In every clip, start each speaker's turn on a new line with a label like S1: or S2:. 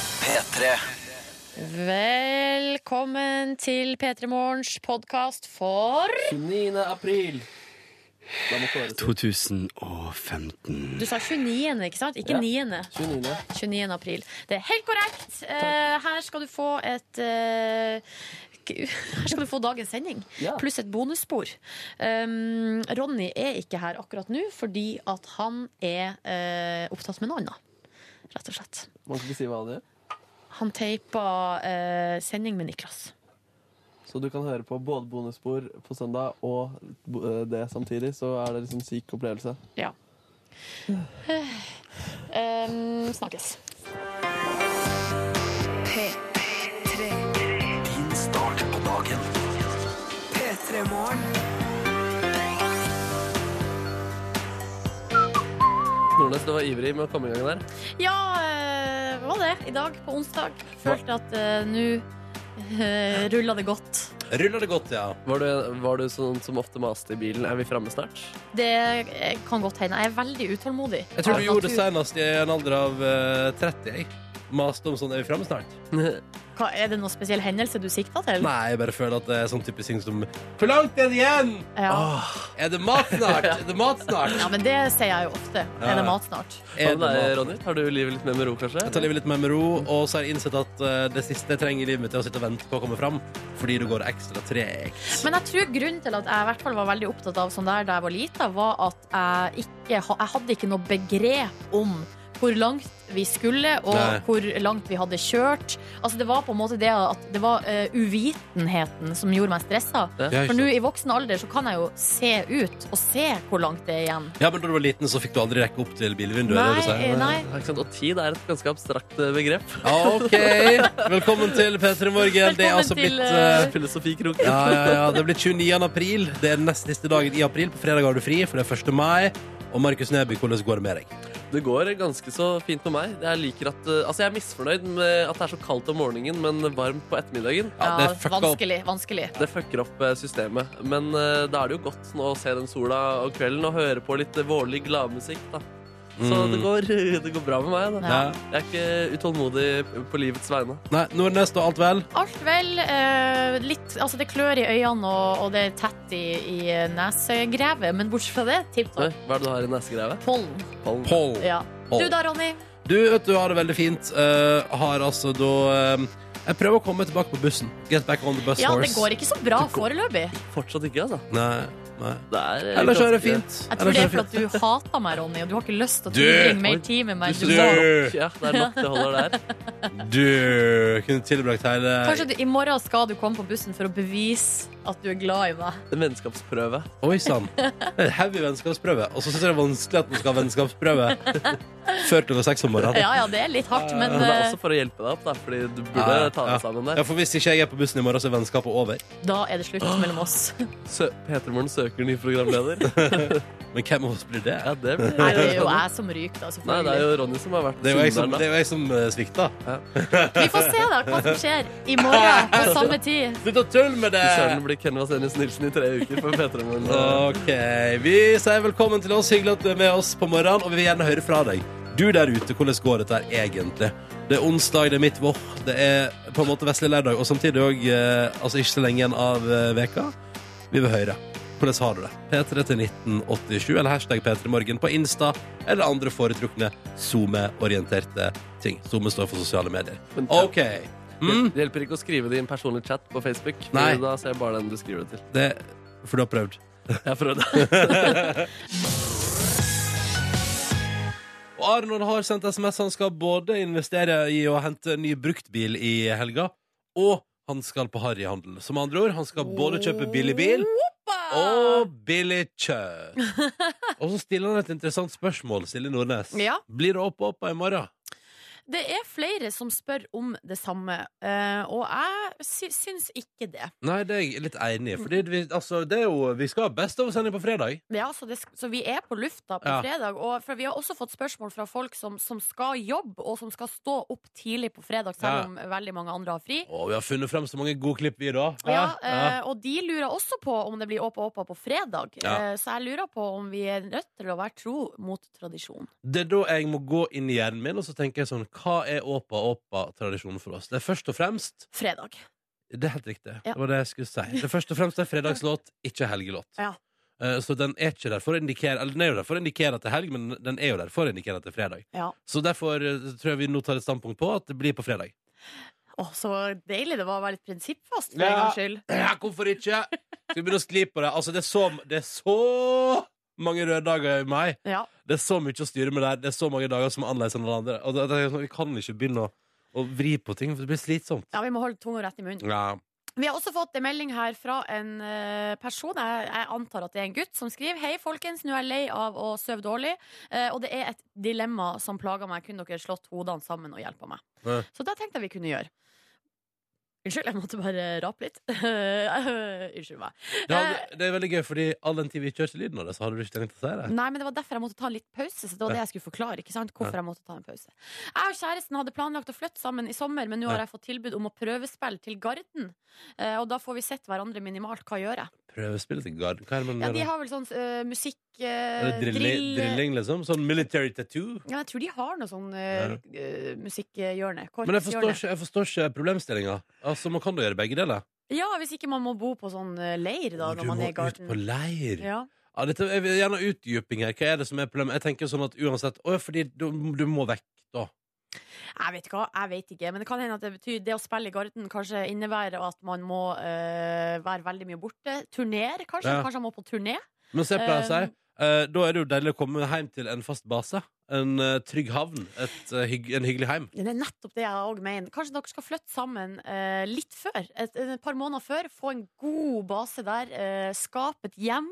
S1: P3.
S2: Velkommen til P3 Morgens podkast for
S3: 29. april. Da må Kåre si
S4: 2015.
S2: Du sa 29., ikke sant? Ikke
S3: Ja.
S2: 9.
S3: 29.
S2: 29. april. Det er helt korrekt. Eh, her skal du få et eh, k- her skal du få dagens sending,
S3: Ja.
S2: pluss et bonusspor. Um, Ronny er ikke her akkurat nå fordi at han er eh, opptatt med noe annet, rett og slett.
S3: Man kan ikke si hva det er.
S2: Han teipa eh, sending med Niklas.
S3: Så du kan høre på både bonusspor på søndag og bo- eh, det samtidig, så er det liksom syk opplevelse.
S2: Ja. Um, Eh, snakkes.
S1: Din start på dagen.
S3: Nordnes, du var ivrig med å komme i gang der.
S2: Ja, eh, hva var det i dag på onsdag? Følte at eh, nå uh, rulla det godt.
S4: Ruller det godt, ja.
S3: Var du, var du sånn som ofte maste i bilen? Er vi framme snart?
S2: Det eh, kan godt hende. Jeg er veldig utålmodig.
S4: Jeg tror
S2: av
S4: du gjorde det
S2: natur.
S4: senest i en alder av eh, 30. jeg. Maste om sånn Er vi framme snart?
S2: Hva, er det noen spesiell hendelse du sikta til?
S4: Nei, jeg bare føler at det er sånn typisk ting som Hvor langt er det igjen? Ah.
S2: Ja.
S3: Ah,
S4: Er det mat snart? Er det mat snart?
S2: ja, men det sier jeg jo ofte.
S4: Ja.
S2: Er det mat snart?
S4: Sånn Er det mat?
S3: Ronny? Tar du livet litt mer med ro, kanskje?
S4: Jeg tar livet litt mer med ro, og så har jeg innsett at eh, det siste jeg trenger i livet mitt, er å sitte og vente på å komme fram. Fordi det går ekstra tregt.
S2: Men jeg tror grunnen til at jeg i hvert fall var veldig opptatt av sånn der da jeg var lita, var at jeg ikke ha- jeg hadde ikke noe begrep om hvor langt vi skulle, og
S4: Nei.
S2: hvor langt vi hadde kjørt. Altså Det var på en måte det at det var eh, uvitenheten som gjorde meg stressa.
S4: Ja,
S2: For
S4: ikke
S2: nå
S4: sant?
S2: i voksen alder så kan jeg jo se ut, og se hvor langt det er igjen.
S4: ja, men da du var liten, så fikk du aldri rekke opp til bilvinduet? er det du sier? Ah,
S2: Nei, nei.
S3: Og tid er et ganske abstrakt eh, begrep.
S4: OK. Velkommen til P3 Morgen. Det er
S2: Velkommen
S4: altså blitt
S2: til,
S4: eh,
S2: eh,
S3: Filosofikrok.
S4: Ja, ja, ja. Det blir 29. april. Det er den nest siste dagen i april. På fredag har du fri, for det er 1. mai. Og Markus Neby, hvordan går det med deg?
S5: Det går ganske så fint med meg. Jeg liker at, eh, altså jeg er misfornøyd med at det er så kaldt om morgenen, men varmt på ettermiddagen.
S4: Ja,
S2: Ja,
S4: det er fucka opp.
S2: vanskelig. vanskelig.
S5: Det fucker opp eh, systemet. Men eh, da er det jo godt nå å se den sola om kvelden og høre på litt eh, vårlig gladmusikk. da. Så
S4: Mm.
S5: det, går, det går bra med meg. da.
S2: Ja.
S4: Ja.
S5: Jeg er ikke utålmodig på livets vegne.
S4: Nei, Nordnes og alt vel?
S2: Alt vel. eh, litt, altså det klør i øynene, og, og det er tett i, i nesegrevet, men bortsett fra det, tipp
S5: Oi,
S2: topp.
S5: Hva er det du har i nesegrevet?
S2: Pollen.
S5: Pollen.
S4: Pål.
S2: Ja.
S4: Pål.
S2: Du da, Ronny?
S4: Du vet du har det veldig fint. Eh, har altså da eh, Jeg prøver å komme tilbake på bussen. Get back on the bus
S2: Ja,
S4: horse.
S2: det går ikke så bra foreløpig.
S5: Fortsatt ikke, altså.
S4: Nei, nei.
S5: Det er, eh,
S4: Ellers er det
S5: ganske-
S4: fint.
S2: Jeg tror
S4: Ellers
S2: det
S4: er
S2: er
S4: det fint.
S2: fordi at du hater meg, Ronny, og du har ikke lyst til å
S4: Du!
S5: Oi,
S2: tilbringe mer tid med meg.
S5: Du
S2: Du
S5: synes det
S2: må.
S5: er nok, ja, det er nok det holder der.
S4: Du kunne tilbrakt hele
S2: Kanskje du, i morgen skal du komme på bussen for å bevise at du er glad i meg.
S5: En vennskapsprøve.
S4: Oi sann. Det er en Heavy vennskapsprøve. Og så syns jeg det er vanskelig at man skal ha vennskapsprøve før klokka seks om morgenen.
S2: Ja, ja, det er litt hardt, men
S5: Men det er
S2: eh,
S5: også for å hjelpe deg opp, da, fordi du burde
S4: Ja, ja,
S5: ta
S4: ja.
S5: deg sammen der.
S4: Ja, for Hvis ikke jeg er på bussen i morgen, så er vennskapet over.
S2: da er det slutt mellom oss.
S5: Sø Petermoren søker ny programleder.
S4: Men hvem av oss blir det?
S5: Ja, det blir
S2: Nei, det er jo jeg som ryker, da.
S5: Nei, det er
S2: selvfølgelig.
S5: jo Ronny som har vært
S4: Det er jo jeg som,
S5: synderen, da.
S4: det er jo jeg som eh, svikta.
S2: Vi får se da hva som skjer i morgen på samme tid.
S4: Slutt å tulle med
S5: Fy Søren
S4: det!
S5: blir Ken Vasenius Nilsen i tre uker for P3morgen.
S4: OK. Vi sier velkommen til oss. Hyggelig at du er med oss på morgenen, og vi vil gjerne høre fra deg. Du der ute, hvordan går dette her egentlig? Det er onsdag, det er midt vår, det er på en måte vesle lørdag, og samtidig òg altså ikke så lenge igjen av eh, veka. Vi vil høre. Hvordan har du det? P3 til 1987, eller hashtag P3morgen på Insta, eller andre foretrukne SoMe-orienterte ting. SoMe står for sosiale medier.
S5: Men-
S4: OK. Mm.
S5: Eh, Det hjelper ikke å skrive det i en personlig chat på Facebook. for
S4: Nei.
S5: Da ser jeg bare den du skriver det til.
S4: Det, for du har prøvd.
S5: Jeg prøvde.
S4: Og Arnold har sendt SMS. Han skal både investere i å hente en ny bruktbil i helga, og han skal på harryhandel. Som andre ord, han skal både kjøpe billig bil og billig kjøtt. Og så stiller han et interessant spørsmål, Silje Nordnes.
S2: Ja.
S4: Blir det opp og oppa i morgen?
S2: Det er flere som spør om det samme, eh, og jeg sy syns ikke det.
S4: Nei, det er jeg litt enig i. Fordi vi, altså, det er jo, vi skal ha Best of-sending på fredag.
S2: Det er altså det, sk- så vi er på lufta på
S4: Ja.
S2: fredag, og for vi har også fått spørsmål fra folk som, som skal jobbe, og som skal stå opp tidlig på fredag, selv
S4: Ja.
S2: om veldig mange andre har fri.
S4: Og vi har funnet frem så mange gode klipp, vi, da.
S2: Ja, eh, og de lurer også på om det blir åpa åpa på fredag,
S4: Ja.
S2: eh, så jeg lurer på om vi er nødt til å være tro mot tradisjon.
S4: Det er da jeg må gå inn i hjernen min, og så tenker jeg sånn hva er åpa-åpa-tradisjonen for oss? Det er først og fremst
S2: Fredag.
S4: Det er helt riktig.
S2: Ja.
S4: Det var det jeg skulle si. Det er først og fremst er fredagslåt, ikke helgelåt.
S2: Ja.
S4: Eh, Så den er ikke der for å indikere Eller den er jo der for å indikere at det er helg, men den er jo der for å indikere at det er fredag.
S2: Ja.
S4: Så derfor eh, tror jeg vi nå tar et standpunkt på at det blir på fredag.
S2: Å, så deilig det var å være litt prinsippfast for en
S4: Ja.
S2: gangs skyld.
S4: Ja, hvorfor ikke? Skal vi begynne å skli på det? Altså, det er så, det er så mange røde dager i mai.
S2: Ja.
S4: Det er så mye å styre med der. Det er så mange dager som er annerledes enn alle andre. Og det, det, er sånn, vi kan ikke begynne å, å vri på ting, for det blir slitsomt.
S2: ja, vi må holde tunga rett i munnen.
S4: Ja.
S2: Vi har også fått en melding her fra en eh, person, jeg, jeg antar at det er en gutt, som skriver Hei folkens, nå er jeg lei av å sove dårlig, eh, og det er et dilemma som plager meg. Kunne dere slått hodene sammen og hjelpa meg?
S4: Ja.
S2: Så det tenkte jeg vi kunne gjøre. Unnskyld, jeg måtte bare rape litt. Unnskyld meg.
S4: Det, hadde, det er veldig gøy, fordi all den tid vi ikke hørte lyden av det, så hadde du ikke tenkt å si det.
S2: Nei, men det var derfor jeg måtte ta en litt pause. Så det var det jeg skulle forklare, ikke sant? Hvorfor jeg måtte ta en pause Jeg og kjæresten hadde planlagt å flytte sammen i sommer, men nå har
S4: Ja.
S2: jeg fått tilbud om å prøvespille til Garden. Eh, Og da får vi sett hverandre minimalt. Hva gjør jeg?
S4: Prøvespill til Garden. Hva er det man
S2: Ja,
S4: gjør
S2: De
S4: da?
S2: har vel sånn eh, musikk eh,
S4: Er det drilling, drilling, liksom? Sånn military tattoo?
S2: Ja, jeg tror de har noe sånn uh, musikkhjørne.
S4: Men jeg forstår
S2: korpshjørne.
S4: ikke, jeg forstår ikke problemstillinga. Altså, man kan da gjøre begge deler.
S2: Ja, hvis ikke man må bo på sånn eh, leir da,
S4: Å,
S2: når
S4: du
S2: man
S4: må
S2: er i Garden.
S4: ut på leir.
S2: Ja.
S4: Ja, dette, jeg vil gjerne ha utdyping her. Hva er det som er problemet? Jeg tenker sånn at uansett Å, fordi du, du må vekk, da.
S2: Jeg vet ikke, hva, jeg vet ikke, men det kan hende at det betyr det å spille i Garden kanskje innebærer at man må eh, være veldig mye borte. Turnere, kanskje.
S4: Ja.
S2: Kanskje han må på turné.
S4: Men se på det jeg
S2: Um,
S4: sier. Eh, da er det jo deilig å komme hjem til en fast base. En eh, trygg havn. Et, eh, hygg, en hyggelig heim.
S2: Det er nettopp det jeg òg mener. Kanskje dere skal flytte sammen eh, litt før. Et, et, par måneder før. Få en god base der. Eh, skape et hjem.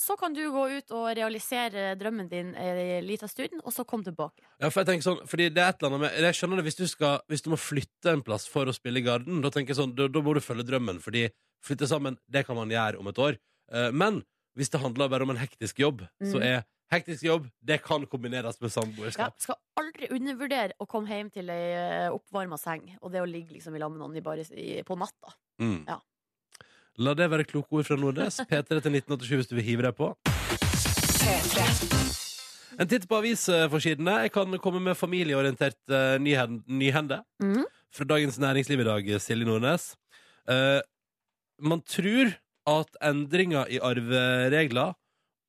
S2: Så kan du gå ut og realisere drømmen din eh, en liten stund, og så komme tilbake.
S4: Ja, for jeg tenker sånn, fordi det er et eller annet med Jeg skjønner det, hvis du, skal, hvis du må flytte en plass for å spille i Garden, da tenker jeg sånn, da, da må du følge drømmen, fordi flytte sammen, det kan man gjøre om et år. Eh, men hvis det handler bare om en hektisk jobb, så
S2: Mm.
S4: er hektisk jobb Det kan kombineres med
S2: Ja,
S4: samboerskap.
S2: skal aldri undervurdere å komme hjem til ei eh, oppvarma seng, og det å ligge liksom i lag med noen i bare, i, på natta.
S4: Mm.
S2: Ja.
S4: La det være kloke ord fra Nordnes. P3 til 1987 hvis du vil hive deg på. En titt på avisforsidene. Jeg kan komme med familieorientert eh, nyhen- nyhende
S2: Mhm.
S4: fra Dagens Næringsliv i dag, Silje Nordnes. Eh, man tror at endringer i arveregler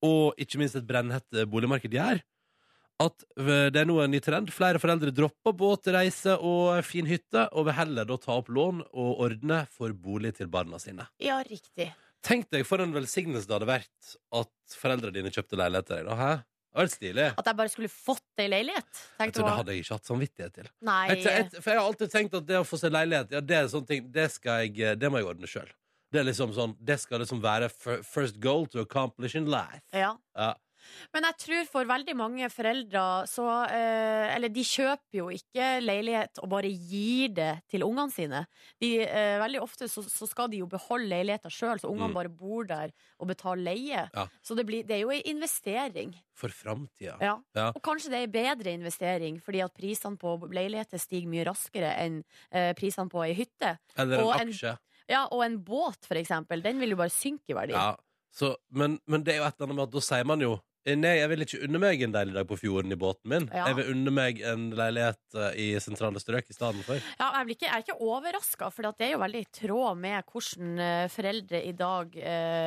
S4: og ikke minst et brennhett eh, boligmarked gjør at eh, det er nå en ny trend. Flere foreldre dropper båtreise og fin hytte, og vil heller da ta opp lån og ordne for bolig til barna sine.
S2: Ja, riktig.
S4: Tenk deg for en velsignelse det hadde vært at foreldrene dine kjøpte leilighet til deg. da, hæ? Det hadde vært stilig.
S2: At jeg bare skulle fått ei leilighet.
S4: Jeg
S2: Tenkte
S4: tror det
S2: hva-
S4: hadde jeg ikke hatt samvittighet til.
S2: Nei.
S4: Jeg, te- jeg, for jeg har alltid tenkt at det å få seg leilighet, ja, det er sånne ting, det skal jeg, eh, det må jeg ordne sjøl. Det er liksom sånn, det skal liksom være fir- first goal to accomplish in life.
S2: Ja.
S4: Ja.
S2: Men jeg tror for veldig mange foreldre så eh, Eller de kjøper jo ikke leilighet og bare gir det til ungene sine. De, eh, veldig ofte så, så skal de jo beholde leiligheta sjøl, så ungene
S4: Mm.
S2: bare bor der og betaler leie.
S4: Ja.
S2: Så det, blir, det er jo ei investering.
S4: For framtida.
S2: Ja.
S4: Ja.
S2: Og kanskje det er ei bedre investering, fordi at prisene på leiligheter stiger mye raskere enn eh, prisene på ei hytte.
S4: Eller
S2: Og
S4: en
S2: en-
S4: aksje.
S2: Ja, og en båt, for eksempel, den vil jo bare synke i verdi.
S4: Ja, så, men, men det er jo et eller annet med at da sier man jo eh, Nei, jeg vil ikke unne meg en deilig dag på fjorden i båten min.
S2: Ja.
S4: Jeg vil unne meg en leilighet eh, i sentrale strøk i stedet for.
S2: Ja, jeg, blir ikke, jeg er ikke overraska, for det er jo veldig i tråd med hvordan eh, foreldre i dag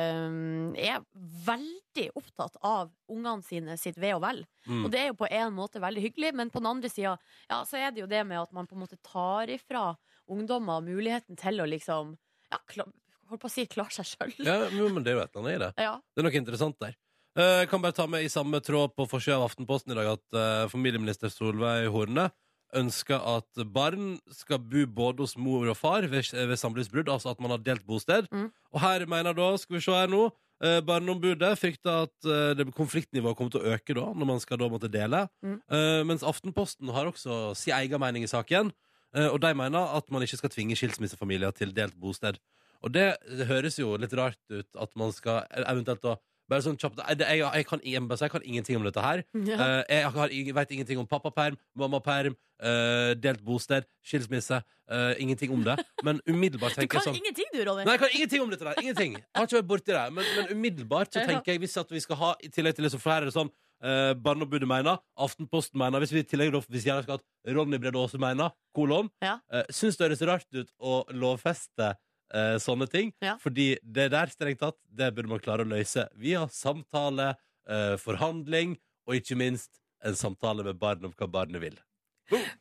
S2: eh, er veldig opptatt av ungene sine sitt ve og vel.
S4: Mm.
S2: Og det er jo på en måte veldig hyggelig, men på den andre sida ja, så er det jo det med at man på en måte tar ifra ungdommer muligheten til å liksom ja, kla, Holdt på å si klare seg sjøl.
S4: Ja, jo, men det er jo et eller annet i det.
S2: Ja.
S4: Det er noe interessant der. Eh, Jeg kan bare ta med i samme tråd på forsida av Aftenposten i dag at eh, familieminister Solveig Horne ønsker at barn skal bo både hos mor og far ved, ved samlivsbrudd, altså at man har delt bosted.
S2: Mm.
S4: Og her mener da, skal vi se her nå, eh, Barneombudet frykter at eh, det- konfliktnivået kommer til å øke da, når man skal da måtte dele.
S2: Mm.
S4: Eh, Mens Aftenposten har også sin egen mening i saken, eh, og de mener at man ikke skal tvinge skilsmissefamilier til delt bosted. Og det høres jo litt rart ut at man skal eventuelt da bare sånn kjapt, jeg, jeg, jeg, kan, jeg, må bare si, jeg kan ingenting om dette her.
S2: Ja.
S4: Eh, jeg har, ing- vet ingenting om pappaperm, mammaperm, eh, delt bosted, skilsmisse. eh, ingenting om det. Men umiddelbart
S2: Du
S4: tenker
S2: kan
S4: jeg sånn
S2: ingenting, du, Ronny!
S4: Nei, jeg kan ingenting om dette der! Ingenting. Jeg har ikke vært borti det. Men, men umiddelbart så
S2: Ja.
S4: tenker jeg, hvis at vi skal ha i tillegg til det, så for her er det sånn Eh, Barneombudet mener, Aftenposten mener, hvis vi i tillegg da- hvis jeg skal at Ronny Brede Aase mener, kolon,
S2: Ja.
S4: eh, syns det høres rart ut å lovfeste eh, sånne ting.
S2: Ja.
S4: Fordi det der, strengt tatt, det burde man klare å løse via samtale, eh, forhandling og ikke minst en samtale med barn om hva barnet vil.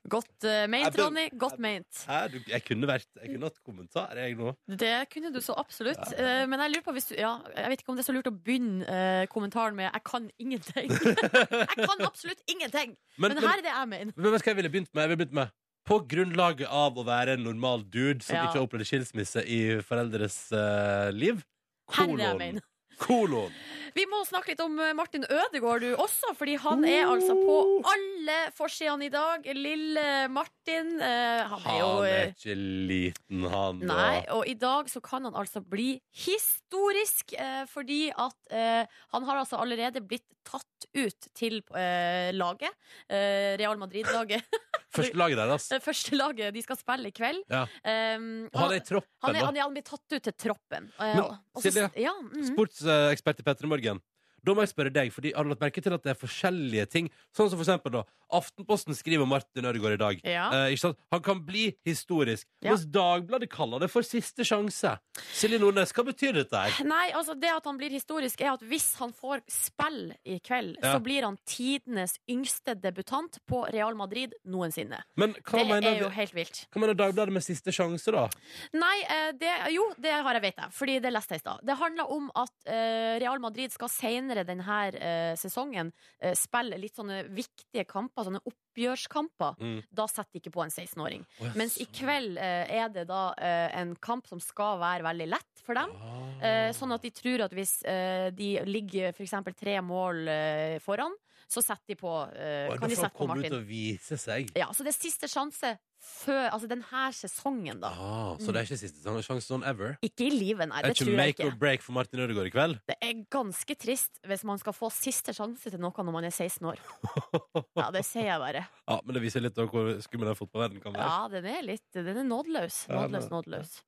S2: Godt eh,
S4: Jeg
S2: meint,
S4: bør-
S2: Ronny. Godt meint.
S4: Hæ? Du- Jeg kunne vært Jeg kunne hatt kommentar, jeg nå.
S2: Det kunne du så absolutt. Eh, Men jeg lurer på hvis du ja, Jeg vet ikke om det er så lurt å begynne eh, kommentaren med 'jeg kan ingenting'. jeg kan absolutt ingenting! Men her er det jeg mener.
S4: Men vet du hva jeg ville begynt med? Jeg ville begynt med på grunnlaget av å være en normal dude som
S2: Ja.
S4: ikke har opplevd skilsmisse i foreldres eh, liv.
S2: Her er det jeg mener.
S4: Kolon.
S2: Vi må snakke litt om eh, Martin Ødegaard du også, fordi han er altså på alle forsidene i dag. Lille Martin. eh, Han er jo
S4: Han er
S2: eh,
S4: ikke liten, han. da.
S2: Nei, og i dag så kan han altså bli historisk, eh, fordi at eh, han har altså allerede blitt tatt ut til eh, laget. Eh, Real Madrid-laget.
S4: Første laget deres.
S2: Det eh, første laget de skal spille i kveld.
S4: Ja.
S2: Um,
S4: Og han er i troppen,
S2: han, er,
S4: da.
S2: han, er, han blir tatt ut til troppen. Eh,
S4: Men,
S2: og- og så-
S4: Silje,
S2: ja, mhm.
S4: Sportsekspert i Petter Morgen. Da må jeg spørre deg, fordi har du lagt merke til at det er forskjellige ting? Sånn som for eksempel da, Aftenposten skriver om Martin Ødegaard i dag.
S2: Ja.
S4: Eh, ikke sant? Han kan bli historisk.
S2: Ja.
S4: Mens Dagbladet kaller det for siste sjanse. Silje Nordnes, hva betyr dette her?
S2: Nei, altså det at han blir historisk er at hvis han får spill i kveld,
S4: Ja.
S2: så blir han tidenes yngste debutant på Real Madrid noensinne.
S4: Men hva
S2: det
S4: mener
S2: er jo
S4: vi-
S2: helt vilt.
S4: Hva mener Dagbladet med siste sjanse, da?
S2: Nei, eh, det, jo, det har jeg vet jeg, fordi det leste jeg i stad. Det handler om at eh, Real Madrid skal senere denne eh, sesongen eh, spille litt sånne viktige kamper, sånne oppgjørskamper.
S4: Mm.
S2: Da setter de ikke på en 16-åring.
S4: Å, ja,
S2: Mens i
S4: sånn.
S2: kveld eh, er det da eh, en kamp som skal være veldig lett for dem.
S4: Ah.
S2: Eh, sånn at de tror at hvis eh, de ligger f.eks. tre mål eh, foran, så setter de på eh,
S4: Oi,
S2: Kan de
S4: da får han
S2: sette på
S4: komme ut
S2: Martin?
S4: og vise seg.
S2: Ja, så det er siste sjanse før Altså denne sesongen, da.
S4: Ah, så det er ikke siste sånn- sjanse sånn ever?
S2: Ikke i livet, nei. Mm.
S4: Det er
S2: Det
S4: ikke
S2: tror jeg
S4: make
S2: ikke.
S4: or break for Martin Ødegaard i kveld?
S2: Det er ganske trist hvis man skal få siste sjanse til noe når man er 16 år. Ja, det sier jeg bare.
S4: Ja, Ah, men det viser litt av hvor skummel den fotballverdenen kan være.
S2: Ja, den er litt Den er nådeløs.
S4: Ja,
S2: Nådeløs,
S4: det-
S2: nådeløs.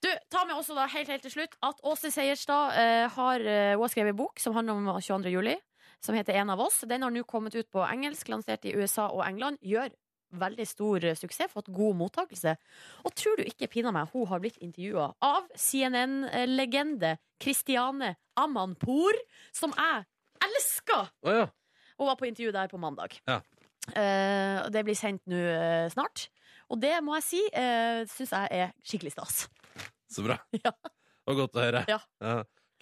S2: Du, ta med også da helt, helt til slutt at Åse Seierstad eh, har, eh, hun har skrevet en bok som handler om 22. juli, som heter En av oss. Den har nå kommet ut på engelsk, lansert i USA og England. Gjør veldig stor eh, suksess, fått god mottakelse. Og tror du ikke, pina meg, hun har blitt intervjua av CNN-legende Christiane Amanpour, som jeg elsker!
S4: Å ja.
S2: Hun var på intervju der på mandag.
S4: Ja.
S2: Eh, og det blir sendt nå eh, snart. Og det må jeg si uh, syns jeg er skikkelig stas.
S4: Så bra.
S2: Ja.
S4: Og godt å høre.
S2: Ja.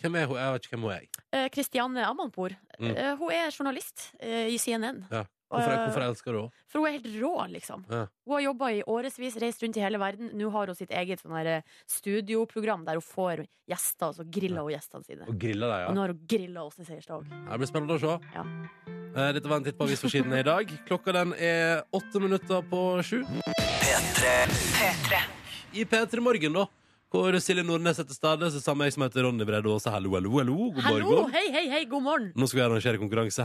S4: Hvem er hun? Jeg vet ikke hvem hun er.
S2: Eh, Kristianne Amanpour.
S4: Mm.
S2: eh, hun er journalist eh, i CNN.
S4: Ja. Hvorfor,
S2: Eh,
S4: hvorfor elsker du henne?
S2: For hun er helt rå, liksom.
S4: Ja.
S2: Hun har jobba i årevis, reist rundt i hele verden. Nå har hun sitt eget sånn her, eh, studioprogram der hun får gjester, og så griller hun gjestene sine.
S4: Og griller deg,
S2: Og
S4: ja.
S2: nå har hun grilla Åsne Seierstad òg.
S4: Det blir spennende å se.
S2: Ja.
S4: Eh, Dette var en titt på avisforsidene i dag. Klokka den er åtte minutter på sju. I P3 Morgen, da. Hvor Silje Nordnes heter Stade, så sammen med jeg som heter Ronny Brede Aase. Hallo, hallo, hallo. God
S2: Hallo!
S4: morgen.
S2: Hei, hei, hei, god morgen!
S4: Nå skal vi arrangere konkurranse.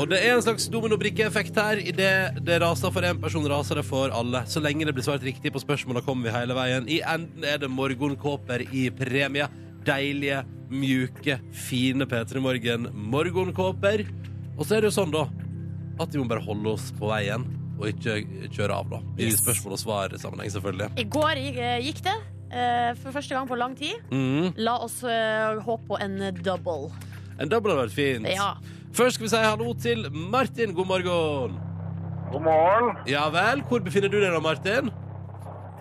S4: Og det er en slags dominobrikkeeffekt her. I det det raser for én person, raser det for alle. Så lenge det blir svart riktig på spørsmåla, kommer vi hele veien. I enden er det morgenkåper i premie. Deilige, mjuke, fine P3 Morgen morgenkåper. Og så er det jo sånn, da, at vi må bare holde oss på veien. Og ikke kjøre av, da. I
S2: Yes.
S4: spørsmål og svar-sammenheng, selvfølgelig.
S2: I går eh, gikk det. eh, for første gang på lang tid.
S4: Mhm.
S2: La oss eh, håpe på en double.
S4: En double hadde vært fint.
S2: Ja.
S4: Først skal vi si hallo til Martin. God morgen.
S6: God morgen.
S4: Ja vel, hvor befinner du deg da, Martin?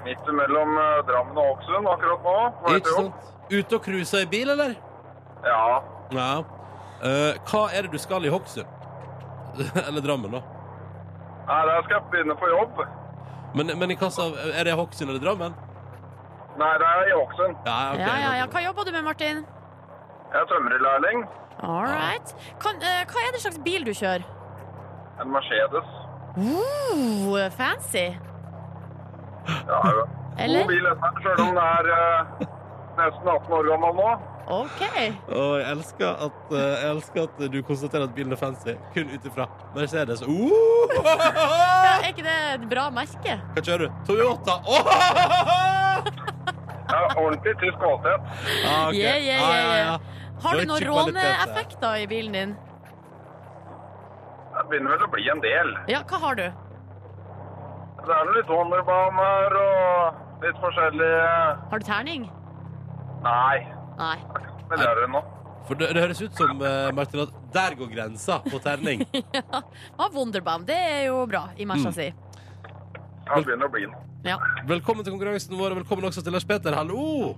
S6: Midt mellom Drammen og Åksund akkurat nå. på vei
S4: Ikke
S6: til jobb.
S4: sant? Ute og cruiser i bil, eller?
S6: Ja.
S4: Ja. Eh, hva er det du skal i Hokksund? eller Drammen, da.
S6: Nei, der skal jeg begynne på jobb.
S4: Men, men i kassa, er det Hokksund eller Drammen?
S6: Nei, det er i Åksund.
S4: Ja, ok.
S2: Ja, ja, ja. Hva jobber du med, Martin?
S6: Jeg er tømrerlærling.
S2: All
S4: Ah.
S2: right. Kan, eh, hva er det slags bil du kjører?
S6: En Mercedes.
S2: Ooh, fancy.
S6: Ja, jo.
S2: Eller?
S6: God bil, dette her, selv om den er eh, nesten 18 år gammel nå.
S2: OK.
S4: Og jeg elsker, at, eh, jeg elsker at du konstaterer at bilen er fancy, kun ut ifra Mercedes. Uh!
S2: Ja, er ikke det et bra merke?
S4: Hva kjører du? Toyota! Oh!
S6: Det er ordentlig tysk kvalitet.
S4: Ah, ok.
S2: Yeah, yeah, yeah,
S4: Ah, ja, ja.
S2: Har du
S4: Det var
S2: noen
S4: ikke kvalitet, det.
S2: råneeffekter i bilen din?
S6: Det begynner vel å bli en del.
S2: Ja, hva har du?
S6: Det er litt wonderbaner og litt forskjellige
S2: Har du terning?
S6: Nei,
S2: Nei.
S6: men det er det nå.
S4: For det, det høres ut som, eh, Martin, at der går grensa på terning.
S2: Ja, Wonderband, Ah, det er jo bra i
S4: Mm.
S2: matcha si.
S6: Det begynner å bli noe.
S2: Ja.
S4: Velkommen til konkurransen vår, og velkommen også til Lars Peter. Hallo!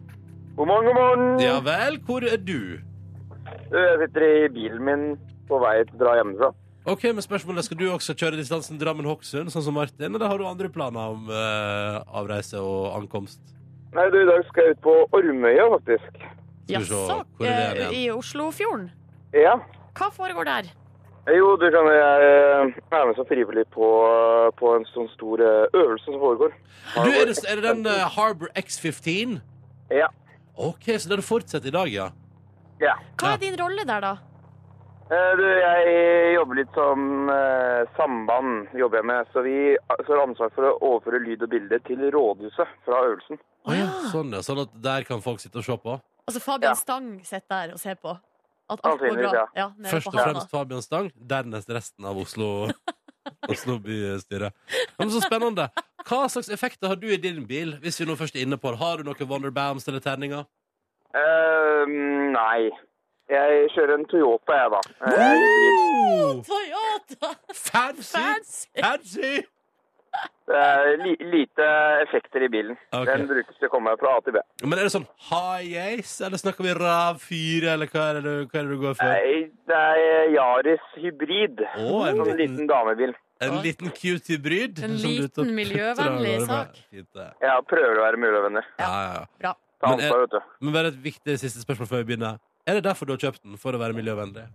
S7: God morgen, god morgen.
S4: Ja vel, hvor er du?
S7: Du, Jeg sitter i bilen min på vei til å dra hjemmefra.
S4: Ok, men spørsmålet Skal du også kjøre distansen Drammen-Hokksund, sånn som Martin, eller har du andre planer om eh, avreise og ankomst?
S7: Nei, du, i dag skal jeg ut på Ormøya, faktisk.
S4: Skal vi se,
S2: Jaså,
S4: hvor er det
S2: eh,
S4: igjen?
S2: i Oslofjorden.
S7: Ja.
S2: Hva foregår der?
S7: Jo, du skjønner, jeg eh, er med som frivillig på, på en sånn stor eh, øvelse som foregår.
S4: Du, er det, er det den eh, Harbour X15?
S7: Ja.
S4: Ok, så den fortsetter i dag, ja.
S7: Ja.
S2: Hva
S4: Ja.
S2: er din rolle der, da?
S7: Eh, Du, jeg jobber litt som eh, samband, jobber jeg med. Så vi så har ansvar for å overføre lyd og bilde til rådhuset fra øvelsen.
S4: Å ja.
S2: Ah.
S4: Sånn, ja. Sånn at der kan folk sitte og se på.
S2: Altså Fabian
S7: Ja.
S2: Stang sitter der og ser på. At alt går
S7: Sannsynligvis,
S2: bra.
S7: ja.
S2: Ja, nede
S4: Først
S2: på
S4: og
S2: havna.
S4: fremst Fabian Stang, dernest resten av Oslo. Oslo bystyre. Ja, Men så spennende. Hva slags effekter har du i din bil? Hvis vi nå først er inne på det Har du noen Wonderbams eller terninger?
S7: Eh, nei. Jeg kjører en Toyota, jeg, da. Eh, hybrid.
S4: Oh,
S2: Toyota!
S4: fancy!
S2: Fancy!
S4: Fancy!
S7: Det er li lite effekter i bilen.
S4: Ok.
S7: Den brukes til å komme meg fra A til B.
S4: Men er det sånn high ace, eller snakker vi RAV4, eller hva er det du, hva er det du går for?
S7: Nei, det er Yaris hybrid.
S4: Å, en
S7: Sånn
S4: liten-
S7: liten damebil.
S4: En liten cute hybrid?
S2: En
S4: som du
S2: liten
S4: tok-
S2: miljøvennlig
S4: Tror jeg var
S2: sak.
S4: fint, det.
S7: Ja, prøver å være miljøvenner.
S4: Ja, ja, ja.
S2: Bra.
S7: Ta
S4: Men eh, er-
S7: ansvar, vet du.
S4: Men bare et viktig siste spørsmål før vi begynner. Er det derfor du har kjøpt den? For å være miljøvennlig?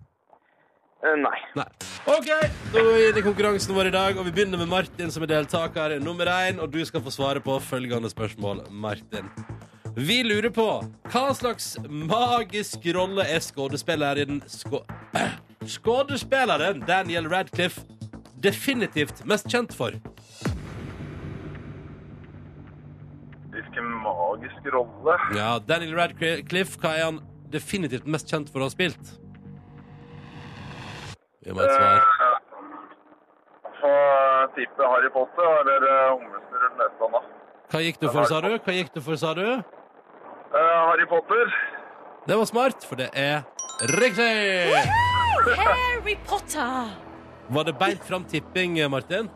S7: Eh, Nei.
S4: Nei. OK, da går vi inn i konkurransen vår i dag, og vi begynner med Martin som er deltaker nummer én. Og du skal få svare på følgende spørsmål, Martin. Vi lurer på hva slags magisk rolle er skuespilleren sko Skuespilleren Daniel Radcliffe definitivt mest kjent for?
S6: Hvilken magisk rolle.
S4: Ja, Daniel Radcliffe, hva er han definitivt mest kjent for å ha spilt? Gi meg et svar.
S6: Få tippe Harry Potter eller eh, Ungmester rundt nesa da.
S4: Hva gikk du for, sa du? Hva gikk du for, sa du?
S6: Eh, Harry Potter.
S4: Det var smart, for det er riktig!
S2: Harry Potter!
S4: Var det beint fram tipping, Martin?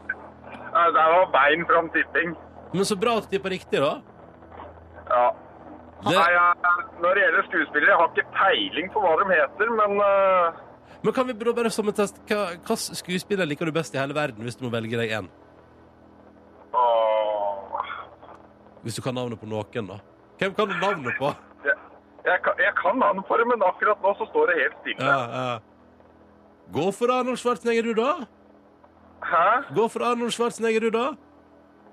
S6: Eh, Det var bein fram tipping.
S4: Men så bra at du tippa riktig, da.
S6: Ja.
S4: Det,
S6: Nei, jeg, når det gjelder skuespillere, jeg har ikke peiling på hva de heter, men eh,
S4: men kan vi da bare som en test hva- Hvilken skuespiller liker du best i hele verden, hvis du må velge deg én?
S6: åh,
S4: Hvis du kan navnet på noen, da. Hvem kan du navnet på?
S6: jeg, jeg, kan- jeg kan navnet for det, men akkurat nå så står det helt stille.
S4: Ja, ja. Gå for Arnold Schwarzenegger, du, da.
S6: Hæ?
S4: Gå for Arnold Schwarzenegger, du, da.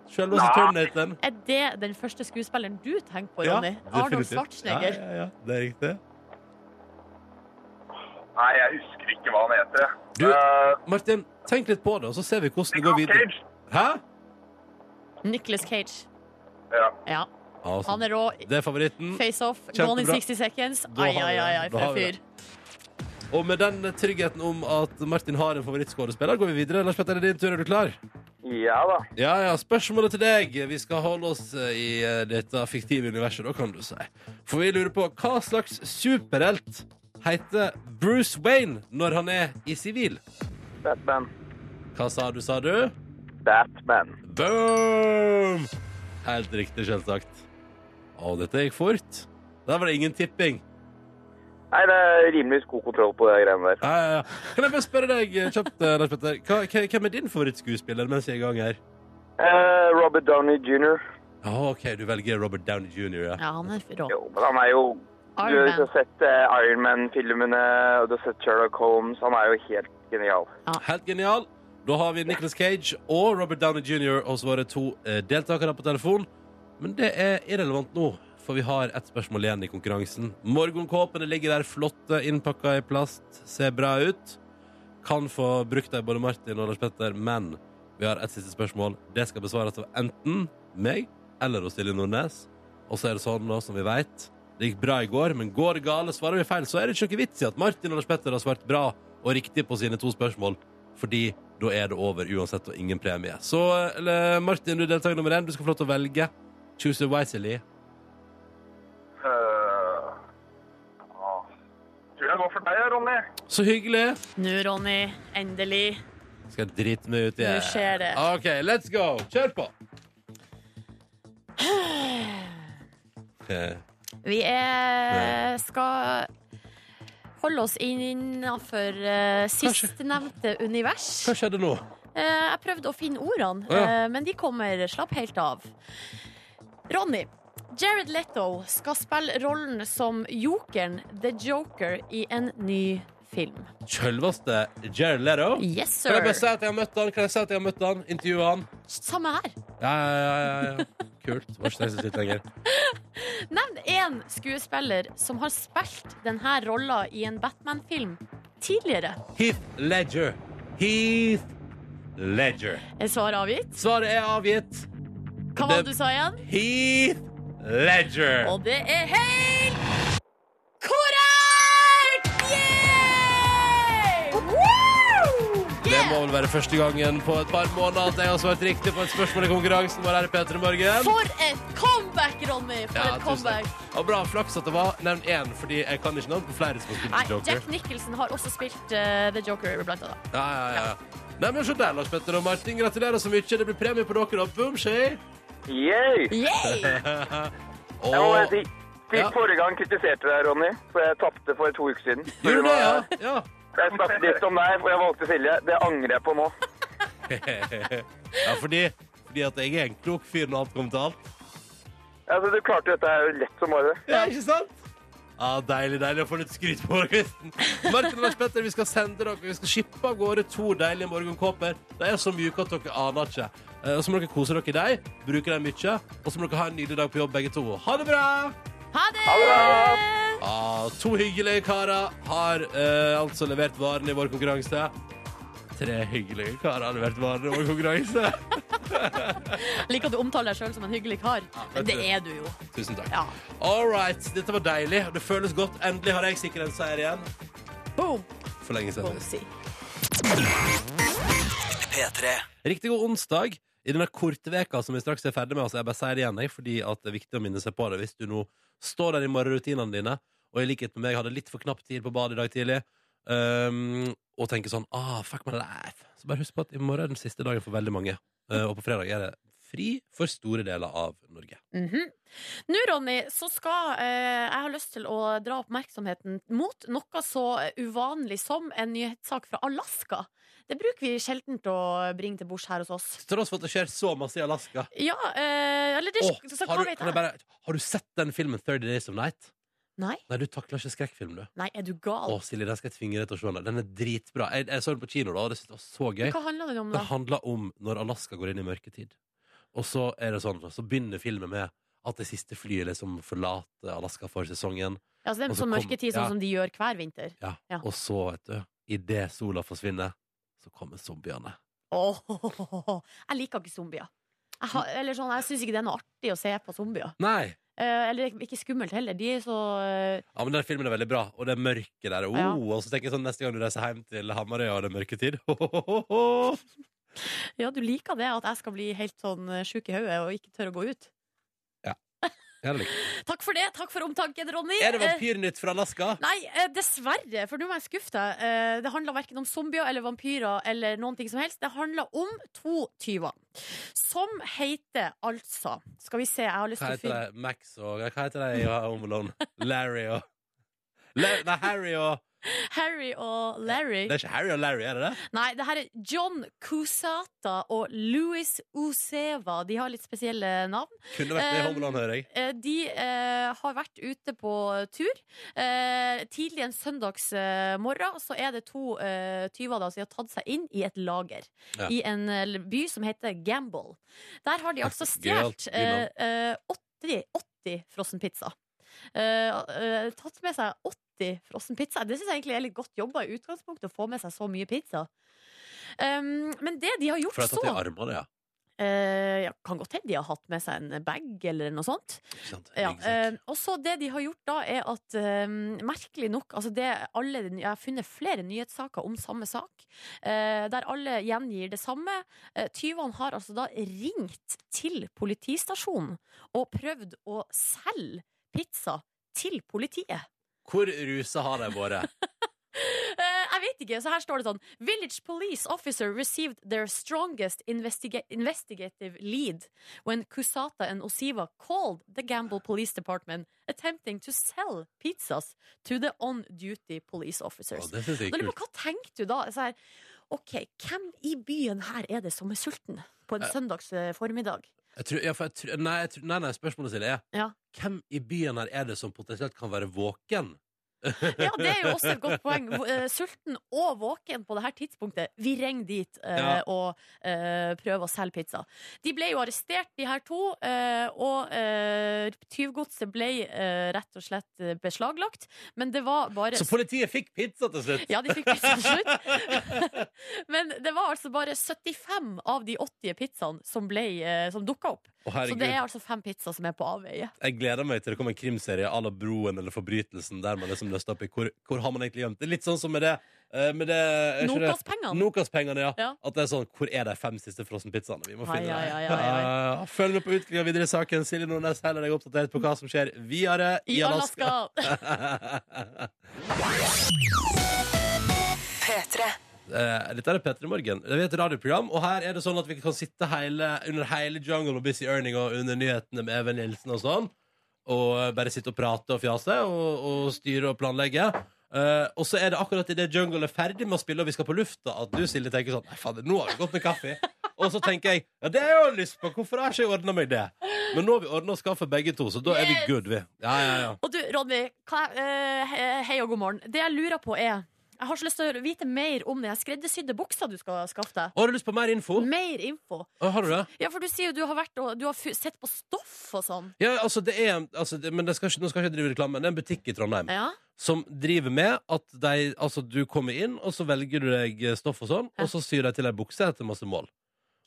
S4: Selveste
S6: Nei.
S4: Terminatoren.
S2: Er det den første skuespilleren du tenker på,
S4: Ja,
S2: Ronny? Arnold
S4: definitivt.
S2: Schwarzenegger.
S4: Ja, ja, ja. Det er riktig.
S6: Nei, jeg husker ikke hva han heter. jeg.
S4: Du-
S6: Eh,
S4: Martin, tenk litt på det, og så ser vi hvordan det går
S6: Nicolas
S4: videre.
S6: Cage.
S4: Hæ?
S2: Nicolas Cage.
S6: Ja.
S2: Ja, han
S4: Altså,
S2: er rå.
S4: det er favoritten.
S2: Face off,
S4: Kjempebra.
S2: gone in 60 seconds.
S4: Da har
S2: Ai,
S4: vi
S2: ai,
S4: det.
S2: ai, ai,
S4: Da
S2: for
S4: har
S2: en
S4: vi
S2: fyr.
S4: det. Og med den tryggheten om at Martin har en favorittskuespiller, går vi videre. Lars Petter, det er din tur. Er du klar?
S7: Ja da.
S4: Ja, ja. Spørsmålet til deg. Vi skal holde oss i eh, dette fiktive universet, da, kan du si. For vi lurer på hva slags superhelt heter Bruce Wayne når han er i sivil?
S7: Batman.
S4: Hva sa du, sa du?
S7: Batman.
S4: Boom! Helt riktig, selvsagt. Å, dette gikk fort. Der var det ingen tipping.
S7: Nei, det er rimelig god kontroll på de greiene der.
S4: Ja, ja, ja. Kan jeg bare spørre deg eh, kjapt, eh, Lars Petter, hva, hva- hvem er din favorittskuespiller mens jeg er i gang her?
S7: Eh, Robert Downey jr.
S4: Ja, OK, du velger Robert Downey jr., ja.
S2: Ja, han er rå.
S7: Jo, men han er jo Du
S2: Iron
S7: har
S2: Man.
S7: sett eh, Iron Man-filmene, og du har sett Sherlock Holmes. Han er jo helt genial.
S4: Helt genial. Da har vi Nicolas Cage og Robert Downey jr. hos våre to eh, deltakere på telefon. Men det er irrelevant nå, for vi har ett spørsmål igjen i konkurransen. Morgenkåpene ligger der flotte, innpakka i plast, ser bra ut. Kan få brukt dem både Martin og Lars Petter, men vi har ett siste spørsmål. Det skal besvares av enten meg eller hos Silje Nordnes. Og så er det sånn, da, som vi veit, Det gikk bra i går, men går det gale, svarer vi feil, så er det ikke noe vits i at Martin og Lars Petter har svart bra og riktig på sine to spørsmål, fordi da er det over uansett og ingen premie. Så eller, Martin, du er deltaker nummer én. Du skal få lov til å velge. Choose wisely.
S6: Eh, ja. Tror jeg går for deg, Ronny.
S4: Så hyggelig!
S2: Nå, Ronny, endelig.
S4: Skal jeg drite meg ut i
S2: Nå skjer det.
S4: OK, let's go. Kjør på. Eh,
S2: Vi er, skal holde oss innenfor uh, sistnevnte univers.
S4: Hva skjedde nå?
S2: Eh, jeg prøvde å finne ordene,
S4: Å, ja.
S2: eh, men de kommer slapp helt av. Ronny. Jared Letto skal spille rollen som jokeren, The Joker, i en ny film.
S4: Sjølveste Jared Leto?
S2: Yes,
S4: Kan
S2: sir.
S4: jeg bare si at jeg har møtt han? Kan jeg si at jeg har møtt han? Intervjue han?
S2: Samme her.
S4: Ja, ja, ja. ja, ja. Kult. Var ikke stressa litt lenger.
S2: Nevn én skuespiller som har spilt denne rolla i en Batman-film tidligere.
S4: Heath Ledger. Heath Ledger.
S2: Er svaret avgitt?
S4: Svaret er avgitt.
S2: Hva var
S4: Det-
S2: det du sa igjen?
S4: Heath Ledger.
S2: Og det er helt korrekt! Yeah! Woo!
S4: Det må vel være første gangen på et par måneder at jeg har svart riktig på et spørsmål i konkurransen vår her i P3 Morgen.
S2: For et comeback, Ronny! For
S4: Ja,
S2: et
S4: tusen
S2: comeback.
S4: takk. Og bra flaks at det var nevn én, fordi jeg kan ikke navn på flere som har spilt
S2: Nei,
S4: Joker.
S2: Jack Nicholson har også spilt eh, The Joker, blant annet.
S4: Ja, ja, ja. Nei, men se der, Lars Petter og Martin. Gratulerer så mye. Det blir premie på dere. og Boom, skje.
S7: Yay!
S2: Yay!
S7: Jeg må bare si, sist
S4: Ja.
S7: forrige gang kritiserte jeg deg, Ronny, for jeg tapte for to uker siden. Så
S4: Gjorde du det,
S7: var-
S4: ja? ja.
S7: Jeg snakket litt om deg, for jeg valgte Silje. Det angrer jeg på nå.
S4: ja fordi, fordi at jeg er en klok fyr når alt kommer til alt.
S7: Altså, du klarte dette her lett som bare det.
S4: Ja, ikke sant? Ja, Deilig deilig å få litt skryt på morgenkvisten. Martin og Lars Petter, vi skal sende dere Vi skal shippe av gårde to deilige morgenkåper. De er så mjuke at dere aner ikke. Eh, Og så må dere kose dere i dem, bruke dem mye, og så må dere ha en nydelig dag på jobb, begge to. Ha det bra!
S2: Ha det!
S4: Ja, to hyggelige karer har eh, altså levert varene i vår konkurranse. Tre hyggelige karer har levert varene i vår konkurranse.
S2: Liker at du omtaler deg sjøl som en hyggelig kar.
S4: vet
S2: Men det
S4: du.
S2: er du jo.
S4: Tusen takk.
S2: Ja.
S4: All right, dette var deilig. og Det føles godt. Endelig har jeg sikkert en seier igjen.
S2: Boom,
S4: For lenge siden.
S2: boom, si.
S1: P3
S4: Riktig god onsdag. I denne korte veka som vi straks er ferdig med, altså jeg bare sier det igjen, jeg, fordi at det er viktig å minne seg på det hvis du nå står der i morgenrutinene dine, og i likhet med meg hadde litt for knapp tid på badet i dag tidlig, ehm, og tenker sånn ah, fuck my life. Så bare husk på at i morgen er den siste dagen for veldig mange, eh, og på fredag er det fri for store deler av Norge.
S2: Mhm. Nå, Ronny, så skal eh, jeg har lyst til å dra oppmerksomheten mot noe så uvanlig som en nyhetssak fra Alaska. Det bruker vi sjelden å bringe til bords her hos oss.
S4: Til tross for at det skjer så masse i Alaska.
S2: Ja, eh, eller det,
S4: Åh,
S2: så,
S4: har,
S2: hva
S4: du,
S2: vet
S4: kan
S2: jeg?
S4: jeg bare, har du sett den filmen 30 Days of Night?
S2: Nei.
S4: Nei, du takler ikke skrekkfilm, du.
S2: Nei, er du
S4: Å,
S2: gal?
S4: Silje, den skal jeg tvinge deg til å se. den. Den er dritbra. Jeg, jeg så den på kino, da, og det syntes jeg var så gøy.
S2: Hva handler den om, da?
S4: Det handler om når Alaska går inn i mørketid. Og så er det sånn, så begynner filmen med at det siste flyet liksom forlater Alaska for sesongen.
S2: Ja, så det er
S4: Og så
S2: sånn
S4: kom-
S2: mørketid, sånn
S4: ja.
S2: som de gjør hver vinter.
S4: Ja.
S2: Ja.
S4: Og så, vet du, idet sola forsvinner, så kommer zombiene.
S2: Åh, Jeg liker ikke zombier. Jeg, har, eller sånn, jeg syns ikke det er noe artig å se på zombier.
S4: Nei!
S2: Eh, eller ikke skummelt heller. De er så eh,
S4: Ja, men den filmen er veldig bra, og det er mørke der. Oh,
S2: Ja.
S4: Og så tenker jeg sånn, neste gang du reiser hjem til Hamarøya og det er mørketid ho-ho-ho-ho.
S2: Ja, du liker det at jeg skal bli helt sånn eh, sjuk i hodet og ikke tør å gå ut.
S4: Ja, det liker jeg.
S2: Takk for det. Takk for omtanken, Ronny.
S4: Er det
S2: Eh,
S4: Vampyrnytt fra Alaska?
S2: Nei, eh, dessverre, for nå må jeg skuffe deg. Eh, Det handler verken om zombier eller vampyrer eller noen ting som helst. Det handler om to tyver. Som heter altså Skal vi se, jeg har lyst til
S4: Hva
S2: å
S4: heter
S2: finne
S4: det? Max og Hva heter det i Home Alone? Larry og La- Nei, Harry og
S2: Harry og Larry.
S4: Det er ikke Harry og Larry, er det det?
S2: Nei, det her er John Cusata og Louis Oseva. De har litt spesielle navn.
S4: Kunne vært med
S2: Um,
S4: i Home Alone, hører jeg.
S2: Eh, De eh, har vært ute på tur. Eh, tidlig en søndags eh, morgen så er det to eh, tyver da, som har tatt seg inn i et lager
S4: Ja.
S2: i en eh, by som heter Gamble. Der har de altså
S4: Gøyalt,
S2: stjålet eh,
S4: Dylan.
S2: eh, 80, 80 frossenpizza. Eh, eh, tatt med seg 80 frossenpizza. Det syns jeg egentlig er litt godt jobba i utgangspunktet, å få med seg så mye pizza. Um, men det de har gjort
S4: For det er tatt i
S2: så
S4: armene, ja.
S2: Eh, ja, kan godt hende de har hatt med seg en bag eller noe sånt.
S4: Ikke sant?
S2: Ja,
S4: Ikke sant?
S2: eh, og så det de har gjort da, er at eh, merkelig nok altså det, alle, Jeg har funnet flere nyhetssaker om samme sak, eh, der alle gjengir det samme. Eh, Tyvene har altså da ringt til politistasjonen og prøvd å selge pizza til politiet.
S4: Hvor rusa har de vært?
S2: Eh, jeg vet ikke, så her står det sånn Village police officer received their strongest investiga investigative lead when Kusata and Osiva called the Gamble police department attempting to sell pizzas to the on-duty police
S4: Å,
S2: officers.
S4: det syns jeg
S2: Da
S4: er
S2: lurer jeg
S4: kult.
S2: på, hva tenkte du da? Så her, ok, hvem i byen her er det som er sulten på en
S4: Eh.
S2: søndags eh, formiddag?
S4: Jeg tror, ja, for jeg tror, nei, jeg tror, nei, nei, spørsmålet sitt er
S2: Ja.
S4: hvem i byen her er det som potensielt kan være våken?
S2: Ja, det er jo også et godt poeng. Hvor- eh, Sulten og våken på det her tidspunktet. Vi ringer dit eh,
S4: Ja.
S2: og eh, prøver å selge pizza. De ble jo arrestert, de her to, eh, og eh, tyvgodset ble eh, rett og slett eh, beslaglagt. Men det var bare
S4: Så politiet fikk pizza til slutt!
S2: ja, de fikk pizza til slutt. Men det var altså bare 75 av de 80 pizzaene som, ble, eh, som dukka opp.
S4: Å,
S2: Så
S4: herregud.
S2: det er altså fem pizzaer som er på avveie.
S4: Jeg gleder meg til det kommer en krimserie à la Broen eller Forbrytelsen, der man liksom løste opp i hvor, hvor har man egentlig gjemt det. Litt sånn som med det, eh, med det er ikke det-
S2: Nokas-pengene.
S4: Nokas-pengene, ja.
S2: Ja.
S4: At det er sånn Hvor er de fem siste frossenpizzaene? Vi må
S2: Ai,
S4: finne dem.
S2: ai, ai, ai,
S4: Eh, Følg med på utviklinga videre i saken. Silje Nordnes holder deg oppdatert på hva som skjer videre
S2: I Alaska!
S4: Eh, Dette er Petter i morgen. Det er et radioprogram, og her er det sånn at vi kan sitte hele, under hele jungle og Busy Earning og under nyhetene med Even Nilsen og sånn, og bare sitte og prate og fjase og, og styre og planlegge. Eh, og så er det akkurat idet Jungle er ferdig med å spille, og vi skal på lufta, at du Silje tenker sånn Nei, fader, nå har vi gått med kaffe. og så tenker jeg Ja, det har jeg jo lyst på. Hvorfor har jeg ikke ordna meg det? Men nå har vi ordna oss kaffe begge to, så da er vi
S2: Yes!
S4: good, vi. Ja, ja, ja.
S2: Og du, Ronny, hva, eh, he- hei og god morgen. Det jeg lurer på er Jeg har så lyst til å vite mer om den her skreddersydde buksa du skal skaffe deg.
S4: Har du lyst på mer info?
S2: Mer info.
S4: Å, Har du det?
S2: Ja, for du sier jo du har vært og du har fu- sett på stoff og sånn.
S4: Ja, altså, det er altså, det, Men det skal ikke, nå skal jeg ikke drive reklame, men det er en butikk i Trondheim.
S2: Ja.
S4: som driver med at de, altså, du kommer inn, og så velger du deg stoff og sånn,
S2: Ja.
S4: og så syr de til ei bukse etter masse mål.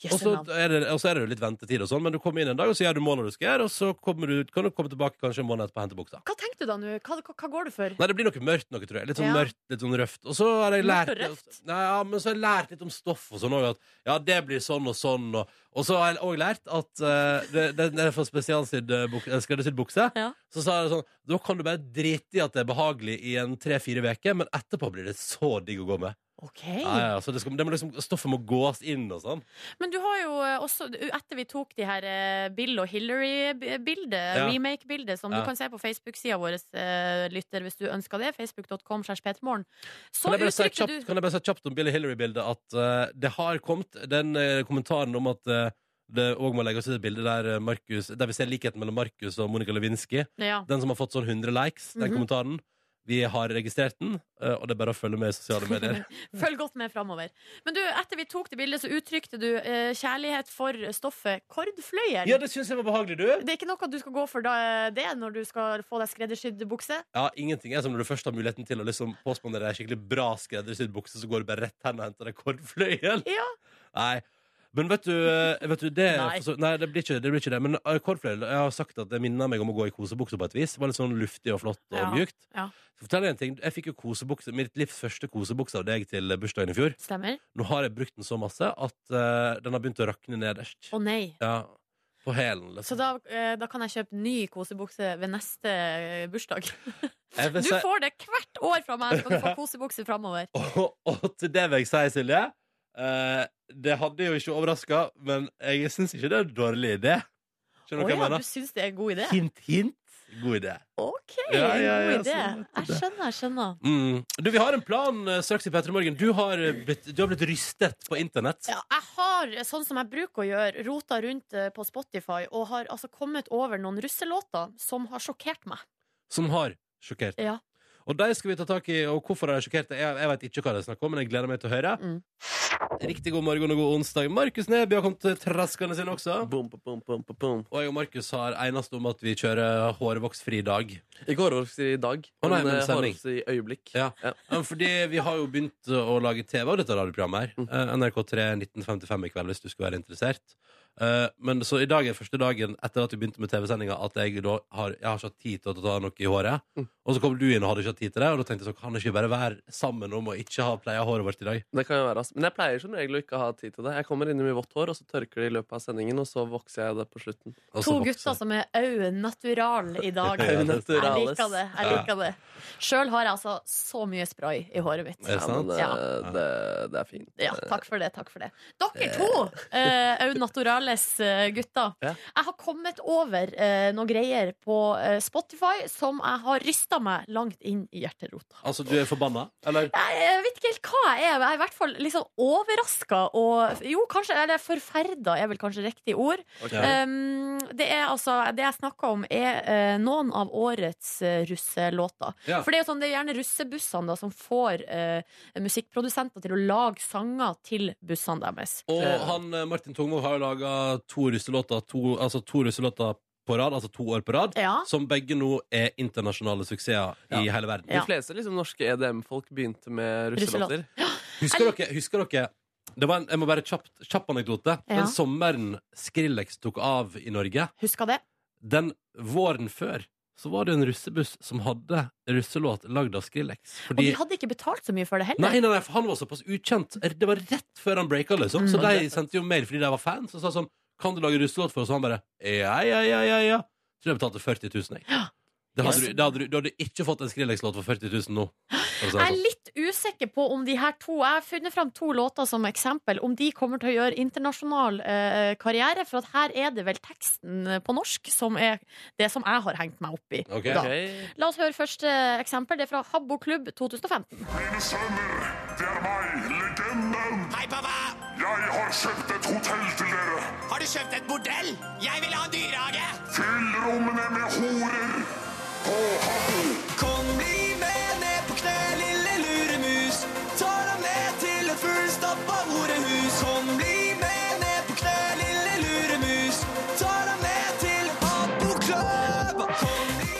S4: Og
S2: Jøsse
S4: så
S2: navn.
S4: er, det- og så er det jo litt ventetid og sånn, men du kommer inn en dag, og så gjør du målet du skal gjøre, og så kommer du, ut- kan du komme tilbake kanskje en måned etterpå og hente buksa.
S2: Hva tenkte du da nå? Hva, hva, hva går du for?
S4: Nei, det blir noe mørkt noe, tror jeg. Litt sånn
S2: Ja.
S4: mørkt, litt sånn røft. Og så har jeg
S2: Mørkt
S4: lært
S2: og røft?
S4: Nei, ja, men så har jeg lært litt om stoff og sånn òg, at ja, det blir sånn og sånn, og, og så har jeg òg lært at eh, det, det, det er for spesialsydd eh, buk- eh, skreddersydd bukse.
S2: Ja.
S4: Så sa jeg sånn Da kan du bare drite i at det er behagelig i en tre-fire uker, men etterpå blir det så digg å gå med.
S2: OK.
S4: Ja, ja, så det skal, det må liksom, stoffet må gås inn og sånn.
S2: Men du har jo eh, også, etter vi tok de her eh, Bill og Hillary-bildet,
S4: Ja.
S2: remake-bildet, som
S4: Ja.
S2: du kan se på Facebook-sida vår, eh, lytter, hvis du ønsker det, facebook.com slash petermorgen, så
S4: Kan jeg bare si
S2: uttrykte
S4: kjapt,
S2: du
S4: kan jeg bare si kjapt om Billy Hillary-bildet at eh, det har kommet den eh, kommentaren om at eh, det òg må legges ut et bilde der, eh, Markus, der vi ser likheten mellom Markus og Monica Lewinsky.
S2: ja.
S4: Den som har fått sånn 100 likes, den
S2: Mhm.
S4: kommentaren. Vi har registrert den, eh, og det er bare å følge med i sosiale medier.
S2: Følg godt med framover. Men du, etter vi tok det bildet, så uttrykte du eh, kjærlighet for stoffet kordfløyel.
S4: ja, det syns jeg var behagelig, du!
S2: det er ikke noe du skal gå for da, eh, det når du skal få deg skreddersydd bukse?
S4: Ja, Ingenting er som når du først har muligheten til å liksom påspandere ei skikkelig bra skreddersydd bukse, så går du bare rett hen og henter deg kordfløyel.
S2: Ja.
S4: Nei. Men vet du, eh, vet du det,
S2: Nei.
S4: for så- nei det, blir ikke, det blir ikke det. Men eh, kordfløyel jeg har sagt at det minner meg om å gå i kosebukse på et vis. Det var litt sånn luftig og flott og
S2: Ja,
S4: mjukt.
S2: ja.
S4: Så fortell deg en ting. Jeg fikk jo kosebukse, mitt livs første kosebukse av deg til bursdagen i fjor.
S2: Stemmer?
S4: Nå har jeg brukt den så masse at eh, den har begynt å rakne nederst.
S2: Å nei.
S4: Ja, På hælen,
S2: Så
S4: liksom.
S2: da, eh, da kan jeg kjøpe ny kosebukse ved neste eh, bursdag.
S4: Jeg vil
S2: Du
S4: si,
S2: får det hvert år fra meg! Skal du få kosebukse framover?
S4: og, og til det vil jeg si, Silje, eh, det hadde jo ikke overraska, men jeg syns ikke det er en dårlig idé. Skjønner du
S2: Å
S4: hva jeg
S2: ja, du
S4: mener?
S2: syns det er en god idé?
S4: Hint, hint. God idé.
S2: OK,
S4: Ja, ja, ja,
S2: god idé.
S4: sånn,
S2: Jeg
S4: nettopp
S2: skjønner, jeg skjønner.
S4: Mm. Du, vi har en plan eh, straks i Petter Morgen. Du har, eh, blitt, du har blitt rystet på internett.
S2: Ja, jeg har, sånn som jeg bruker å gjøre, rota rundt eh, på Spotify og har altså kommet over noen russelåter som har sjokkert meg.
S4: Som har sjokkert.
S2: Ja.
S4: Og de skal vi ta tak i, og hvorfor de har sjokkert deg. Jeg, jeg vet ikke hva det er snakk om, men jeg gleder meg til å høre.
S2: Mm.
S4: Riktig god morgen og god onsdag. Markus Neby har kommet traskende sin også.
S5: Bom, bom, bom, bom, bom, bom.
S4: Og jeg og Markus har enest om at vi kjører hårvoksfri dag.
S5: Ikke hårvokseri i dag,
S4: Å, nei, men
S5: men eh,
S4: sending.
S5: hårvokseri i øyeblikk.
S4: Ja. Ja, men Fordi vi har jo
S2: Mm.
S4: begynt å lage TV av dette radioprogrammet her. Eh, NRK3 1955 i kveld, hvis du skulle være interessert. Eh, men så i dag er første dagen etter at vi begynte med TV-sendinga, at jeg da har, jeg har ikke hatt tid til å ta noe i håret.
S2: Mm.
S4: Og så kom du inn og hadde ikke hatt tid til det, og da tenkte jeg så kan det ikke bare være sammen om å ikke ha pleia håret vårt i dag.
S5: Det kan jo være, ass. Men jeg pleier som regel å ikke ha tid til det. Jeg kommer inn i mye vått hår, og så tørker det i løpet av sendingen, og så vokser jeg det på slutten.
S4: Og så
S2: To
S4: vokser-
S2: gutter som er au natural i dag.
S4: Ja,
S2: Jeg
S4: det-
S2: liker det. jeg liker det Sjøl har jeg altså så mye spray i håret mitt.
S4: Er det sant?
S5: det,
S2: Ja.
S5: det, det er fint.
S2: Ja, takk for det. takk for det Dere to, eh, au naturales eh, gutter.
S5: Ja.
S2: Jeg har kommet over eh, noen greier på eh, Spotify som jeg har rysta meg langt inn i hjerterota.
S4: Altså, du er forbanna? Eller?
S2: Jeg, jeg vet ikke helt hva jeg er. men Jeg er i hvert fall litt sånn overraska og Jo, kanskje Eller forferda er vel kanskje riktig ord.
S4: Ja.
S2: Um, det, er altså, det jeg snakker om, er eh, noen av årets eh, russelåter.
S4: Ja.
S2: For det er jo sånn, det er gjerne russebussene da, som får eh, musikkprodusenter til å lage sanger til bussene deres.
S4: Og han eh, Martin Tungvold har jo laga to russelåter to, altså to russelåter på rad, altså to år på rad,
S2: Ja.
S4: som begge nå er internasjonale suksesser i hele verden.
S2: Ja.
S5: De fleste liksom, norske EDM-folk begynte med russelåter.
S4: Husker dere, husker dere det var en, Jeg må bare kjapt, kjapp anekdote.
S2: Ja.
S4: Den sommeren Skrillex tok av i Norge,
S2: Husker det?
S4: den våren før, så var det en russebuss som hadde russelåt lagd av Skrillex.
S2: Og de
S4: Fordi
S2: hadde ikke betalt så mye for det heller.
S4: Nei, nei, nei, for han var såpass ukjent. Det var rett før han breaka, liksom. Så
S2: Mm.
S4: de sendte jo mail fordi de var fans, og sa sånn Kan du lage russelåt for oss? Og han bare Ja, ja, ja, ja. ja. Tror jeg betalte 40 000, jeg. Det hadde, du, det hadde, du, du hadde ikke fått en Skrillex-låt for 40 000 nå. for å
S2: Jeg er
S4: si det sånn.
S2: litt usikker på om de her to Jeg har funnet fram to låter som eksempel. Om de kommer til å gjøre internasjonal eh, karriere. For at her er det vel teksten eh, på norsk som er det som jeg har hengt meg opp i.
S4: Ok.
S2: Da.
S5: Ok.
S2: La oss høre første eksempel. Det er fra Habbo Klubb 2015.
S1: Mine sønner, det er meg, legenden.
S8: Hei, pappa!
S1: Jeg har kjøpt et hotell til dere.
S8: Har du kjøpt et bordell? Jeg vil ha en dyrehage!
S1: Fyll rommene med horer. På Habbo.
S8: Kom, bli med ned på kne, lille luremus. Tar ham med til et fullstappa horehus. Kom, bli med ned på kne, lille luremus. Tar ham med til Abboklubb. Kom, bli med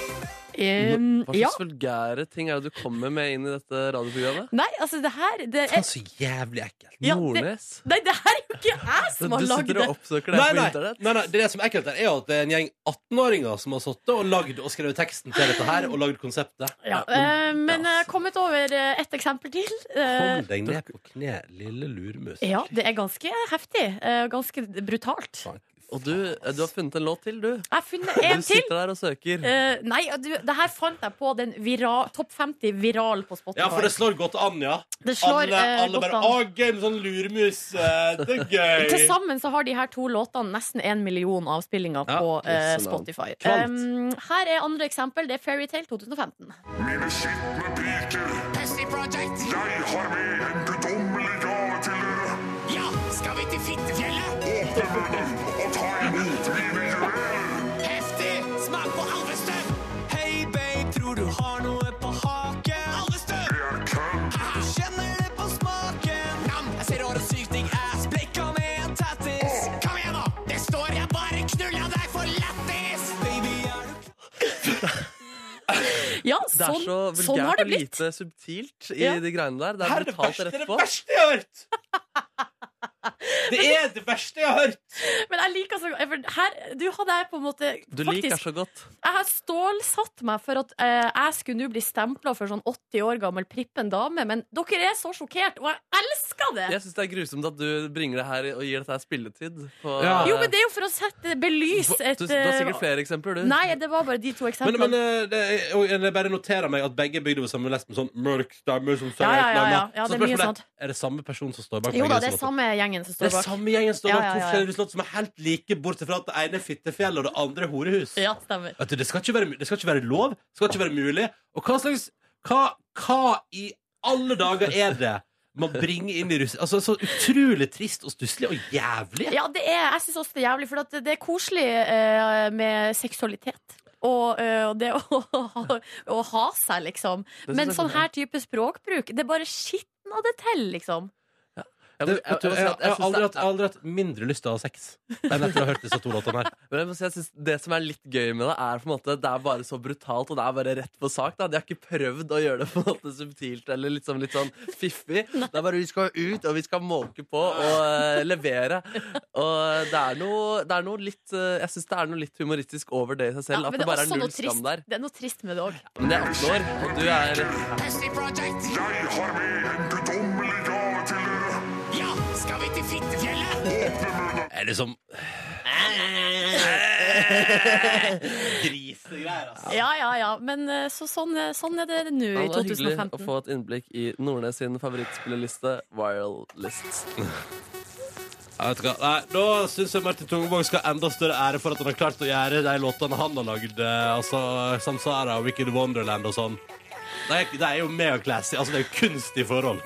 S2: Um,
S5: Hva
S2: ja.
S5: slags vulgære ting er det du kommer med inn i dette radioprogrammet?
S2: Nei, altså, det her det
S4: Faen,
S2: er,
S4: så jævlig ekkelt.
S2: Ja, det-
S5: Nordnes?
S2: Nei, det her er jo ikke jeg som har
S5: du
S2: lagd
S5: sitter
S2: det.
S5: og oppsøker det
S4: Nei,
S5: her på
S4: nei,
S5: internett?
S4: nei, nei, det som er ekkelt her, er at det er en gjeng 18-åringer som har sittet og lagd og skrevet teksten til dette her, og lagd konseptet.
S2: Ja, eh, men jeg har kommet over eh, et eksempel til. Eh,
S4: Hold deg ned på kne, lille lurmus.
S2: ja, det er ganske heftig. eh, ganske brutalt.
S4: Faen,
S5: Og du, du har funnet en låt til, du.
S2: Jeg har funnet
S5: Du
S2: en til.
S5: sitter der og søker.
S2: Eh, nei, du, det her fant jeg på den vira, topp 50 viral på Spotify.
S4: Ja, for det slår godt an, ja.
S2: Det slår,
S4: alle,
S2: eh, godt
S4: alle bare
S2: an.
S4: Å, gøy med sånn lurmus. eh, Det er
S2: Til
S4: gøy.
S2: sammen så har de her to låtene nesten en million avspillinger
S4: Ja,
S2: på eh,
S5: tusen navn.
S2: Spotify.
S4: Knallt.
S2: Um, her er andre eksempel. Det er Fairytale 2015.
S1: Mine skitne piker.
S8: Pussy Project.
S1: Jeg har med en guddommelig gave til dere.
S8: Ja, skal vi til Fittefjellet?
S1: Åpne munnen og ta imot mine juveler.
S8: Heftig! Smak på alvestøv. Hei, babe, tror du har noe på haken? Alvestøv!
S1: Det er kødd.
S8: Du kjenner det på smaken. Nam, jeg ser årets sykt digg ass. Blekka med en tattis. Kom igjen, nå! Det står jeg bare knulla deg for lættis. Baby, er du
S2: Ja,
S5: Det er
S2: sånn,
S5: så
S2: sånn har
S5: vulgært
S2: det
S5: og
S2: blitt.
S5: lite subtilt i
S2: Ja.
S5: de greiene der. Det
S4: Her
S5: er
S4: er det
S5: brutalt
S4: verste, det
S5: rett
S4: er det
S5: på.
S4: verste jeg har hørt! Det er det verste jeg har hørt!
S2: Men jeg liker så godt for her, Du hadde jeg på en måte
S5: Du liker
S2: faktisk,
S5: så godt.
S2: Jeg har stålsatt meg for at eh, jeg skulle nå bli stempla for sånn 80 år gammel prippen dame, men dere er så sjokkert, og jeg elsker det!
S5: Jeg syns det er grusomt at du bringer det her og gir dette her spilletid. På,
S4: Ja.
S2: Jo, men det er jo for å sette belys et
S5: du, du har
S2: eh,
S5: sikkert flere eksempler, du.
S2: Nei, det var bare de to
S4: Men,
S2: eksemplene.
S4: men eh, det, er- og jeg bare noterer meg at begge er bygd over samme lest med sånn mørk stemme som sier
S2: Ja, ja,
S4: et
S2: ja,
S4: eller
S2: ja.
S4: annet.
S2: Ja,
S4: Så
S2: det er mye
S4: spørsmålet
S2: sånt.
S4: er det samme person som står bak
S2: jo
S4: begge
S2: da,
S4: disse
S2: det er
S4: låtene?
S2: samme gjengen som
S4: Det
S2: står
S4: er
S2: bak.
S4: samme gjengen står
S2: Ja,
S4: bak
S2: ja,
S4: to
S2: ja.
S4: forskjellige slott som er helt like, bortsett fra at det ene er fittefjell og det andre er horehus.
S2: Ja, stemmer.
S4: Vet du, det, skal ikke være, mu- det skal ikke være lov. Det skal ikke være mulig. Og hva slags Hva, hva i alle dager er det man bringer inn i russ... Altså, så utrolig trist og stusslig og jævlig.
S2: Ja, det er, jeg syns også det er jævlig, for at det er koselig eh, med seksualitet. Og, eh, og det å, ha- å ha seg, liksom.
S5: Det synes
S2: Men
S5: jeg
S2: sånn
S5: er
S2: her type språkbruk, det bare skitner det til, liksom.
S5: Jeg, må-
S4: Det,
S5: jeg, jeg,
S4: vet du,
S5: må
S4: jeg,
S5: si
S4: jeg,
S5: at jeg
S4: har
S5: synes
S4: aldri
S5: det
S4: hatt, aldri hatt mindre lyst til å ha sex enn etter å ha hørt disse to låtene her.
S5: Men jeg må si, jeg synes Det som er litt gøy med det, er på en måte det er bare så brutalt og det er bare rett på sak. da De har ikke prøvd å gjøre det på en måte subtilt eller litt sånn, litt sånn fiffig. Det er bare vi skal ut, og vi skal måke på og eh, levere. Og det er noe, det er noe litt eh, Jeg syns det er noe litt humoristisk over det i seg selv.
S2: Ja,
S5: at
S2: men
S5: det,
S2: det er
S5: bare er
S2: også
S5: null
S2: noe
S5: skam
S2: trist,
S5: der.
S2: det er noe trist med det òg.
S5: Men jeg er 18 år, og du er
S1: Jeg har med en guddommelig gave til dere.
S4: Er liksom Grisegreier, altså.
S2: Ja, ja, ja. Men eh, så sånn, eh, sånn er det nå
S5: Ja,
S2: i
S5: det var hyggelig å
S2: 2015.
S5: få et innblikk i Nordnes sin favorittspilleliste, Viral List.
S4: Ja, vet du hva? Nei, da syns jeg Martin Tungevåg skal ha enda større ære for at han har klart å gjøre de låtene han har lagd. eh, Altså Samsara og Wicked Wonderland og sånn. Det er, det er jo megaclassy. Altså, det er jo kunstig forhold.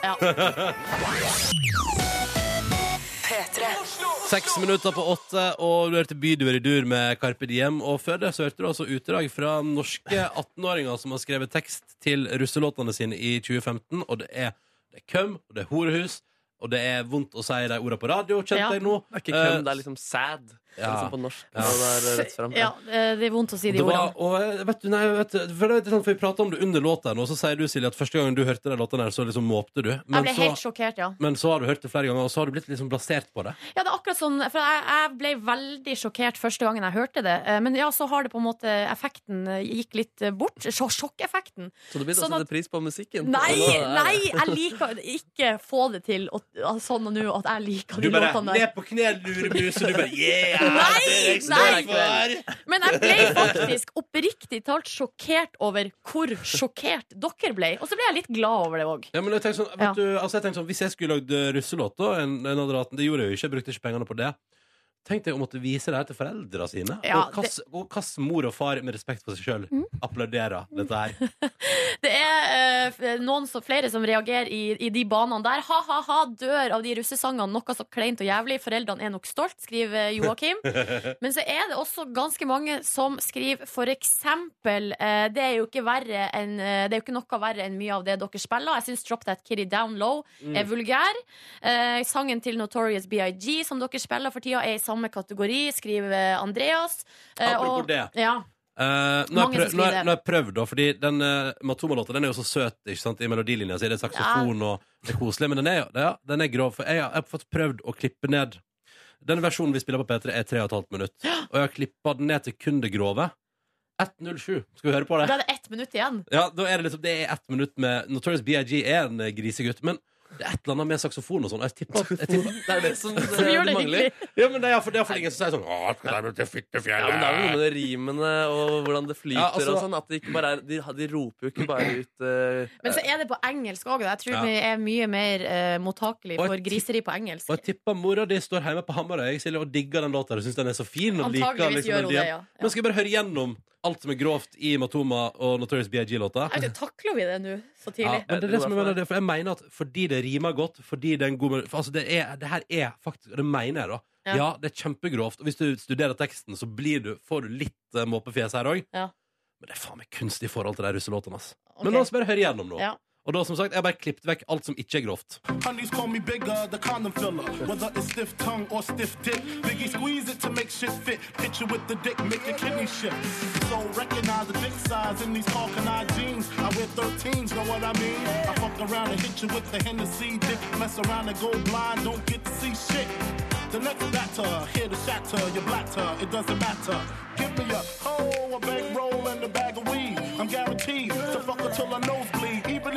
S4: Seks minutter på åtte, og du hørte Byduer i dur med Carpe Diem. Og før det så hørte du altså utdrag fra norske 18-åringer som har skrevet tekst til russelåtene sine i 2015, og det er, det er køm, og det er horehus, og det er vondt å si de ordene på radio, kjente
S2: Ja.
S4: jeg nå.
S5: Det er ikke køm,
S4: Eh,
S5: det er liksom sad. Det er
S4: Ja.
S5: liksom på norsk. Og det er rett frem.
S2: Ja, eh, det er vondt å si de
S4: Det var,
S2: ordene.
S4: og eh, vet du, nei, vet du, for det er litt sånn, for Vi prata om det under låta, her nå, og så sier du Silje at første gangen du hørte den låta, der, så liksom måpte du.
S2: Jeg
S4: Men
S2: ble helt
S4: så,
S2: sjokkert, ja.
S4: men så har du hørt det flere ganger, og så har du blitt liksom blasert på det.
S2: Ja, det er akkurat sånn, for jeg, jeg ble veldig sjokkert første gangen jeg hørte det. Eh, Men ja, så har det på en måte Effekten eh, gikk litt eh, bort. Sj- Sjokkeffekten.
S5: Så du begynte
S2: Sånn
S5: å
S2: at-
S5: sette pris på musikken? Og
S2: Nei,
S5: nå er det-
S2: nei! Jeg liker ikke få det til å- å- sånn nå at jeg liker
S4: Du
S2: de
S4: bare
S2: låtene der.
S4: ned på kne, luremus, og du bare yeah!
S2: Nei,
S4: det er jeg så
S2: nei.
S4: glad for.
S2: Men jeg ble faktisk oppriktig talt sjokkert over hvor sjokkert dere ble. Og så ble jeg litt glad over det òg.
S4: Ja, men jeg tenkte sånn,
S2: Ja.
S4: vet du, altså jeg tenkte sånn, Hvis jeg skulle lagd eh, russelåt, da, en, en av de ratene, det gjorde jeg jo ikke, jeg brukte ikke pengene på det. Tenkte jeg å måtte vise det her til foreldra sine.
S2: Ja, Mm.
S4: og hvordan mor og far, med respekt for seg sjøl, applauderer dette her.
S2: Det er eh, noen som, flere som reagerer i, i de banene der. Ha-ha-ha, dør av de russesangene. Noe så kleint og jævlig. Foreldrene er nok stolt, skriver eh, Joakim. Men så er det også ganske mange som skriver for eksempel eh, Det er jo ikke verre enn eh, Det er jo ikke noe verre enn mye av det dere spiller. Jeg syns Drop That Kitty Down Low
S4: Mm.
S2: er vulgær. Eh, sangen til Notorious BIG som dere spiller for tida, er i samme kategori, skriver eh, Andreas.
S4: Apropos det.
S2: Ja.
S4: Eh, nå har
S2: Mange
S4: jeg prøv-
S2: som
S4: nå har
S2: skriver.
S4: jeg- nå har jeg prøvd, da, fordi den eh, Matoma-låta den er jo så søt ikke sant? i melodilinja. Så er det saksofon og det er koselig, men den er, jo- ja, den er grov. For jeg, har- jeg har fått prøvd å klippe ned Den versjonen vi spiller på P3, er 3,5 minutt. Og jeg har klippa den ned til kun det grove. 1.07. Skal vi høre på det?
S2: Da er det ett minutt igjen.
S4: Ja, da er det liksom, det er ett minutt med Notorious BIG er en eh, grisegutt, men det er et eller annet med saksofon og sånn. og Jeg tipper, jeg tipper
S5: Det er det som, det,
S2: gjør det
S5: mangler.
S2: hyggelig.
S4: Ja, men det er for- det er for ingen som sier sånn Å, skal
S5: Ja, men det er jo
S4: jeg til
S5: noe
S4: Fyttefjellet?
S5: med de rimene og hvordan det flyter
S4: Ja, altså-
S5: og sånn. At de, ikke bare er, de, de roper jo ikke bare ut eh,
S2: Men så er det på engelsk òg. Jeg tror
S4: Ja.
S2: vi er mye mer eh, mottakelig
S4: Og
S2: for
S4: jeg ti-
S2: griseri på engelsk.
S4: Og jeg tipper mora di står hjemme på Hamarøy Silje, og digger den låta. og Syns den er så fin. Og liker,
S2: Antageligvis
S4: liksom,
S2: gjør hun
S4: den dialog.
S2: det, ja. Ja.
S4: Men skal vi bare høre gjennom alt som er grovt i Matoma og Notorious BIG-låta?
S2: Jeg vet ikke, Takler vi det nå så
S4: Ja,
S2: tidlig?
S4: men det er det som jeg mener, det, er- for jeg mener at fordi det rimer godt, fordi det er en god mel- for, altså, det, er, det her er faktisk og Det mener jeg, da.
S2: Ja.
S4: Ja, det er kjempegrovt. Og hvis du studerer teksten, så blir du, får du litt eh, måpefjes her òg.
S2: Ja.
S4: Men det er faen meg kunstig forhold til de russelåtene. ass.
S2: Ok.
S4: Men la oss bare høre gjennom nå.
S2: Ja.
S4: Og da, som sagt, jeg har bare klippet vekk alt som ikke er grovt.
S9: Honeys call me bigger, the condom filler. Whether it's stiff tongue or stiff dick, Biggie squeeze it to make shit fit. Hit you with the dick, make your kidney shift. So recognize the dick size in these Falcon eye jeans. I wear 13s, know what I mean? I fuck around and hit you with the Hennessy dick. Mess around and go blind, don't get to see shit. The next batter, here to shatter your blatter, it doesn't matter. Give me a hoe, a bankroll, and a bag of weed. I'm guaranteed to fuck until I nosebleed. Even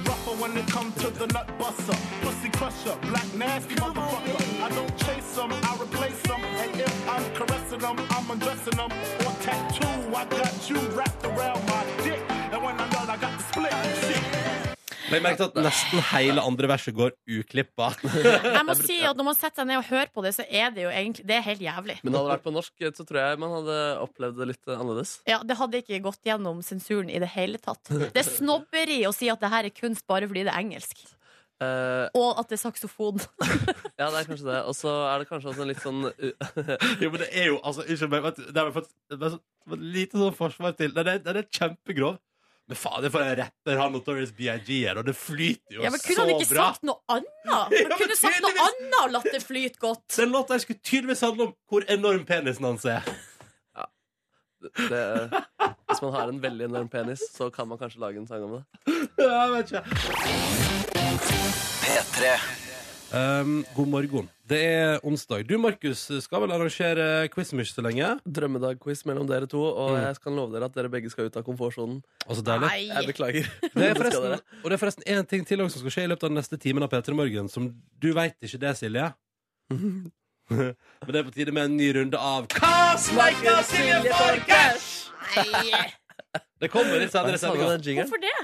S9: rougher when it comes to the nut buster. Pussy crusher, black nasty motherfucker. I don't chase them, I replace them. And if I'm caressing them, I'm undressing them. Or tattoo, I got you wrapped around my dick. And when I nut, I got the split. Shit.
S4: Men jeg merket at nesten hele andre verset går uklippa.
S2: Jeg må si at Når man setter seg ned og hører på det, så er det jo egentlig Det er helt jævlig.
S5: Men hadde det vært på norsk, så tror jeg man hadde opplevd det litt eh, annerledes.
S2: Ja, Det hadde ikke gått gjennom sensuren i det hele tatt. Det er snobberi å si at det her er kunst bare fordi det er engelsk.
S5: Eh,
S2: Og at det er saksofon.
S5: ja, det er kanskje det. Og så er det kanskje også en litt sånn u-
S4: Jo, men det er jo altså, Unnskyld meg, vet du, det er faktisk det er så- det er lite sånn forsvar til. Den er, den er kjempegrov. Men faen, det er for en rapper han Notorious B.I.G. er, og det flyter jo
S2: Ja, men
S4: så
S2: Kunne han ikke
S4: bra.
S2: sagt noe annet?
S4: Ja, men
S2: Han kunne sagt noe
S4: tydeligvis.
S2: annet og latt det flyte godt.
S4: Den låta her skulle tydeligvis handle om hvor enorm penisen hans er.
S5: det, Hvis man har en veldig enorm penis, så kan man kanskje lage en sang om det.
S4: Jeg vet ikke. Um, god morgen. Det er onsdag. Du, Markus, skal vel arrangere quizmish så lenge?
S5: Drømmedagquiz mellom dere to, og jeg kan love dere at dere begge skal ut av komfortsonen.
S4: Altså, deilig.
S5: Jeg
S2: Nei.
S5: beklager.
S4: Det er
S5: Det skal
S4: forresten,
S5: dere.
S4: og det er forresten én ting til også som skal skje i løpet av den neste timen av P3 Morgen, som du veit ikke det, Silje. Men det er på tide med en ny runde av Hva smeika Silje Farkas?
S2: Nei.
S4: Det kommer litt senere i
S5: Jeg savner
S4: sendinga.
S5: den jingeren.
S2: Hvorfor det?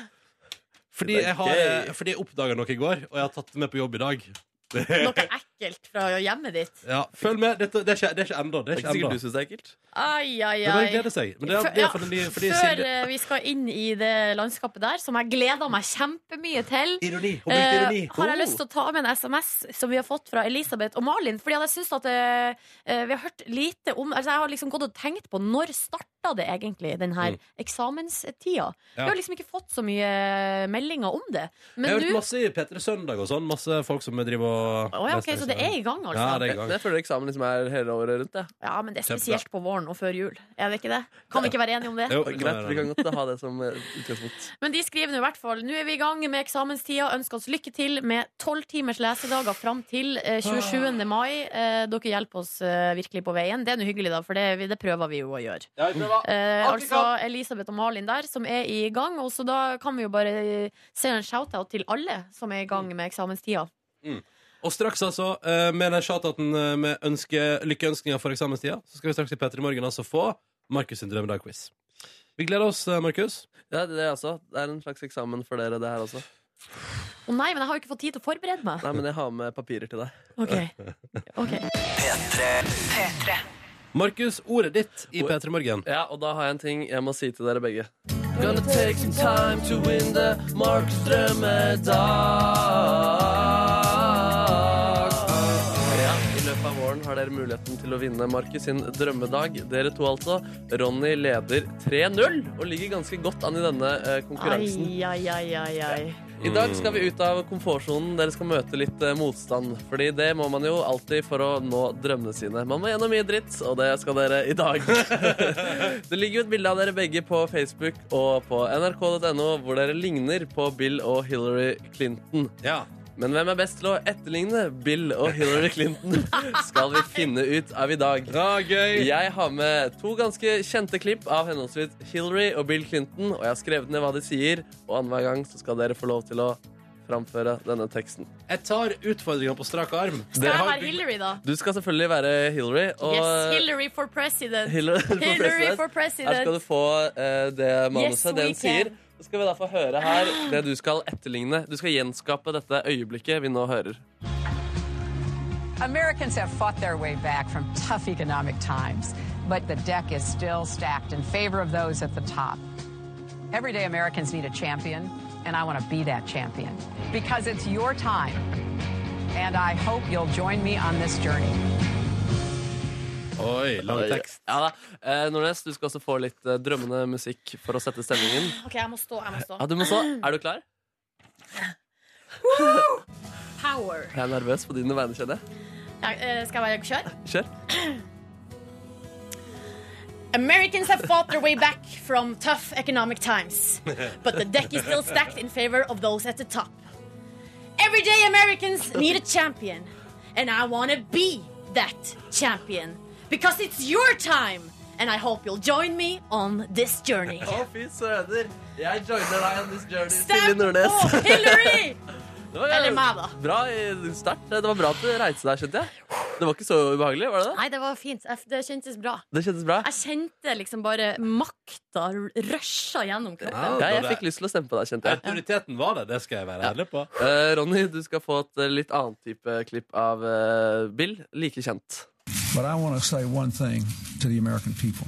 S4: Fordi jeg har- fordi jeg oppdaga noe i går, og jeg har tatt det med på jobb i dag.
S2: Noe ekkelt fra hjemmet ditt?
S4: Ja, følg med. Dette, det er ikke, det er ikke enda. Det er
S5: Det er ikke
S4: ikke
S5: sikkert
S4: enda.
S5: du syns det er ekkelt.
S2: Ai, ai,
S4: Det er bare å
S2: ai.
S4: glede seg. Men det er,
S2: Før-
S4: det
S2: ja,
S4: er fordi, fordi
S2: Før
S4: Silje
S2: eh, vi skal inn i det landskapet der, som jeg gleder meg kjempemye til,
S4: Ironi. Hun brukte ironi.
S2: eh, har jeg lyst til å ta med en SMS som vi har fått fra Elisabeth og Malin. Fordi at jeg synes at eh, eh, vi har hørt lite om altså Jeg har liksom gått og tenkt på når starta det egentlig, den her eksamenstida.
S4: Mm. Ja.
S2: Vi har liksom ikke fått så mye eh, meldinger om det.
S4: Jeg
S2: Men
S4: har hørt
S2: nå
S4: masse i P3 Søndag og sånn. Masse folk som driver og
S2: Å ja, ok, Så det er i gang, altså?
S4: Ja, det er i gang.
S5: Men jeg føler eksamen liksom er hele året rundt. Jeg.
S2: Ja, men det er
S4: Kjempebra.
S2: spesielt på våren og før jul. Er det ikke det? Kan vi ikke være enige om det?
S4: Jo,
S5: Og Greit, vi kan godt ha det som eh, utgangspunkt.
S2: Men de skriver nå i hvert fall Nå er vi i gang med eksamenstida. Ønsker oss lykke til med tolv timers lesedager fram til eh, 27. mai. Eh, dere hjelper oss eh, virkelig på veien. Det er nå hyggelig, da, for det, det prøver vi jo å gjøre.
S4: Ja, vi prøver.
S2: Eh,
S4: Alt vi
S2: altså Elisabeth og Malin der, som er i gang. Og så da kan vi jo bare eh, sende en shout-out til alle som er i gang med eksamenstida.
S4: Og straks altså, eh, med den shout-outen eh, med ønske, lykkeønskninger for eksamenstida, så skal vi straks i P3 Morgen altså få Markus sin drømmedag-quiz. Vi gleder oss, eh, Markus.
S5: Ja, det, er også. det er en slags eksamen for dere, det her også.
S2: Å nei, men jeg har jo ikke fått tid til å forberede meg.
S5: Nei, men jeg har med papirer til deg.
S2: Ok, ok
S4: Markus, ordet ditt i P3 Morgen.
S5: Ja, Og da har jeg en ting jeg må si til dere begge. Gonna take some time to win the Marks drømmedag. Ja, I løpet av våren har dere muligheten til å vinne Markus sin drømmedag. Dere to, altså. Ronny leder 3-0 og ligger ganske godt an i denne eh, konkurransen.
S2: Ai, ai, ai, ai, ai.
S5: I dag skal vi ut av komfortsonen. Dere skal møte litt eh, motstand. Fordi det må man jo alltid for å nå drømmene sine. Man må gjennom mye dritt, og det skal dere i dag. det ligger jo et bilde av dere begge på Facebook og på nrk.no, hvor dere ligner på Bill og Hillary Clinton.
S4: Ja.
S5: Men hvem er best til å etterligne Bill og Hillary Clinton, skal vi finne ut av i dag.
S4: ja, gøy.
S5: Jeg har med to ganske kjente klipp av henholdsvis Hillary og Bill Clinton, og jeg har skrevet ned hva de sier, og annenhver gang så skal dere få lov til å framføre denne teksten.
S4: Jeg tar utfordringa på strak arm.
S2: Skal jeg
S4: har
S2: være
S4: bygd-
S2: Hillary, da?
S5: Du skal selvfølgelig være Hillary, og
S2: Yes, Hillary for president.
S5: Hillary for
S2: Hillary
S5: president.
S2: for president.
S5: Her skal du få eh, det manuset,
S2: Yes,
S5: det
S2: we
S5: hun sier.
S2: can.
S5: Så skal vi da få høre her det du skal etterligne. Du skal gjenskape dette øyeblikket vi nå hører.
S10: Americans have fought their way back from tough economic times, but the deck is still stacked in favor of those at the top. Everyday Americans need a champion, and I want to be that champion because it's your time. And I hope you'll join me on this journey.
S4: Oi, lang tekst.
S5: Ja da. Eh, Nordnes, du skal også få litt eh, drømmende musikk for å sette stemningen.
S2: OK, jeg må stå. Jeg må stå.
S5: Ja, du må så. Er du klar?
S2: Power.
S5: Jeg er nervøs på dine vegne, kjenner jeg.
S2: Ja, eh, skal jeg bare kjøre?
S5: Kjør.
S2: Americans have fought their way back from tough economic times, but the deck is still stacked in favor of those at the top. Everyday Americans need a champion, and I want to be that champion because it's your time, and I hope you'll join me on this journey.
S5: Å, fy søder! Jeg joiner deg on this journey, Silje
S2: Stem
S5: Nordnes.
S2: på Hillary!
S5: Det var
S2: Eller meg, da.
S5: Bra eh, start. Det var bra at du reiste deg, skjønte jeg. Det var ikke så ubehagelig, var det det?
S2: Nei, det var fint. Jeg- Det kjentes bra.
S5: Det kjentes bra.
S2: Jeg kjente liksom bare makta rusha gjennom kroppen.
S5: Ja, jeg
S4: det-
S5: fikk lyst til å stemme på deg, kjente jeg.
S4: Autoriteten var der, det skal jeg være ærlig på.
S5: Eh, Ronny, du skal få et eh, litt annet type klipp av eh, Bill, like kjent.
S11: But I want to say one thing to the American people.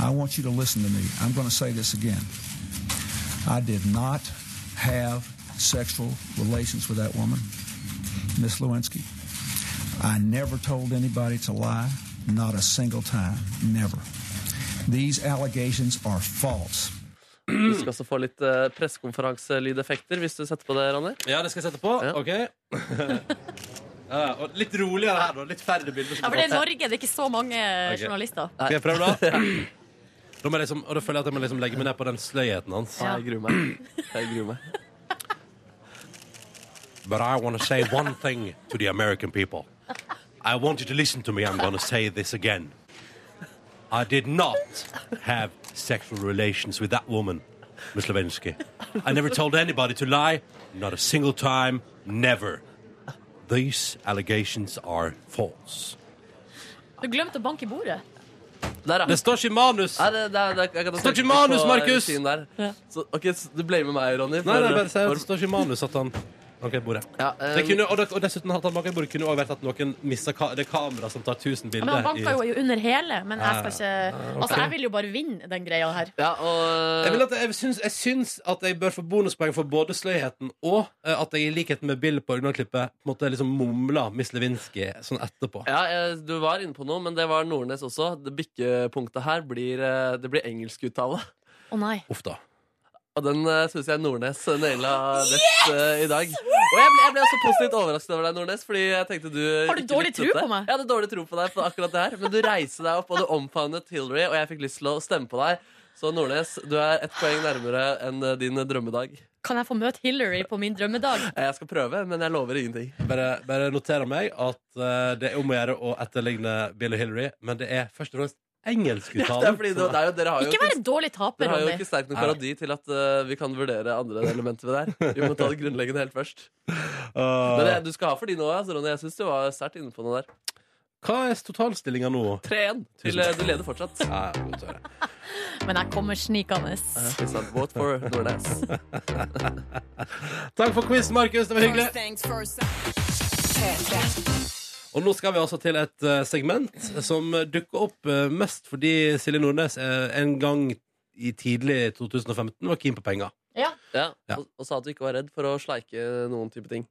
S11: I want you to listen to me. I'm going to say this again. I did not have sexual relations with that woman, Miss Lewinsky. I never told anybody it's a lie, not a single time, never. These allegations are false.
S5: Du skal også få litt uh, pressekonferanselydeffekter hvis du setter på det, Ronny.
S4: Ja, det skal jeg sette på.
S5: Ja.
S4: Ok. ja, og litt roligere her, da. Litt færre bilder. som
S2: Ja, for det er
S4: går.
S2: Norge, det er ikke så mange
S4: Ok.
S2: journalister.
S4: Skal jeg prøve, da? Da, må jeg liksom, og da føler jeg at jeg må liksom legge meg ned på den sløyheten hans.
S2: Ja.
S5: Jeg gruer meg. Jeg gruer meg.
S4: But I want to say one thing to the American people. I want you to listen to me. I'm going to say this again. I did not have sexual relations with that woman, Ms. Levinsky. I never told anybody to lie, not a single time, never. These allegations are false.
S2: Du glemte å banke i bordet.
S5: Der, ja.
S4: Det står ikke i manus!
S5: Nei, det, det, det, jeg kan ta
S4: Står ikke
S5: trykke
S4: manus,
S5: på
S4: Markus!
S5: siden der. Så, ok, så du blamer meg, Ronny.
S4: Nei, nei, bare si at
S5: for-
S4: det står ikke i manus at han banker i bordet.
S5: Ja, eh,
S4: Det kunne, og, det, og dessuten at han banker i bordet kunne også vært at noen mistet ka det kameraet som tar 1000
S2: Men han
S4: bilder.
S2: banka jo under hele. Men jeg skal ikke
S4: ok.
S2: Altså, jeg vil jo bare vinne den greia her.
S5: ja, og,
S4: Jeg, vil at, jeg, syns, jeg syns at jeg bør få bonuspoeng for både sløyheten og eh, at jeg i likhet med Bill på Unnaklippet på en måte liksom mumla Miss Lewinsky sånn etterpå.
S5: ja, eh, du var inne på noe, men det var Nordnes også. Det bikkepunktet her blir, eh, det blir engelskuttale.
S2: Å nei.
S4: Uff da.
S5: Og den uh, syns jeg Nordnes naila lett eh, i dag. Og jeg ble, jeg ble også positivt overrasket over deg, Nordnes. Fordi jeg tenkte du
S2: Har du
S5: ikke
S2: dårlig
S5: lyttet
S2: tro
S5: til
S2: på
S5: det.
S2: meg?
S5: Jeg hadde dårlig tro på deg på akkurat det her. Men du reiser deg opp, og du omfavnet Hillary, og jeg fikk lyst til å stemme på deg. Så Nordnes, du er ett poeng nærmere enn eh, din drømmedag.
S2: Kan jeg få møte Hillary på min drømmedag?
S5: Eh, Jeg skal prøve, men jeg lover ingenting.
S4: Bare, bare noterer meg at eh, det er om å gjøre å etterligne Bill og Hillary, men det er først og fremst
S5: Det er
S4: engelskuttalen.
S5: fordi det, det er jo, dere har jo
S2: Ikke vær en dårlig taper,
S5: Dere har jo
S2: Ronny.
S5: ikke sterk nok parodi til at eh, vi kan vurdere andre elementer ved det her. Vi må ta det grunnleggende helt først. Men det, du skal ha for de nå, altså, Ronny. Jeg syns du var sterkt inne på noe der.
S4: Hva er totalstillinga nå?
S5: 3-1. Til, eh, Du leder fortsatt.
S4: Ja, godt å høre.
S2: Men jeg kommer snikende.
S5: Eh, Ikke sant? Vote for Nordnes.
S4: Takk for quiz, Markus. Det var hyggelig. Og nå skal vi altså til et eh, segment som dukker opp eh, mest fordi Silje Nordnes eh, en gang i tidlig 2015 var keen på penger.
S2: Ja.
S5: Ja,
S4: Ja.
S5: Og, og sa at du ikke var redd for å sleike noen type ting.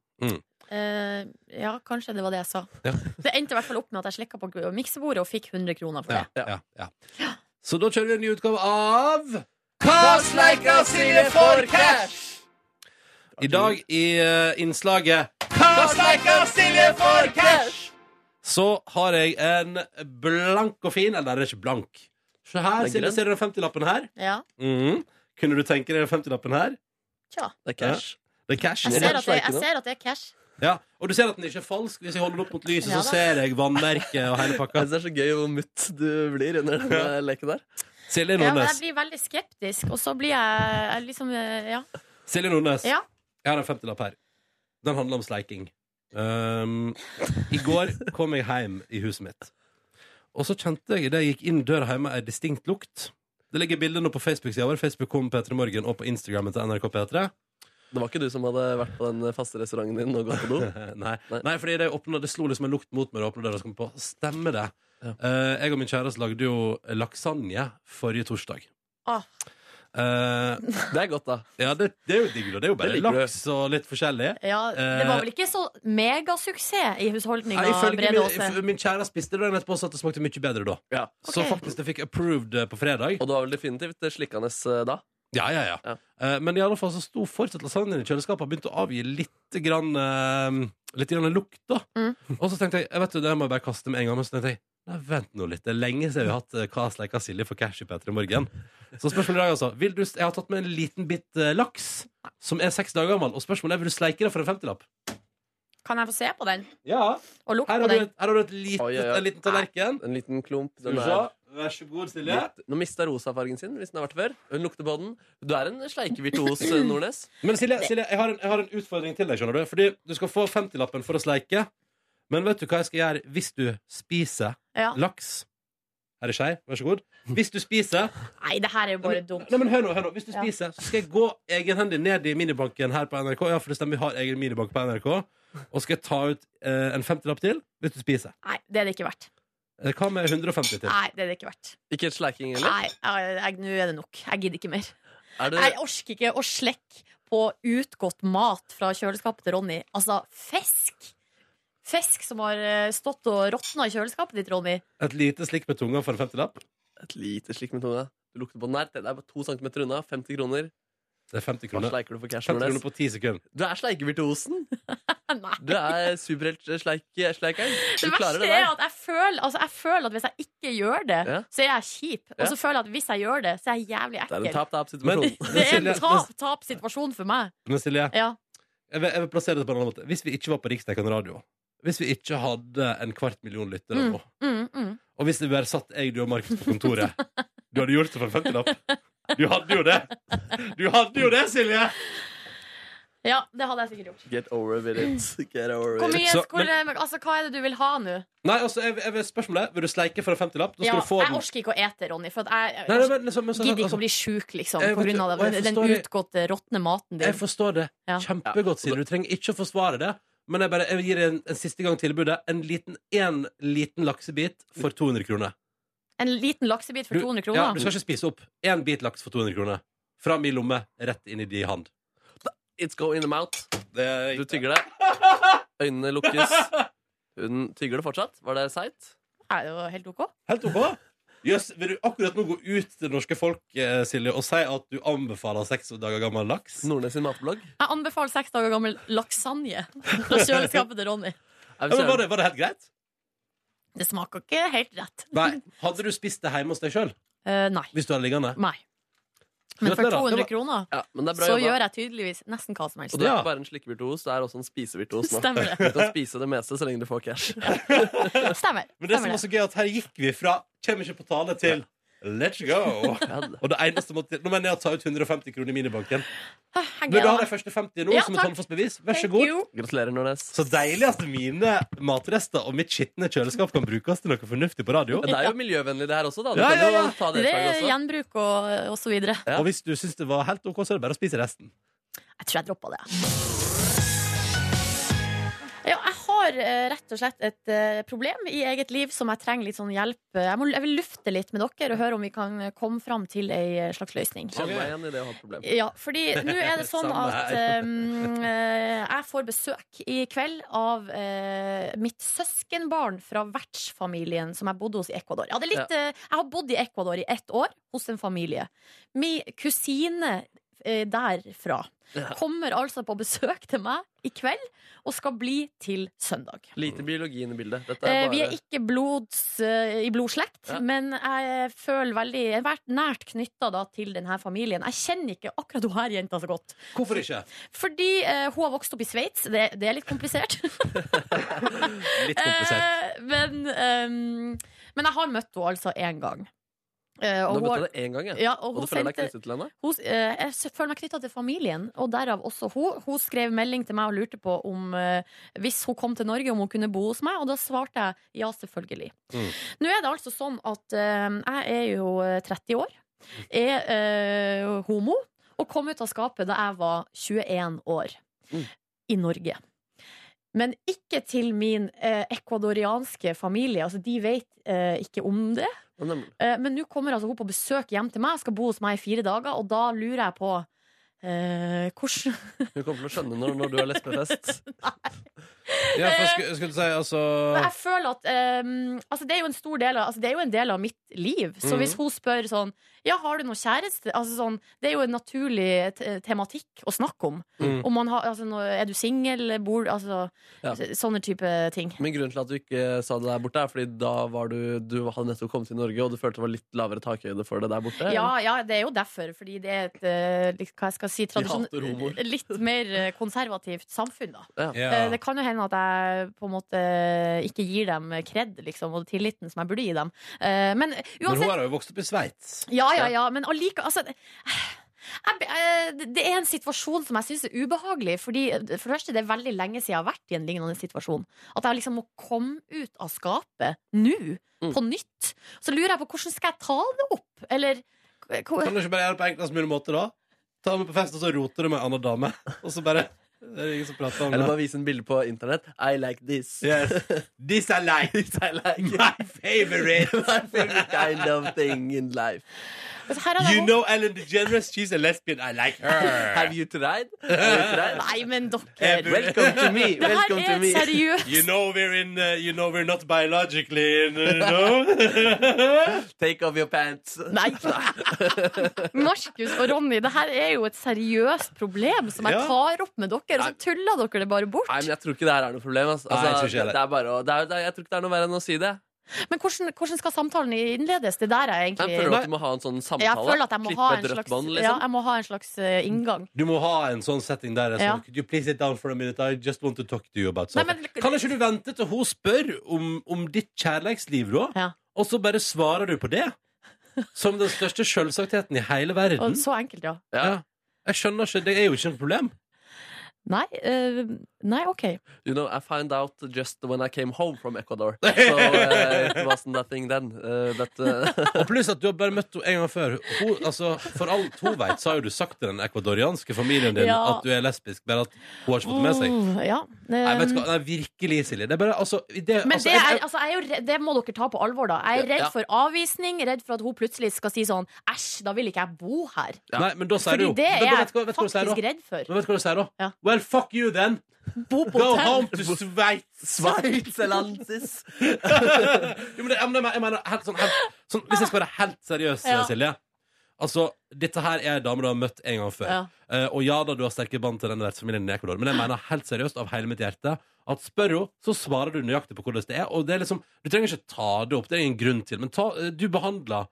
S2: eh, ja, kanskje det var det jeg sa.
S4: Ja.
S2: Det endte i hvert fall opp med at jeg slikka på miksebordet og fikk 100 kroner for det.
S4: ja, ja. Så da kjører vi en ny utgave av
S5: Hva sleika Silje for cash?
S4: I dag i eh, innslaget
S5: Hva sleika Silje for cash?
S4: så har jeg en blank og fin Eller den er ikke blank. Se
S5: Den
S4: her,
S5: er
S4: Silje,
S5: grønn.
S4: ser du den 50-lappen her?
S2: Ja.
S4: Mhm. Kunne du tenke deg den 50-lappen her?
S2: Tja.
S5: Det er cash.
S4: Det er cash.
S2: Jeg
S5: det
S2: ser,
S5: er
S2: at det,
S5: sleike nå.
S2: jeg ser at det er cash.
S4: Ja, Og du ser at den ikke er falsk. Hvis jeg holder den opp mot lyset,
S2: Ja
S4: så
S2: da.
S4: ser jeg vannmerket og hele
S5: Jeg
S4: pakka.
S5: synes Det er så gøy hvor mutt du blir under den eh, leken der.
S2: Ja,
S4: Silje
S2: men jeg
S4: Nordnes,
S2: blir veldig skeptisk, og så blir jeg, jeg liksom eh, Ja.
S4: Silje Nordnes.
S2: Ja.
S4: jeg har en 50-lapp her. Den handler om sleiking. Um, I går kom jeg hjem i huset mitt. Og så kjente jeg idet jeg gikk inn døra hjemme, ei distinkt lukt. Det ligger bilder nå på Facebook-sida vår. Facebook kom P3 Morgen og på Instagrammen til NRK P3.
S5: Det var ikke du som hadde vært på den faste restauranten din og gått på do?
S4: Nei.
S5: Nei.
S4: Nei, fordi det, åpnet, det slo liksom en lukt mot meg da jeg åpnet døra. og så kom jeg på, Stemmer det.
S5: Ja.
S4: Eh, jeg og min kjæreste lagde jo lasagne forrige torsdag.
S2: Ah.
S4: Eh,
S5: Det er godt, da.
S4: ja, det, det er jo digg, da. Det er jo bare
S5: liker du.
S4: laks og litt forskjellig.
S2: ja det
S5: Eh,
S2: var vel ikke så megasuksess i husholdninga,
S4: Nei, ifølge
S2: Brede
S4: min,
S2: Aase?
S4: if- min kjære spiste det dagen etterpå og sa at det smakte mye bedre da.
S5: Ja.
S4: Så
S2: Ok.
S4: faktisk det fikk approved eh, på fredag.
S5: Og du var vel definitivt slikkende eh, da?
S4: Ja, ja, ja.
S5: Ja.
S4: Eh, men i alle fall så sto fortsatt lasagnen i kjøleskapet og begynte å avgi litt grann, eh, litt grann lukt. da.
S2: Mm.
S4: Og så tenkte jeg jeg vet du, det må jeg bare kaste med en gang. Men så tenkte jeg nei, vent nå litt. Det er lenge siden vi har hatt eh, Hva sleika Silje for cash i P3 Morgen. Så spørsmålet i dag, altså. Vil du, jeg har tatt med en liten bit eh, laks som er seks dager gammel. Og spørsmålet er vil du sleike det for en femtilapp.
S2: Kan jeg få se på den?
S4: Ja.
S2: Og lukte
S4: Her
S2: på
S4: har du,
S2: den?
S4: et, her har du et lite,
S5: Oi, oi, oi.
S4: en liten tallerken.
S5: En liten klump.
S4: Skal
S5: Den
S4: vi
S5: er
S4: se. Vær så god, Silje.
S5: litt, nå mista rosa fargen sin, hvis den har vært før. Hun lukter på den. Du er en sleikevirtuos, eh, Nordnes.
S4: Men Silje, Silje jeg, har en, jeg har en utfordring til deg, skjønner du. Fordi du skal få 50-lappen for å sleike. Men vet du hva jeg skal gjøre hvis du spiser
S2: Ja.
S4: laks? Her er skei, vær så god. Hvis du spiser
S2: Nei, det her er jo bare dumt.
S4: Nei, men hør nå, hør nå. Hvis du spiser, så skal jeg gå egenhendig ned i minibanken her på NRK. Ja, for det stemmer, vi har egen minibank på NRK. Og skal jeg ta ut eh, en 50-lapp til hvis du spiser.
S2: Nei, det er det ikke verdt.
S4: Eh, Hva med 150 til?
S2: Nei, det er det ikke verdt.
S5: Ikke et sleiking,
S2: Nei, jeg- jeg- nå er det nok. Jeg gidder ikke mer.
S5: Er det-
S2: Jeg orker ikke å slekke på utgått mat fra kjøleskapet til Ronny. Altså, fisk! Fisk som har eh, stått og råtna i kjøleskapet ditt, Ronny.
S4: Et lite slikk med tunga for en 50-lapp?
S5: Et lite slikk med tunga. Du lukter på den her. Det er bare to centimeter unna. 50 kroner.
S4: Det er 50 kroner.
S5: Hva sleiker du for cash,
S4: 50
S5: Nordnes?
S4: kroner på 10 sekunder.
S5: Du er sleikevirtuosen. Du er eh, superhelt-sleikeren. Du
S2: Det
S5: klarer
S2: verste
S5: det
S2: er
S5: der.
S2: at jeg føler, altså, jeg føler at hvis jeg ikke gjør det,
S5: Ja.
S2: så er jeg kjip. Og
S5: Ja.
S2: så føler jeg at hvis jeg gjør det, så er jeg jævlig
S5: Det
S2: ekkel.
S5: er en
S4: Men,
S5: tap-tap-situasjon.
S2: Det er en tap-tap-situasjon for meg.
S4: men Silje,
S2: Ja.
S4: jeg vil, jeg vil plassere det på en annen måte. Hvis vi ikke var på riksdekkende radio, hvis vi ikke hadde en kvart million lyttere
S2: Mm,
S4: nå,
S2: mm, mm.
S4: og hvis det bare satt jeg, du og Markus på kontoret Du hadde gjort det for en 50-lapp. Du hadde jo det! Du hadde jo det, Silje!
S2: Ja, det hadde jeg sikkert gjort.
S5: Get over with it. Get over
S2: Hvor
S5: with
S2: mye
S5: it.
S4: Så-
S2: skulle Altså, hva er det du vil ha nå?
S4: Nei, altså, jeg, jeg vil spørsmålet Vil du sleike for en 50-lapp? Da skal
S2: Ja,
S4: du få
S2: jeg
S4: den.
S2: orker ikke å ete, Ronny. For at jeg,
S4: Nei, nei, men liksom- men så-
S2: gidder ikke
S4: altså-
S2: å bli sjuk liksom,
S4: Jeg
S2: på
S4: vet
S2: grunn av
S4: det, og
S2: det,
S4: jeg
S2: den
S4: forstår det.
S2: utgåtte, råtne maten din.
S4: Jeg forstår det
S2: Ja.
S4: kjempegodt, Silje. Du trenger ikke å forsvare det. Men jeg, bare, jeg gir en, en siste gang tilbudet. En liten, en liten laksebit for 200 kroner.
S2: En liten laksebit for
S4: Du-
S2: 200 kroner.
S4: Ja, du skal ikke spise opp. Én bit laks for 200 kroner. Fra min lomme, rett inn i din hand.
S5: It's go in the mouth.
S4: Det,
S5: Du tygger det. Øynene lukkes. Hun tygger det fortsatt. Var det seigt?
S2: Nei, det var helt OK.
S4: Helt OK. Jøss, vil du akkurat nå gå ut til det norske folk eh, Silje, og si at du anbefaler seks dager gammel laks?
S5: Nordnes sin matblogg.
S2: Jeg anbefaler seks dager gammel lasagne fra kjøleskapet til Ronny.
S4: Ja, men var, det, var det helt greit?
S2: Det smaker ikke helt rett.
S4: Nei. Hadde du spist det hjemme hos deg sjøl?
S2: Eh, nei.
S4: Hvis du hadde liggende?
S2: nei. Men for
S4: Gratulerer.
S2: 200
S4: Det var-
S2: kroner
S5: Ja, men det er bra
S2: så
S5: jobba.
S2: gjør jeg tydeligvis nesten hva som helst.
S5: Og du er ikke bare en slikkevirtuos, du er også en spisevirtuos nå.
S2: Stemmer det.
S5: Du kan spise det meste så lenge du får cash.
S2: Stemmer.
S4: Men det
S2: stemmer
S4: som var så gøy, at her gikk vi fra Kjem ikke på tale til Let's go! Og det eneste måtte Nå mener jeg å ta ut 150 kroner i
S2: Jeg
S4: minibanken. Vil du ha
S2: gleder
S4: de
S2: meg.
S4: første 50 nå,
S2: Ja,
S4: som et
S2: takk.
S4: håndfast bevis? Vær så
S2: Thank
S4: god.
S2: you.
S5: Gratulerer, Nordnes.
S4: Så deilig at mine matrester og mitt skitne kjøleskap kan brukes til noe fornuftig på radio.
S5: Men Det er jo miljøvennlig, det her også. da Du
S4: Ja,
S5: kan
S4: ja,
S5: jo
S4: ja.
S5: ta det
S2: Det
S5: et
S2: er
S5: slag også.
S2: gjenbruk og, og så videre.
S4: Og hvis du syns det var helt OK, så er det bare å spise resten.
S2: Jeg tror jeg droppa det. Ja, jeg har eh, rett og slett et eh, problem i eget liv som jeg trenger litt sånn hjelp. Jeg, må, jeg vil lufte litt med dere og høre om vi kan eh, komme fram til ei eh, slags løsning.
S5: Kjenner meg igjen i det å ha et problem.
S2: Ja, fordi nå er det sånn
S4: Samme
S2: at
S4: her.
S2: um, eh, jeg får besøk i kveld av eh, mitt søskenbarn fra vertsfamilien som jeg bodde hos i Ecuador. Ja, det er litt, eh, jeg har bodd i Ecuador i ett år hos en familie. Min kusine eh, derfra kommer altså på besøk til meg i kveld og skal bli til søndag.
S5: Lite biologi inn i bildet. Dette
S2: Eh,
S5: er
S2: Vi er
S5: bare
S2: ikke blods, eh, i blodslekt,
S5: Ja.
S2: men jeg føler veldig Jeg har vært nært knytta til denne familien. Jeg kjenner ikke akkurat hun her jenta så godt.
S4: Hvorfor ikke?
S2: Fordi eh, hun har vokst opp i Sveits. Det, det er litt komplisert.
S4: Litt komplisert.
S2: Eh, men, ehm, men jeg har møtt henne altså én gang. Eh,
S5: Nå
S2: og hun,
S5: møtte
S2: har-
S5: jeg deg én gang, jeg.
S2: ja, og
S5: Og
S2: hun
S5: du føler deg
S2: sendte
S5: knyttet til henne?
S2: hun, eh, jeg s- føler meg knytta til familien, og derav også hun. Hun skrev melding til meg og lurte på om eh, hvis hun kom til Norge, om hun kunne bo hos meg, og da svarte jeg ja, selvfølgelig.
S4: Mm.
S2: Nå er det altså sånn at eh, jeg er jo eh, 30 år, er eh, homo, og kom ut av skapet da jeg var 21 år
S5: Mm.
S2: i Norge. Men ikke til min eh, ecuadorianske familie. Altså, de vet eh, ikke om det.
S5: Ja, nemlig.
S2: Eh, Men nå kommer altså hun på besøk hjem til meg, skal bo hos meg i fire dager, og da lurer jeg på eh, hvordan
S5: Hun kommer til å skjønne når, når du har lesbefest.
S4: Eh, Ja, for skulle, skulle du si altså
S2: Men Jeg føler at eh, altså, det, er jo en stor del av, altså, det er jo en del av mitt liv. Så
S5: Mhm.
S2: hvis hun spør sånn Ja, har du noen kjæreste? Altså, sånn, det er jo en naturlig te tematikk å snakke om.
S4: Mm.
S2: Om man har, altså, nå- er du singel? Bor du altså,
S5: Mhm. Ja.
S2: så- Sånne type ting.
S5: Men grunnen til at du ikke sa det der borte, er fordi da var du, du hadde nettopp kommet til Norge, og du følte det var litt lavere takhøyde for det der borte?
S2: Ja, ja, det er jo derfor. Fordi det er et eh, litt- hva jeg skal si, tradisjon,
S5: hater homoer.
S2: litt mer eh, konservativt samfunn, da. Eh,
S4: Ja.
S2: Det kan jo hende at jeg på en måte ikke gir dem kred liksom, og tilliten som jeg burde gi dem. Eh, Men
S4: Men hun
S2: uansett
S4: har jo vokst opp i Sveits.
S2: Ja, ja, ja. Men allike, altså, Jeg, be- eh, det- det er en situasjon som jeg syns er ubehagelig. Fordi eh, For det første, det er veldig lenge siden jeg har vært i en lignende situasjon. At jeg liksom må komme ut av skapet nå,
S4: Mm.
S2: på nytt. Så lurer jeg på hvordan skal jeg ta det opp? Eller hvor-
S4: Kan du ikke bare gjøre det på enklest mulig måte, da? Ta meg på fest, og så roter du med en annen dame. Og så bare Det er ingen som prater om det.
S5: Eller bare vise en bilde på internett. I like this.
S4: Yes. This I like. My favorite.
S5: My favorite kind of thing in life.
S2: Altså, her har jeg
S4: You know Ellen DeGeneres? She's a lesbian. I like her.
S5: Have you tried?
S2: Nei, men dere
S4: Eh,
S5: Welcome to me.
S2: Det her
S5: Welcome
S2: er
S5: to me.
S2: seriøst.
S4: You know we're in uh, You know we're not biologically in, uh, no?
S5: Take off your pants.
S2: Nei. Markus og Ronny, det her er jo et seriøst problem som jeg
S5: Ja.
S2: tar opp med dere, og så tuller dere det bare bort.
S5: Nei, men jeg tror ikke det her er noe problem. ass.
S4: Nei, jeg tror ikke
S5: det,
S4: heller.
S5: det er bare å, det er, det er, jeg tror ikke det er noe verre enn å si det.
S2: Men hvordan, hvordan skal samtalen innledes? Det der er
S5: Jeg
S2: jeg egentlig
S5: føler at du må ha en sånn samtale.
S2: Jeg føler at jeg må
S5: Klippe
S2: ha
S5: et
S2: en
S5: rødt
S2: slags,
S5: bånd, liksom.
S2: ja, jeg må ha en slags eh, inngang.
S4: Du må ha en sånn setting der. det er
S2: Ja.
S4: Sånn, Could you please sit down for a minute? I just want to talk to you about
S2: Nei,
S4: something.
S2: men-
S4: Kan ikke du vente til hun spør om, om ditt kjærleiksliv, da? Og så bare svarer du på det? Som den største selvsagtheten i hele verden.
S2: Og så enkelt, ja.
S4: Ja. Jeg skjønner ikke, Det er jo ikke noe problem.
S2: Nei, eh, nei, OK.
S5: You know, I found out just when I came home from Ecuador. So uh, it wasn't that thing then. Uh, but, uh,
S4: Og pluss at du har bare møtt henne en gang før. Hun, altså, for alt hun vet, så har jo du sagt til den ekvadorianske familien din
S2: Ja.
S4: at du er lesbisk, bare at hun har ikke fått det med seg.
S2: Mm, Ja.
S4: Nei, vet du hva?
S2: Eh,
S4: Nei, virkelig, Silje. Det er bare, altså, det,
S2: Men
S4: altså,
S2: det,
S4: jeg-
S2: er, altså, jeg er jo redd, det må dere ta på alvor, da. Jeg er redd
S4: Ja.
S2: for avvisning, redd for at hun plutselig skal si sånn Æsj, da vil ikke jeg bo her.
S4: Nei, men da sier
S2: Fordi
S4: du jo
S2: det er
S4: Men da
S2: jeg
S4: vet du hva- vet du hva du sier da?
S2: faktisk redd for.
S4: Men vet du hva du sier da? Well, fuck you then! Go
S2: hotell.
S4: home to Sveits!
S5: Sveitserlandsis!
S4: jo, men det, jeg mener, jeg mener helt, sånn, helt, sånn, Hvis jeg skal være helt seriøs,
S5: Ja.
S4: Silje Altså, Dette her er damer du har møtt en gang før.
S5: Ja.
S4: Eh, og ja da, du har sterke bånd til den vertsfamilien i Ecuador, men jeg mener helt seriøst av hele mitt hjerte at spør hun, så svarer du nøyaktig på hvordan det er. Og det er liksom, Du trenger ikke ta det opp, det er ingen grunn til, men ta, eh, du behandler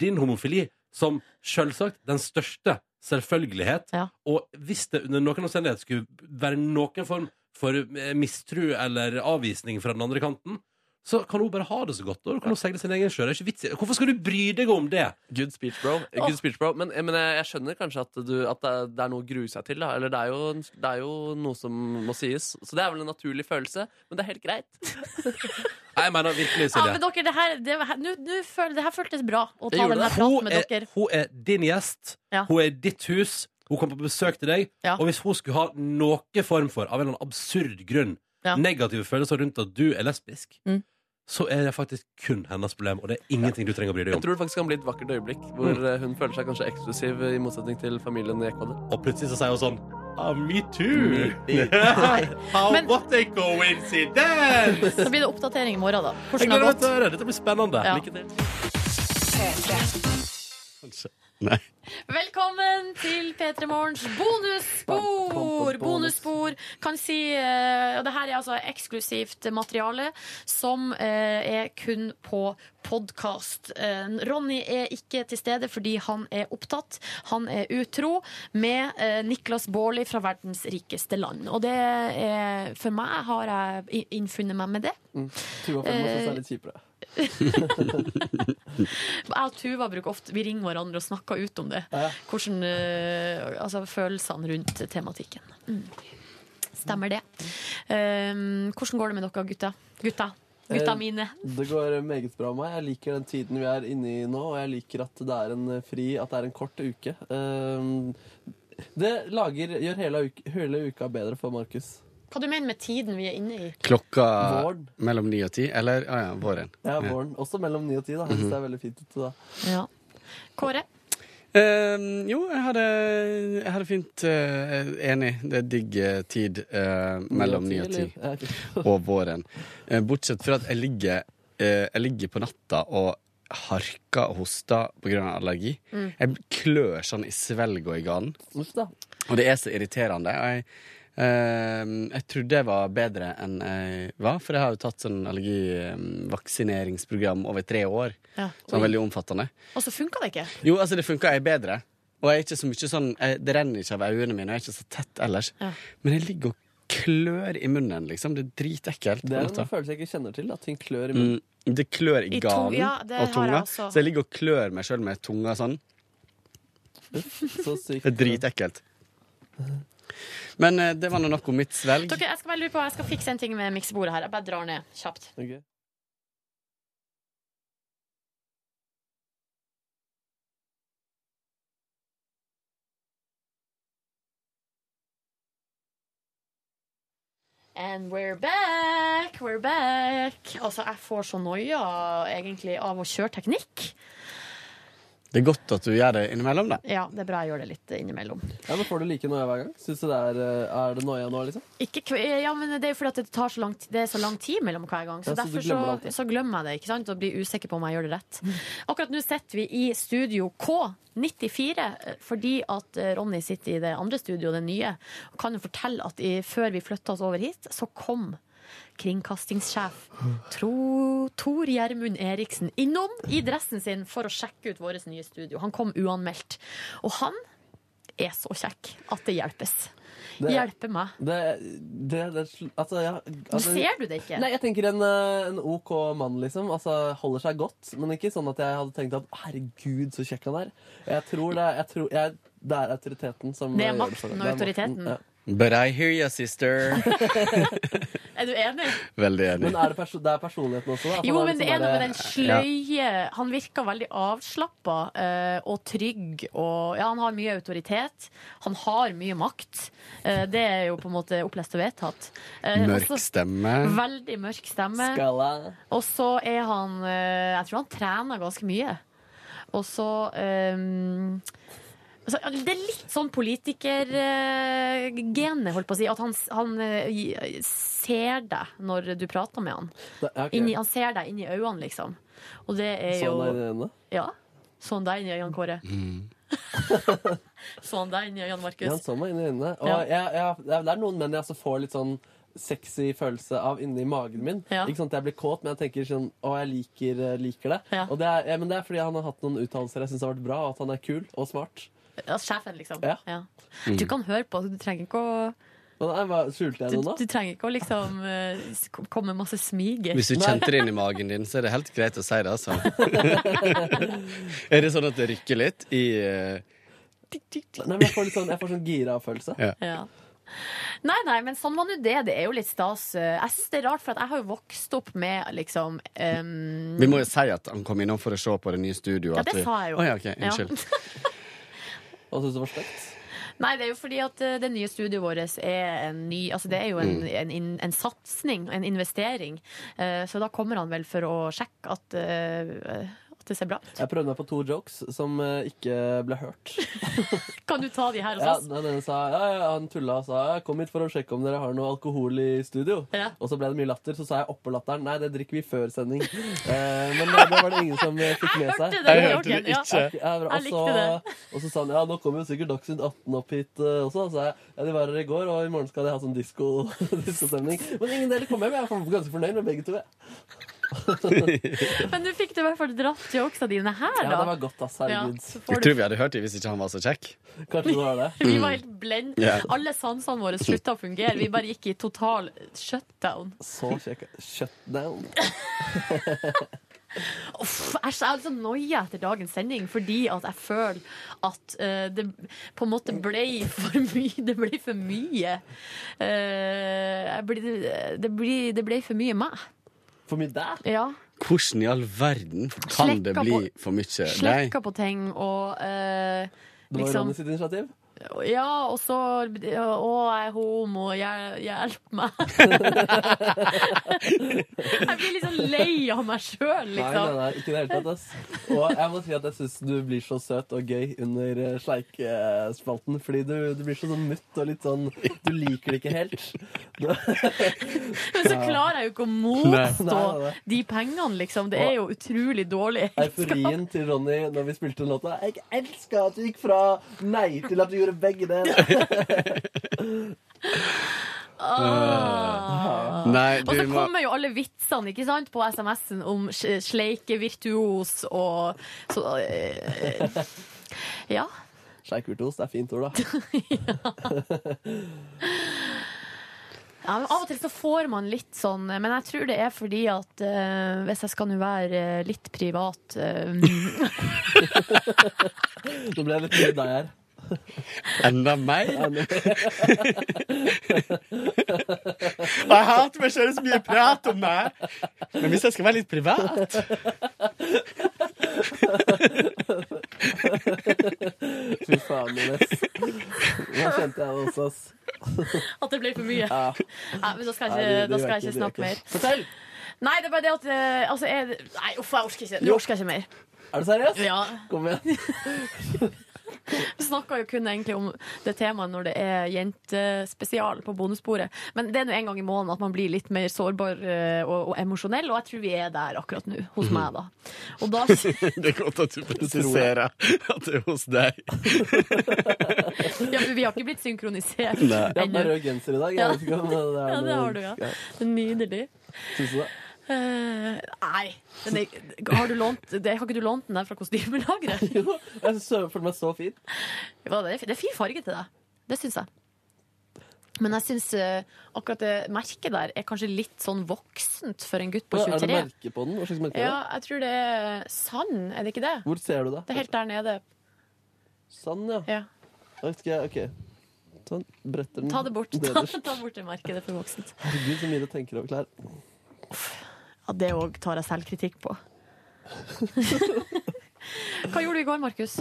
S4: din homofili som selvsagt den største selvfølgelighet. Og hvis det under noen omstendighet skulle være noen form for eh, mistru eller avvisning fra den andre kanten, så kan hun bare ha det så godt. Og da kan hun seile sin egen sjø. Det er ikke vits i- Hvorfor skal du bry deg om det?
S5: Good speech, bro. Good speech, bro. Men, men jeg, jeg skjønner kanskje at, du, at det, er- det er noe å grue seg til. Da. Eller det er, jo, det er jo noe som må sies. Så det er vel en naturlig følelse, men det er helt greit.
S4: Nei, jeg mener virkelig,
S2: Ja,
S4: Silje.
S2: men dere, det her, det, her- nå- nå føl- det her føltes bra å
S4: Jeg
S2: ta
S4: gjorde
S2: den her
S4: det.
S2: praten med
S4: er,
S2: dere.
S4: Hun er din gjest.
S2: Ja.
S4: Hun er i ditt hus. Hun kommer på besøk til deg.
S2: Ja.
S4: Og hvis hun skulle ha noe form for, av en eller annen absurd grunn,
S2: Ja.
S4: negative følelser rundt at du er lesbisk,
S2: Mm.
S4: så er det faktisk kun hennes problem, og det er ingenting du trenger å bry deg
S5: Jeg
S4: om.
S5: tror det faktisk kan bli et vakkert øyeblikk hvor
S4: Mm.
S5: eh, hun føler seg kanskje eksklusiv eh, i motsetning til familien i Ecuador.
S4: Og plutselig så sier hun sånn Ah, me too! How,
S2: Men-
S4: what a coincidence!
S2: Så blir det oppdatering i morgen, da.
S4: Jeg
S2: Hvordan det
S4: gleder
S2: har
S4: meg til å
S2: gått.
S4: høre. Dette blir spennende.
S2: Ja.
S4: Lykke til.
S2: Velkommen til P3 Morgens bonusspor! Bonusspor kan si eh, Og det her er altså eksklusivt materiale som eh, er kun på podkast. Ronny er ikke til stede fordi han er opptatt. Han er utro med eh, Niklas Baarli fra verdens rikeste land. Og det er For meg har jeg i- innfunnet meg med det.
S3: Tuva Fem også, så er det litt kjipere.
S2: Jeg og Tuva bruker ofte Vi ringer hverandre og snakker ut om det. Hvordan, eh, altså Følelsene rundt tematikken. Mm. Stemmer det. Um, hvordan går det med dere gutta? Gutta, gutta
S3: Eh,
S2: mine.
S3: Det går meget bra med meg. Jeg liker den tiden vi er inne i nå, og jeg liker at det er en eh, fri, at det er en kort uke. Ehm, Det lager, gjør hele, uke, hele uka bedre for Markus.
S2: Hva du mener med tiden vi er inne i?
S12: Klokka
S3: Våren.
S12: Eh, mellom ni og ti, eller ah, ja, Mhm. våren.
S3: Ja, våren. Også mellom ni og ti, da, hvis det er veldig fint ute. da.
S2: Ja. Kåre?
S12: Eh, jo, jeg hadde, jeg hadde fint eh, Enig, det er digg eh, tid eh, mellom ni og ti. og våren. Eh, Bortsett fra at jeg ligger, eh, jeg ligger på natta og harker og hoster pga. allergi.
S3: Mm.
S12: Jeg klør sånn i svelget og er i ganen.
S3: Uff da.
S12: Og det er så irriterende. Og jeg, eh, jeg trodde jeg var bedre enn jeg var, for jeg har jo tatt sånn allergivaksineringsprogram over tre år.
S2: Ja.
S12: Som er veldig omfattende.
S2: Og så funka det ikke.
S12: Jo, altså det funker, jeg er bedre. Og jeg er ikke så mye sånn, jeg, det renner ikke av øynene mine, og jeg er ikke så tett ellers.
S2: Ja.
S12: Men jeg ligger og klør i munnen, liksom. Det er dritekkelt.
S3: Det
S12: på
S3: er
S12: natta.
S3: en følelse jeg ikke kjenner til. At ting klør i munnen.
S12: Mm, det klør i
S3: I to-
S12: ganen
S3: ja, det har
S12: og
S3: jeg
S12: tunga.
S3: også.
S12: Så jeg ligger og klør meg sjøl med tunga sånn.
S5: Så sykt.
S4: Det er dritekkelt. Men eh, det var nå nok om mitt svelg.
S2: Dere, jeg skal bare lure på, jeg skal fikse en ting med miksebordet her. Jeg bare drar ned kjapt. And we're back, we're back. Altså, jeg får så noia egentlig av å kjøre teknikk.
S4: Det er godt at du gjør det innimellom, da.
S2: Ja, det er bra jeg gjør det litt innimellom.
S5: Ja, men Får du like noia hver gang? Syns du det er, eh, er det noia nå, liksom?
S2: Ikke, kve- eh, ja, men det er jo fordi at det tar så lang, ti- det er så lang tid mellom hver gang. Så
S5: Ja, så du
S2: derfor
S5: glemmer det
S2: så, så glemmer jeg det ikke sant? og blir usikker på om jeg gjør det rett. Akkurat nå sitter vi i studio K94 eh, fordi at eh, Ronny sitter i det andre studioet, det nye. Og kan jo fortelle at i, før vi flytta oss over hit, så kom kringkastingssjef Tro, Tor Gjermund Eriksen innom i dressen sin for å sjekke ut vårt nye studio. Han kom uanmeldt. Og han er så kjekk at det hjelpes.
S5: Det-
S2: Hjelper meg.
S5: Det, det, det altså, ja, altså,
S2: ser du det ikke?
S5: Nei, jeg tenker en, eh, en OK mann, liksom. Altså, holder seg godt, men ikke sånn at jeg hadde tenkt at herregud, så kjekk han er. Jeg tror det, er- jeg tror, jeg, det er autoriteten som
S2: Det er
S5: eh, gjør for
S2: makten
S5: meg.
S2: og
S5: Det er
S2: autoriteten.
S5: ja.
S4: But I hear you, sister.
S2: Er du enig?
S4: Veldig enig.
S5: Men er det, perso det er personligheten også? Da? For
S2: Jo,
S5: han
S2: men det
S5: liksom
S2: er noe med
S5: bare-
S2: den sløye Han virker veldig avslappa eh, og trygg. Og, ja, han har mye autoritet. Han har mye makt. Eh, det er jo på en måte opplest og vedtatt. Eh,
S4: Mørk
S2: også-
S4: stemme.
S2: Veldig mørk stemme.
S5: Skala.
S2: Og så er han eh, Jeg tror han trener ganske mye. Og så eh, altså, Det er litt sånn politikergenet, holdt på å si. At han, han eh, gi- ser deg når du prater med han.
S5: ja, ok.
S2: Inni, han ser deg inni øynene, liksom. Og det er jo
S5: Sånn er det ene.
S2: Ja. Sånn deg inni øynene, Kåre. sånn deg inni øynene,
S5: Ja, han
S2: Markus.
S5: så meg inn i øynene. Og
S2: Ja.
S5: jeg, jeg, det er- det er noen menn jeg altså får litt sånn sexy følelse av inni magen min.
S2: Ja.
S5: Ikke sant, Jeg blir kåt, men jeg tenker sånn Å, jeg liker, eh, liker det. Og det er, ja, men det er fordi han har hatt noen uttalelser jeg syns har vært bra, og at han er kul og smart.
S2: Ja, sjefen, liksom.
S5: Ja. Mm.
S2: Ja. Du kan høre på, du trenger ikke å
S5: Men nei, hva, Skjulte jeg
S2: du,
S5: noe nå?
S2: du trenger ikke å liksom eh, s- komme med masse smiger.
S4: Hvis du kjente det inn i magen din, så er det helt greit å si det, altså. er det sånn at det rykker litt i eh,
S5: Nei, men jeg får litt sånn, jeg får sånn gira følelse.
S4: Ja.
S2: Ja. Nei, nei, men sånn var nå det. Det er jo litt stas. Eh, Jeg synes det er rart, for at jeg har jo vokst opp med liksom ehm,
S4: Vi må jo si at han kom innom for å se på det nye studioet.
S2: Ja, det sa jeg jo.
S4: Å, ja, ok, unnskyld.
S5: Hva syns du var stygt?
S2: Nei, det er jo fordi at eh, det nye studioet vårt er en ny Altså, det er jo en,
S4: Mm.
S2: en, inn- en satsing, en investering. Eh, Så da kommer han vel for å sjekke at, eh, at det ser bra ut.
S5: Jeg prøvde meg på to jokes som eh, ikke ble hørt.
S2: Kan du ta de her
S5: Ja,
S2: hos oss?
S5: den ene sa, ja, ja, han tulla og sa «Jeg kom hit for å sjekke om dere har noe alkohol i studio.
S2: Ja.
S5: Og så ble det mye latter, så sa jeg oppå latteren nei, det drikker vi før sending. Eh, men det var det ingen som eh, fikk med seg.
S2: det, Jeg hørte det, ja.
S5: Ok, ja, bra.
S2: Jeg likte
S5: Og så- Og så sa han ja, nå kommer jo sikkert Dagsnytt 18 opp hit eh, også. Så sa jeg ja, de var her i går, og i morgen skal de ha sånn disko- diskostemning. men ingen deler kom hjem. Jeg er ganske fornøyd med begge to. Jeg.
S2: Men du fikk du i hvert fall dratt jokesa dine her, da.
S5: Ja, det var godt, ass. Herregud.
S2: Ja, så får
S4: Jeg
S2: du-
S4: tror vi hadde hørt det hvis ikke han var så kjekk.
S5: Kanskje du har det.
S2: Vi var helt blend.
S4: Mm. Ja.
S2: Alle sansene våre slutta å fungere. Vi bare gikk i total shutdown.
S5: Så kjekk. Shutdown.
S2: Uff, æsj, jeg er så noia etter dagens sending fordi at jeg føler at eh, det på en måte ble for mye. Det ble for mye. Eh, jeg blir- det, blir- det ble for mye meg.
S5: For mye deg?
S2: Ja.
S4: Hvordan i all verden kan det
S2: Slekka
S4: bli
S2: på-
S4: for mye? Nei.
S2: Slekka på ting og eh,
S5: Det var
S2: liksom
S5: Ronny sitt initiativ.
S2: Ja, og så Å, jeg er homo, hjel- hjelp meg. jeg blir litt sånn lei av meg sjøl,
S5: Nei, nei,
S2: liksom.
S5: nei, ikke i det hele tatt. Ass. Og jeg må si at jeg syns du blir så søt og gøy under eh, sleikespalten. Fordi du, du blir så sånn mutt og litt sånn Du liker det ikke helt.
S2: Men så klarer jeg jo ikke å motstå
S5: Nei, nei, nei.
S2: de pengene, liksom. Det er jo utrolig dårlig.
S5: Euforien til Ronny når vi spilte den låta. Jeg elsker at du gikk fra nei til at du gjorde begge deler.
S2: Ah.
S4: Nei,
S2: Og så
S4: du må
S2: kommer jo alle vitsene ikke sant, på SMS-en om sj- sleike virtuos og så eh, eh, Ja.
S5: Sleikurtos, det er fint ord, da.
S2: Ja, men av og til så får man litt sånn Men jeg tror det er fordi at eh, Hvis jeg skal nå være eh, litt privat eh,
S5: Nå ble jeg litt mye deg her.
S12: Enda mer? Og jeg hater meg selv så mye prat om meg. Men hvis jeg skal være litt privat
S5: Fy faen, Ines. Nå kjente jeg det også, ass.
S2: At det ble for mye.
S5: Ja.
S2: Nei, men da skal jeg
S5: Nei, det-
S2: ikke,
S5: det
S2: da
S5: gjør
S2: skal
S5: ikke-
S2: jeg ikke
S5: det gjør
S2: snakke mer.
S5: ikke. Fortell!
S2: Nei, det er bare det at eh, altså, jeg, Nei, uff, jeg orker ikke. Nå
S5: Jo.
S2: orker jeg ikke mer.
S5: Er du seriøs?
S2: Ja.
S5: Kom igjen.
S2: Vi snakker jo kun egentlig om det temaet når det er jentespesial på bonussporet. Men det er nå en gang i måneden at man blir litt mer sårbar eh, og, og emosjonell, og jeg tror vi er der akkurat nå, hos meg, da. Og da
S12: Det er godt at du presiserer at det er hos deg.
S2: Ja, for vi har ikke blitt synkronisert
S5: Jeg har på
S2: ennå.
S5: meg rød genser i dag. Jeg
S2: Ja.
S5: vet ikke om det er
S2: Ja, det
S5: noe-
S2: har du, ja. Nydelig.
S5: Tusen takk.
S2: Eh, nei, den er, har, du lånt, det, har ikke du lånt den der fra kostymelageret?
S5: Jo, jeg synes- føler meg så fin.
S2: Ja, Det er, det er fin farge til deg. Det syns jeg. Men jeg syns eh, akkurat det merket der er kanskje litt sånn voksent for en gutt på
S5: Er det
S2: 23.
S5: merke på den? Hva slags merke er
S2: Ja,
S5: det?
S2: jeg tror det er sand, er det ikke det?
S5: Hvor ser du det?
S2: Det er helt der nede.
S5: Sånn, ja.
S2: Ja.
S5: Da Skal jeg, ok. Sånn, bretter den
S2: Ta det bort. Ta,
S5: nederst.
S2: ta bort det merket, det er for voksent.
S5: Herregud, så mye du tenker over klær.
S2: Ja, det òg tar jeg selvkritikk på. Hva gjorde du i går, Markus?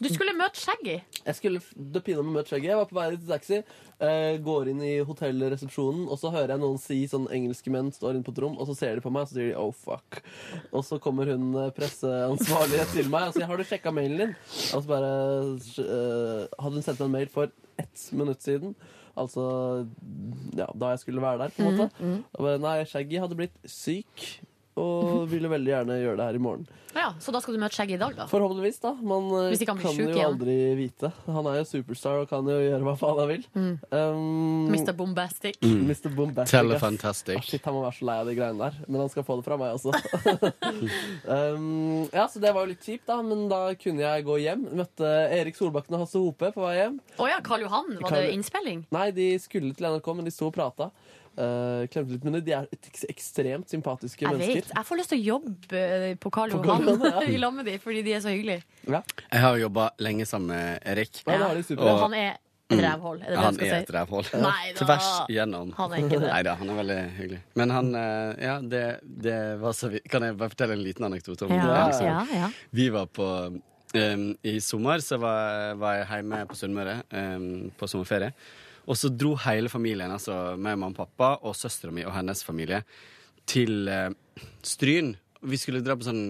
S2: Du skulle møte Shaggy.
S5: Jeg skulle f- det pina meg møtt skjegget. Jeg var på vei til taxi. Eh, går inn i hotellresepsjonen, og så hører jeg noen si sånn engelske menn står inne på et rom, og så ser de på meg, og så sier de 'oh, fuck'. Og så kommer hun eh, presseansvarlige til meg og sier 'har du sjekka mailen din?' Og så bare eh, Hadde hun sendt meg en mail for ett minutt siden? Altså ja, da jeg skulle være der, på en måte. Og bare, Nei, Shaggy hadde blitt syk. Og ville veldig gjerne gjøre det her i morgen.
S2: Ja, Så da skal du møte Shaggy i dag, da?
S5: Forhåpentligvis, da. Man eh,
S2: Hvis ikke han blir
S5: kan
S2: sjuk
S5: jo
S2: igjen.
S5: aldri vite. Han er jo superstar og kan jo gjøre hva faen han vil.
S2: Mm.
S5: Um,
S2: Mr. Bombastic.
S5: Mr. Bombastic.
S12: Tell
S5: ass.
S12: fantastic.
S5: Ah, shit, han må være så lei av de greiene der. Men han skal få det fra meg også. um, ja, så det var jo litt kjipt, da. Men da kunne jeg gå hjem. Møtte Erik Solbakken og Hasse Hope på vei hjem.
S2: Å ja, Karl Johan. Var
S5: Karl-
S2: det innspilling?
S5: Nei, de skulle til NRK, men de sto og prata. Uh, klemte litt, men de er ek- ekstremt sympatiske
S2: Jeg
S5: mennesker.
S2: vet. Jeg får lyst til å jobbe eh, på Karl
S5: På
S2: Johan
S5: Karl Johan, ja.
S2: i lag med dem, fordi de er så hyggelige.
S12: Jeg har jobba lenge sammen med Erik.
S2: Ja, det har de supert. Og han er et rævhold, er det det
S12: Mm. han
S2: du skal
S12: er
S2: si?
S12: et rævhål.
S2: Nei da.
S12: Tvers igjennom.
S2: Han er ikke det.
S12: Neida, han er veldig hyggelig. Men han eh, Ja, det, det var så vidt Kan jeg bare fortelle en liten anekdote om det? liksom? Vi var på um, I sommer så var, var jeg hjemme på Sunnmøre um, på sommerferie. Og så dro hele familien, altså meg, mamma og pappa og søstera mi og hennes familie, til eh, Stryn. Vi skulle dra på sånn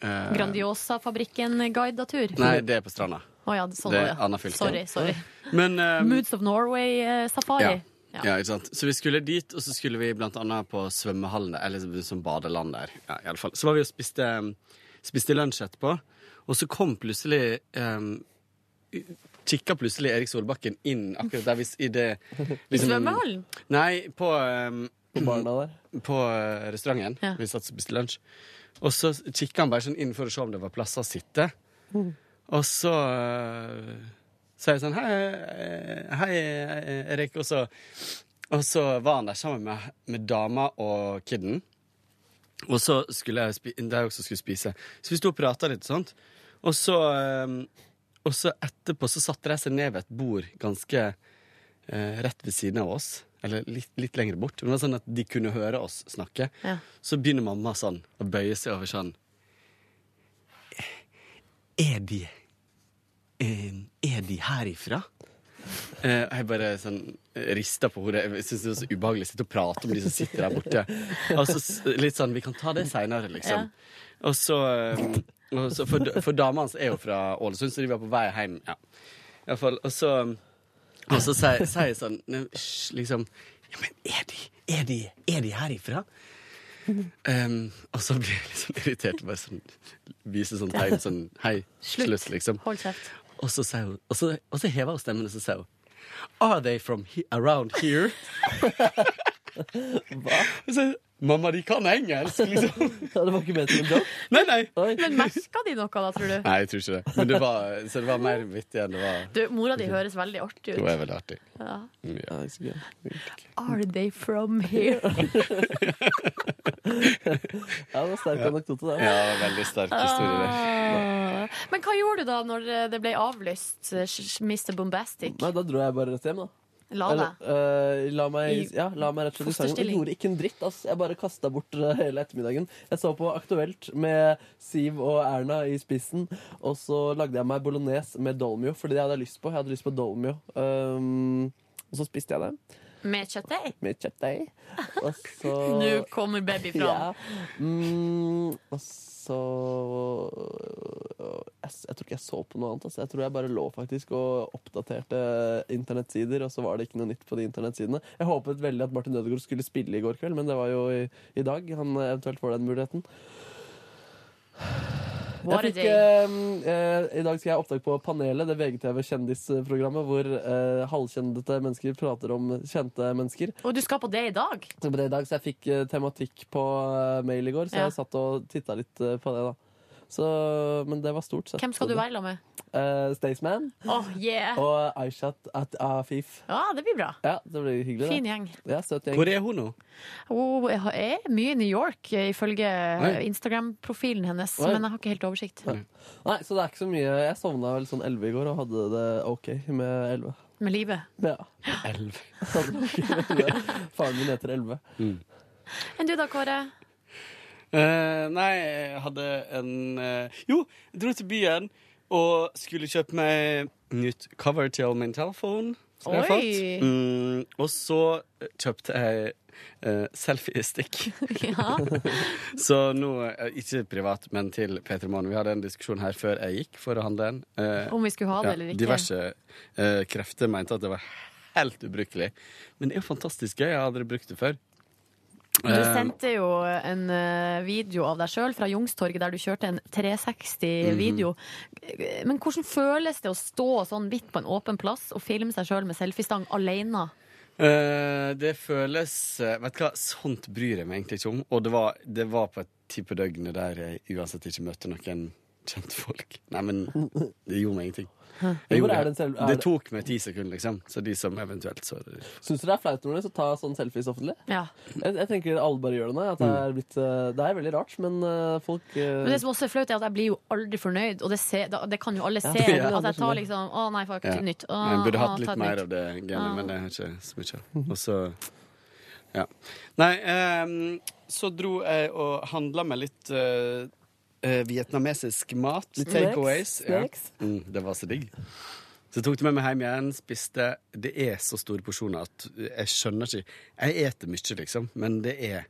S12: eh,
S2: Grandiosa-fabrikken-guidatur.
S12: Nei, det er på stranda.
S2: Å ja, sånn
S12: det
S2: var
S12: er
S2: det.
S12: annet fylke.
S2: Sorry, sorry.
S12: Men eh,
S2: Moods of eh, Norway-safari.
S12: ja. ja, ikke sant. Så vi skulle dit, og så skulle vi blant annet på svømmehallen der, eller som badeland der. Ja, i alle fall. Så var vi og spiste, spiste lunsj etterpå, og så kom plutselig um, Kikka plutselig Erik Solbakken inn akkurat der hvis i det liksom-
S2: svømmehallen?
S12: Nei, på um,
S5: På barna der?
S12: På eh, restauranten. Vi satt og spiste lunsj. Og så kikka han bare sånn inn for å se om det var plasser å sitte. Og så eh, sa jeg sånn Hei, eh, hei eh, Erik. Og så, og så var han der sammen med, med dama og kiden. Og så skulle jeg spi de også skulle spise. Så vi sto og prata litt, sånt. Og så, eh, og så etterpå så satte de seg ned ved et bord ganske eh, rett ved siden av oss. Eller litt, litt lenger bort. Men det var sånn at de kunne høre oss snakke.
S2: Ja.
S12: Så begynner mamma sånn å bøye seg over sånn Er de eh, Er de herifra? Eh, og jeg bare sånn rista på hodet. Jeg syns det er så ubehagelig å sitte og prate om de som sitter der borte. Altså, s- litt sånn Vi kan ta det seinere, liksom. Og så, eh, og så For, for dama hans er jo fra Ålesund, så de var på vei hjem. Ja. I hvert fall, og så Og så sier sier jeg sånn «Nei, hysj», Liksom Ja, men er de, er de, er de herifra? Um, og så blir jeg litt sånn irritert. Bare sånn, viser sånn tegn sånn Hei, slutt, liksom.
S2: Hold kjeft.
S12: Og så, sier hun, og, så, og så hever hun stemmen og så sier hun Are they from he around here? Hva? Og så, Mamma, de kan engelsk, liksom.
S5: det var ikke ment som en joke?
S12: Nei, nei.
S2: Men merka de noe da, tror du?
S12: Nei, jeg tror ikke det. Men det var, så det var mer vittig enn det var
S2: Du, Mora di høres veldig artig
S12: Det var
S2: ut.
S12: veldig artig.
S2: Ja.
S12: Mm, Ja.
S2: Are they from here?
S5: Ja, det var sterk anekdote, det.
S12: Ja, veldig sterk historie der.
S2: Ah. Men hva gjorde du da når eh, det ble avlyst, eh, Sh- Sh- Mr. Bombastic?
S5: Nei, da dro jeg bare rett hjem, da.
S2: La
S5: Eller,
S2: deg.
S5: eh, la meg,
S2: I
S5: ja, la meg rett og slett i sangen. Jeg
S2: fosterstilling.
S5: gjorde ikke en dritt. Ass. Jeg bare kasta bort eh, hele ettermiddagen. Jeg så på Aktuelt med Siv og Erna i spissen, og så lagde jeg meg bolognese med dolmio, fordi det hadde jeg lyst på. Jeg hadde lyst på dolmio. Um, og så spiste jeg det
S2: Med kjøttdeig?
S5: med kjøttdeig. Og så
S2: Nå kommer baby fram.
S5: Ja. Mm, og så jeg, s- jeg tror ikke jeg så på noe annet. Altså. Jeg tror jeg bare lå faktisk og oppdaterte internettsider, og så var det ikke noe nytt på de internettsidene. Jeg håpet veldig at Martin Ødegaard skulle spille i går kveld, men det var jo i, i dag han eh, eventuelt får den muligheten.
S2: What a
S5: Jeg fikk,
S2: day.
S5: eh, eh, I dag skal jeg ha opptak på Panelet, det VGTV-kjendisprogrammet hvor eh, halvkjendete mennesker prater om kjente mennesker.
S2: Og du skal på det i dag?
S5: Så på det i dag, så jeg fikk eh, tematikk på eh, mail i går, så
S2: Ja.
S5: jeg satt og titta litt eh, på det. da så, Men det var stort sett.
S2: Hvem skal du være sammen med?
S5: Eh, Staysman
S2: Åh, yeah!
S5: og Aishat at Afif.
S2: Ja, det blir bra.
S5: Ja, det blir hyggelig.
S2: Fin
S5: da.
S2: gjeng.
S5: Ja, søt gjeng.
S12: Hvor er hun nå?
S2: Hun er mye i New York, eh, ifølge eh, Instagram-profilen hennes,
S5: Oi.
S2: men jeg har ikke helt oversikt.
S5: Nei, så det er ikke så mye. Jeg sovna vel sånn 11 i går og hadde det OK med 11.
S2: Med livet.
S5: Ja.
S12: Elv.
S5: Hadde det ok med 11. Faren min heter 11.
S2: Enn du da, Kåre?
S12: Eh, nei, jeg hadde en eh, Jo, jeg dro til byen og skulle kjøpe meg nytt cover til min telefon. Som jeg
S2: Oi.
S12: fant. Mm, og så eh, kjøpte jeg eh, selfiestick.
S2: Ja.
S12: Så nå, eh, ikke privat, men til P3 Morgen. Vi hadde en diskusjon her før jeg gikk for å handle en. Eh,
S2: Om vi skulle ha det eller ikke.
S12: Diverse eh, krefter mente at det var helt ubrukelig. Men det er jo fantastisk gøy. Jeg har aldri brukt det før.
S2: Du
S12: Eh,
S2: sendte jo en eh, video av deg sjøl fra Youngstorget der du kjørte en 360-video.
S12: Mhm.
S2: Men hvordan føles det å stå sånn midt på en åpen plass og filme seg sjøl med selfiestang alene?
S12: Eh, det føles eh, Vet du hva, sånt bryr jeg meg egentlig ikke om. Og det var, det var på et tid på døgnet der jeg uansett ikke møtte noen kjentfolk. Nei, men det gjorde meg ingenting. Jeg
S5: Hvor er
S12: gjorde,
S5: den selv- er
S12: det
S5: det-
S12: tok meg ti sekunder, liksom. Så de som eventuelt så det.
S5: Syns du det er flaut når du tar sånn selfies offentlig?
S2: Ja.
S5: Jeg, jeg tenker alle bare gjør det nå. At
S12: Mm.
S5: det, er blitt, eh, det er veldig rart, men eh, folk eh,
S2: Men det som også er flaut, er at jeg blir jo aldri fornøyd, og det, ser, da- det kan jo alle se.
S12: Ja.
S2: At jeg tar liksom Å nei, fuck,
S12: Ja.
S2: nytt. Å,
S12: Jeg burde
S2: å,
S12: hatt
S2: ta
S12: litt
S2: et
S12: mer
S2: nytt.
S12: av det
S2: Ja.
S12: genet, men jeg har ikke så mye. av. Og så Ja. Nei, ehm, så dro jeg og handla med litt eh, eh, vietnamesisk mat.
S5: Litt
S12: Takeaways.
S5: snacks,
S12: Ja.
S5: snacks.
S12: Mm, det var så digg. Så tok det med meg hjem igjen, spiste Det er så store porsjoner at jeg skjønner ikke Jeg eter mye, liksom, men det er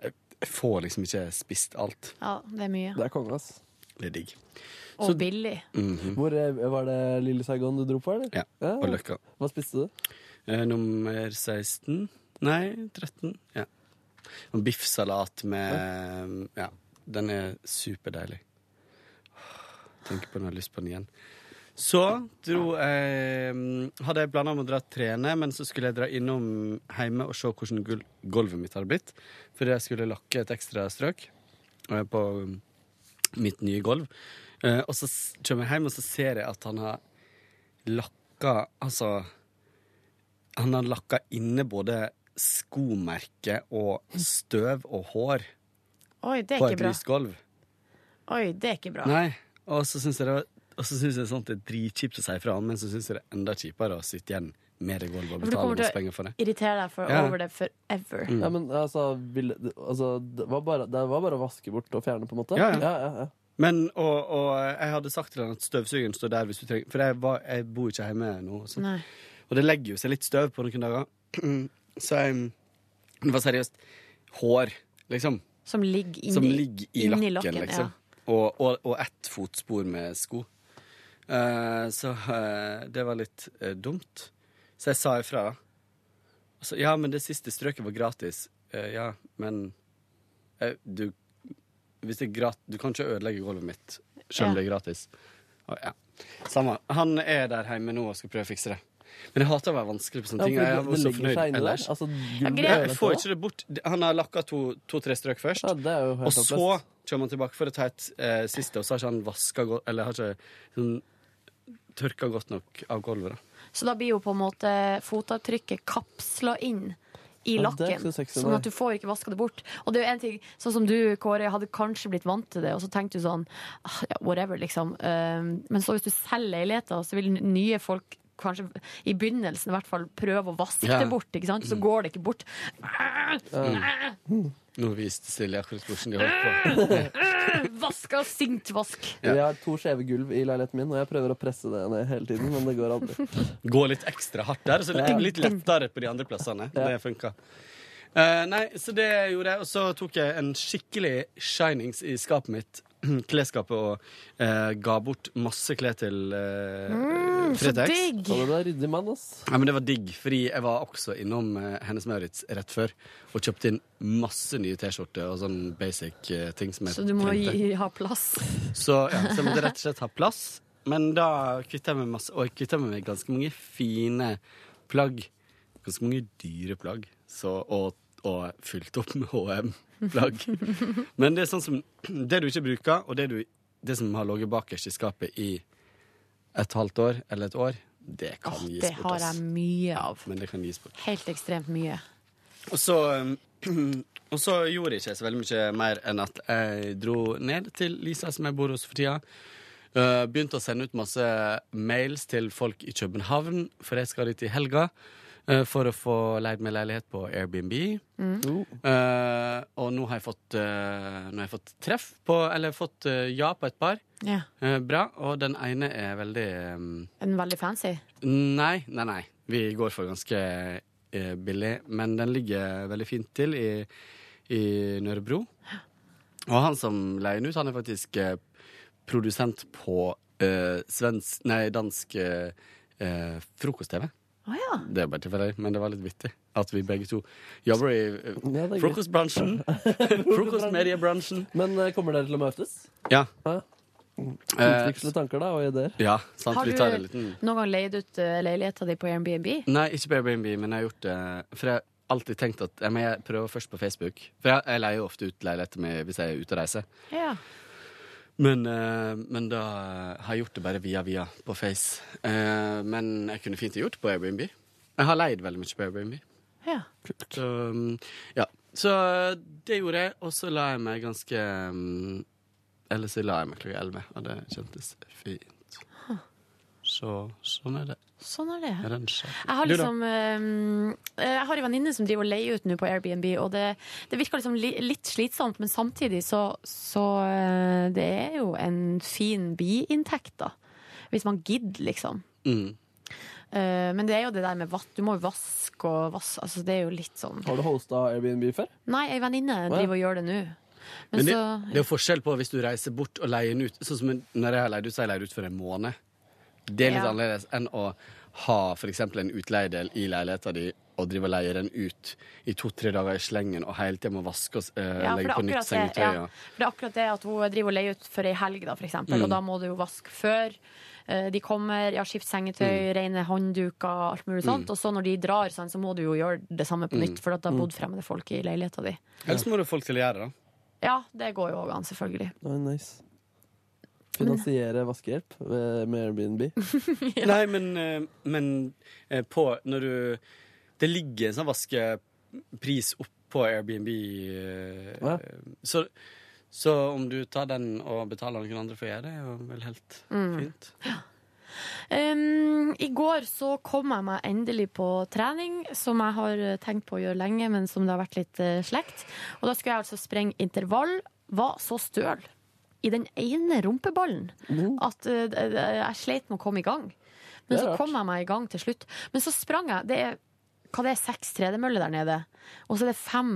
S12: Jeg får liksom ikke spist alt.
S2: Ja, det er mye.
S5: Det er konge, ass.
S12: Det er digg.
S2: Og billig.
S5: Hvor eh, Var det Lille Saigon du dro på, eller?
S12: Mm. Ja. Og Løkka.
S5: Hva spiste du?
S12: Eh, nummer 16 Nei, 13. Ja. Og biffsalat med Ja. Den er superdeilig. Tenk på når jeg har lyst på den igjen. Så dro jeg Hadde jeg planer om å dra og trene, men så skulle jeg dra innom hjemme og se hvordan gul- gulvet mitt hadde blitt. Fordi jeg skulle lakke et ekstra strøk eh, på mitt nye gulv. Eh, Og så s- kommer jeg hjem, og så ser jeg at han har lakka Altså han har lakka inne både skomerke og støv og hår
S2: Oi, det er
S12: på et
S2: ikke bra.
S12: lysgulv.
S2: Oi, det er ikke bra.
S12: Nei, og så syns jeg det var og så synes jeg sånt det er dritkjipt å si ifra om, men så syns jeg det er enda kjipere å sitte igjen med det gulvet
S2: For du
S12: og betale
S2: kommer
S12: masse
S2: til
S12: penger
S2: å
S12: for det.
S2: irritere deg for,
S12: Ja. Mm.
S2: over det forever.
S5: Ja, men altså, vil, altså det, var bare, det var bare å vaske bort og fjerne, på en måte?
S12: Ja, ja.
S5: ja, ja,
S12: Men, og, og jeg hadde sagt til han at støvsugeren står der hvis du trenger For jeg, var, jeg bor ikke hjemme nå. Og, sånt.
S2: Nei.
S12: og det legger jo seg litt støv på noen dager. Så jeg, det var seriøst hår, liksom.
S2: Som ligger inni,
S12: Som ligger i
S2: inni
S12: lakken, liksom. Og, og, og ett fotspor med sko. Eh, så eh, det var litt eh, dumt. Så jeg sa ifra. da. Altså, ja, men det siste strøket var gratis. Eh, ja, men eh, du Hvis det er grat... Du kan ikke ødelegge gulvet mitt
S2: Ja.
S12: selv om det er gratis. Å, ja. Samme. Han er der hjemme nå og skal prøve å fikse det. Men jeg hater å være vanskelig på
S3: Ja,
S12: sånne ting.
S3: for det-
S12: Jeg er
S3: det
S12: så
S3: legger
S12: fornøyd
S3: seg inni der.
S12: ellers.
S3: Altså, gulvet
S12: jeg,
S3: er jo
S12: får
S3: etterpå.
S12: ikke det bort. Han har lakka to-tre strøk først,
S5: sånn,
S3: helt
S12: og så
S3: håpløst.
S12: kommer han tilbake for å ta et eh, siste, og så har ikke han vaska godt Eller har ikke sånn, tørka godt nok av gulvet. da.
S2: Så da blir jo på en måte fotavtrykket kapsla inn i
S12: Ja, det er
S2: lakken,
S12: ikke så sexy,
S2: sånn at
S12: nei.
S2: du får ikke vaska det bort. Og det er jo en ting, sånn som du, Kåre, hadde kanskje blitt vant til det, og så tenkte du sånn ah, ja, whatever, liksom. Um, men så hvis du selger leiligheter, så vil nye folk kanskje i begynnelsen i hvert fall prøve å vaske
S12: Ja.
S2: det bort, ikke sant? Så
S12: Mm.
S2: går det ikke bort.
S12: Mm. Nå viste Silje akkurat hvordan de holdt på.
S2: Vaska sinktvask.
S3: Jeg har to skjeve gulv i leiligheten min, og jeg prøver å presse det ned hele tiden, men det går aldri.
S12: Gå litt ekstra hardt der, så litt,
S3: Ja.
S12: litt lettere på de andre plassene.
S3: Ja.
S12: Det funka. Eh, nei, så det gjorde jeg. Og så tok jeg en skikkelig shinings i skapet mitt. Klesskapet og eh, ga bort masse klær til uh,
S3: Mm, så
S12: Fretex.
S3: digg. Ja, men du er ryddig mann, ass.
S12: Ja, men det var digg, fordi jeg var også innom eh, Hennes Maurits rett før og kjøpte inn masse nye T-skjorter og sånn basic eh, ting som jeg
S2: Så du må
S12: trengte.
S2: gi, ha plass.
S12: Så, ja, så jeg måtte rett og slett ha plass. Men da kvitta jeg meg masse, og jeg kvitta meg med ganske mange fine plagg. Ganske mange dyre plagg. Så, og, og fylt opp med HM-plagg. Men det er sånn som Det du ikke bruker, og det, du, det som har ligget bakerst i skapet i et halvt år eller et år, det kan gis
S2: Det
S12: bort.
S2: har
S12: ass.
S2: jeg mye av.
S12: Men det kan gis bort.
S2: Helt ekstremt mye.
S12: Og så, um, og så gjorde jeg ikke så veldig mye mer enn at jeg dro ned til Lisa, som jeg bor hos for tida. Uh, begynte å sende ut masse mails til folk i København, for jeg skal dit i helga. uh, For å få leid meg leilighet på Airbnb.
S8: Mm. Oh.
S12: Uh, og nå har jeg fått, uh, nå har jeg fått treff på Eller fått uh, ja på et par.
S2: Ja.
S12: Uh, bra. Og den ene er veldig um,
S2: En veldig fancy.
S12: Nei, nei, nei. Vi går for ganske eh, billig, men den ligger veldig fint til i, i Nørrebro. Og han som leier den ut, han er faktisk eh, produsent på eh, svensk Nei, dansk eh, eh, frokost-TV.
S2: Å ja.
S12: Det er bare tilfeldig, men det var litt vittig at vi begge to jobber i eh,
S3: det er gøy.
S12: frokostbransjen. Frokostmediebransjen.
S3: Men eh, kommer dere til å møtes?
S12: Ja. Eh,
S3: Utveksle tanker da, og ideer?
S12: ja, sant.
S2: Har du
S12: Vi tar en liten
S2: noen gang leid ut eh, leiligheta di på Airbnb?
S12: Nei, ikke på Airbnb, men jeg har gjort det For jeg har alltid tenkt at jeg, men jeg prøver først på Facebook. For jeg, jeg leier jo ofte ut leiligheter med, hvis jeg er ute og reiser.
S2: Ja.
S12: Men, eh, men da har jeg gjort det bare via via på Face. Eh, men jeg kunne fint ha gjort det på Airbnb. Jeg har leid veldig mye på Airbnb.
S2: Ja.
S12: Så, um, ja. så det gjorde jeg, og så la jeg meg ganske um, Eller så la jeg meg klokka elleve, og det kjentes fint. Så sånn er det.
S2: Sånn er det.
S12: Er det en sak?
S2: Jeg har
S12: Du da?
S2: liksom eh, Jeg har en venninne som driver og leier ut nå på Airbnb, og det, det virker liksom li, litt slitsomt, men samtidig så, så eh, Det er jo en fin biinntekt, da. Hvis man gidder, liksom.
S12: Mm.
S2: Eh, men det er jo det der med vatt. Du må jo vaske og vaske. Altså, det er jo litt sånn
S3: Har du hosta Airbnb før?
S2: Nei, ei venninne
S12: ja.
S2: driver og gjør det nå. Men,
S12: Men det,
S2: så
S12: det er jo forskjell på hvis du reiser bort og leier den ut. Sånn som når jeg har leid ut, så har jeg leid ut for en måned. Det er litt
S2: Ja.
S12: annerledes enn å ha f.eks. en utleiedel i leiligheta di og drive og leie den ut i to-tre dager i slengen og hele tida må vaske og eh,
S2: Ja, for det,
S12: legge
S2: er
S12: på nytt
S2: akkurat det,
S12: sengetøy.
S2: ja,
S12: og-
S2: for det er akkurat det at hun driver og leier ut for ei helg, da, for eksempel.
S12: Mm.
S2: Og da må du jo vaske før. eh, De kommer, ja, skift sengetøy, rene håndduker, alt mulig sånt.
S12: Mm.
S2: Og så når de drar, sånn, så må du jo gjøre det samme på
S12: Mm.
S2: nytt, for at det har bodd
S12: Mm.
S2: fremmede folk i leiligheta di.
S12: Ellers må du ha folk til å gjøre det, da.
S2: Ja, det går jo òg an, selvfølgelig.
S3: Nei, nice. Finansiere vaskehjelp
S5: eh,
S3: ved- med Airbnb.
S12: Eh, Nei, men, eh, men eh, på Når du Det ligger en sånn vaskepris oppå Airbnb, eh, så, så om du tar den og betaler noen andre for å gjøre det, er jo vel helt
S2: Mm.
S12: fint.
S2: Um, I går så kom jeg meg endelig på trening, som jeg har eh, tenkt på å gjøre lenge, men som det har vært litt eh, slekt. Og da skulle jeg altså sprenge intervall. Var så støl i den ene rumpeballen at eh, d- d- jeg sleit med å komme i gang. Men
S13: Mm. Det er
S2: så
S13: rart.
S2: kom jeg meg i gang til slutt. Men så sprang jeg. Det er, hva det er seks tredemøller der nede, og så er det fem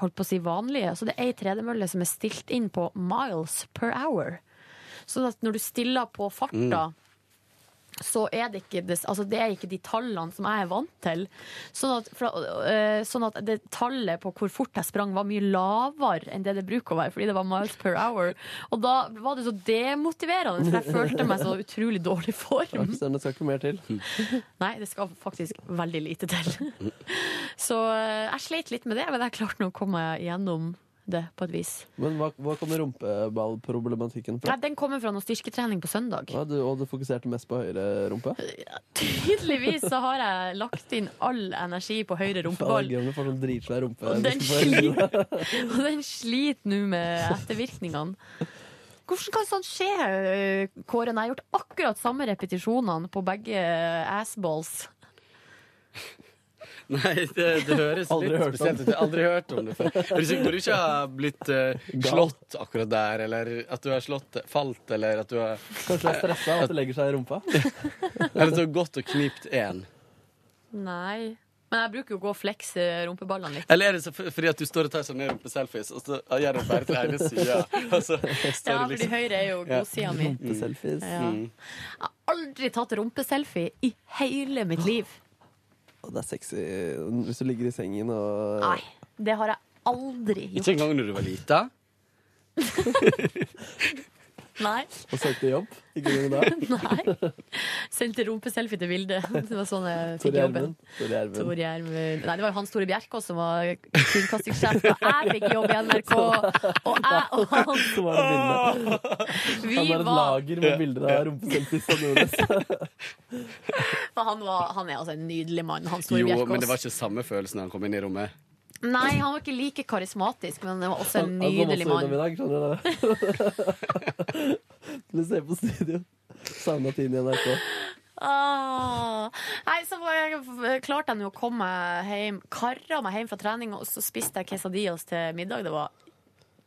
S2: holdt på å si vanlige. Så det er ei tredemølle som er stilt inn på miles per hour. Sånn at når du stiller på farta
S12: Mm.
S2: så er det ikke, det, altså det er ikke de tallene som jeg er vant til. Sånn at, for, øh, sånn at det tallet på hvor fort jeg sprang, var mye lavere enn det det bruker å være, fordi det var miles per hour. Og da var det så demotiverende, for jeg følte meg så utrolig dårlig form.
S5: Takk, Steinar, det skal ikke mer til.
S2: Nei, det skal faktisk veldig lite til. Så øh, jeg sleit litt med det, men jeg klarte nå å komme meg gjennom det på et vis.
S5: Men hva, hva kommer rumpeballproblematikken
S2: Nei,
S5: fra?
S2: den kommer fra noe styrketrening på søndag.
S5: Ja, du, og du fokuserte mest på høyre rumpe?
S2: Tydeligvis så har jeg lagt inn all energi på høyre rumpeball.
S5: Faen, Guillaume får sånn dritsvær rumpe.
S2: Og den sliter Og den sliter nå med ettervirkningene. Hvordan kan sånt skje, Kåren? Jeg har gjort akkurat samme repetisjonene på begge assballs.
S9: Nei, det, det høres
S2: Aldri
S9: litt
S2: hørt om.
S9: spesielt ut. Jeg har aldri hørt om det før. Er du sikker på at du ikke har blitt eh, slått akkurat der, eller at du har slått, falt, eller at du har
S5: Kanskje det er stressa at det legger seg i rumpa?
S9: Eller at du har gått og knipt én?
S2: Nei. Men jeg bruker jo å gå og flekse rumpeballene litt.
S9: Eller er det så, fordi at du står og tar sånn rumpeselfies, og så gjør du bare til ene sida? Og så står
S2: Ja,
S9: du
S2: fordi
S9: liksom
S2: høyre er jo godsida mi.
S5: Rumpeselfies.
S2: Ja. Jeg har aldri tatt rumpeselfie i hele mitt liv.
S5: Og det er sexy hvis du ligger i sengen og
S2: Nei, det har jeg aldri
S9: Ikke
S2: gjort.
S9: engang når du var lita?
S2: Nei.
S5: Og søkte jobb? Ikke engang da?
S2: Nei. Sendte rumpeselfie til Vilde. Det var sånn jeg fikk
S5: Tore
S2: jobben.
S5: Gjermund. Tore Gjermund.
S2: Tor Gjermund Nei, det var jo Hans Tore Bjerkås som var kringkastingssjef. Og jeg fikk jobb i NRK. Og jeg og han
S5: Så var det bildet.
S2: Vi
S5: Han har et
S2: var,
S5: lager med bilder av rumpeselfies og Nordnes.
S2: for han, var, han er altså en nydelig mann, Hans Tore
S9: Jo,
S2: Bjerkås.
S9: men det var ikke samme følelsen da han kom inn i rommet.
S2: Nei, han var ikke like karismatisk, men han var også en
S5: Han- han kom
S2: nydelig
S5: også innom
S2: mann.
S5: i dag, skjønner du det? Skulle se på studio. Savna tiden i NRK.
S2: Ah. Nei, så var jeg, f- klarte jeg nå å komme meg hjem, karra meg hjem fra trening, og så spiste jeg quesadillas til middag. Det var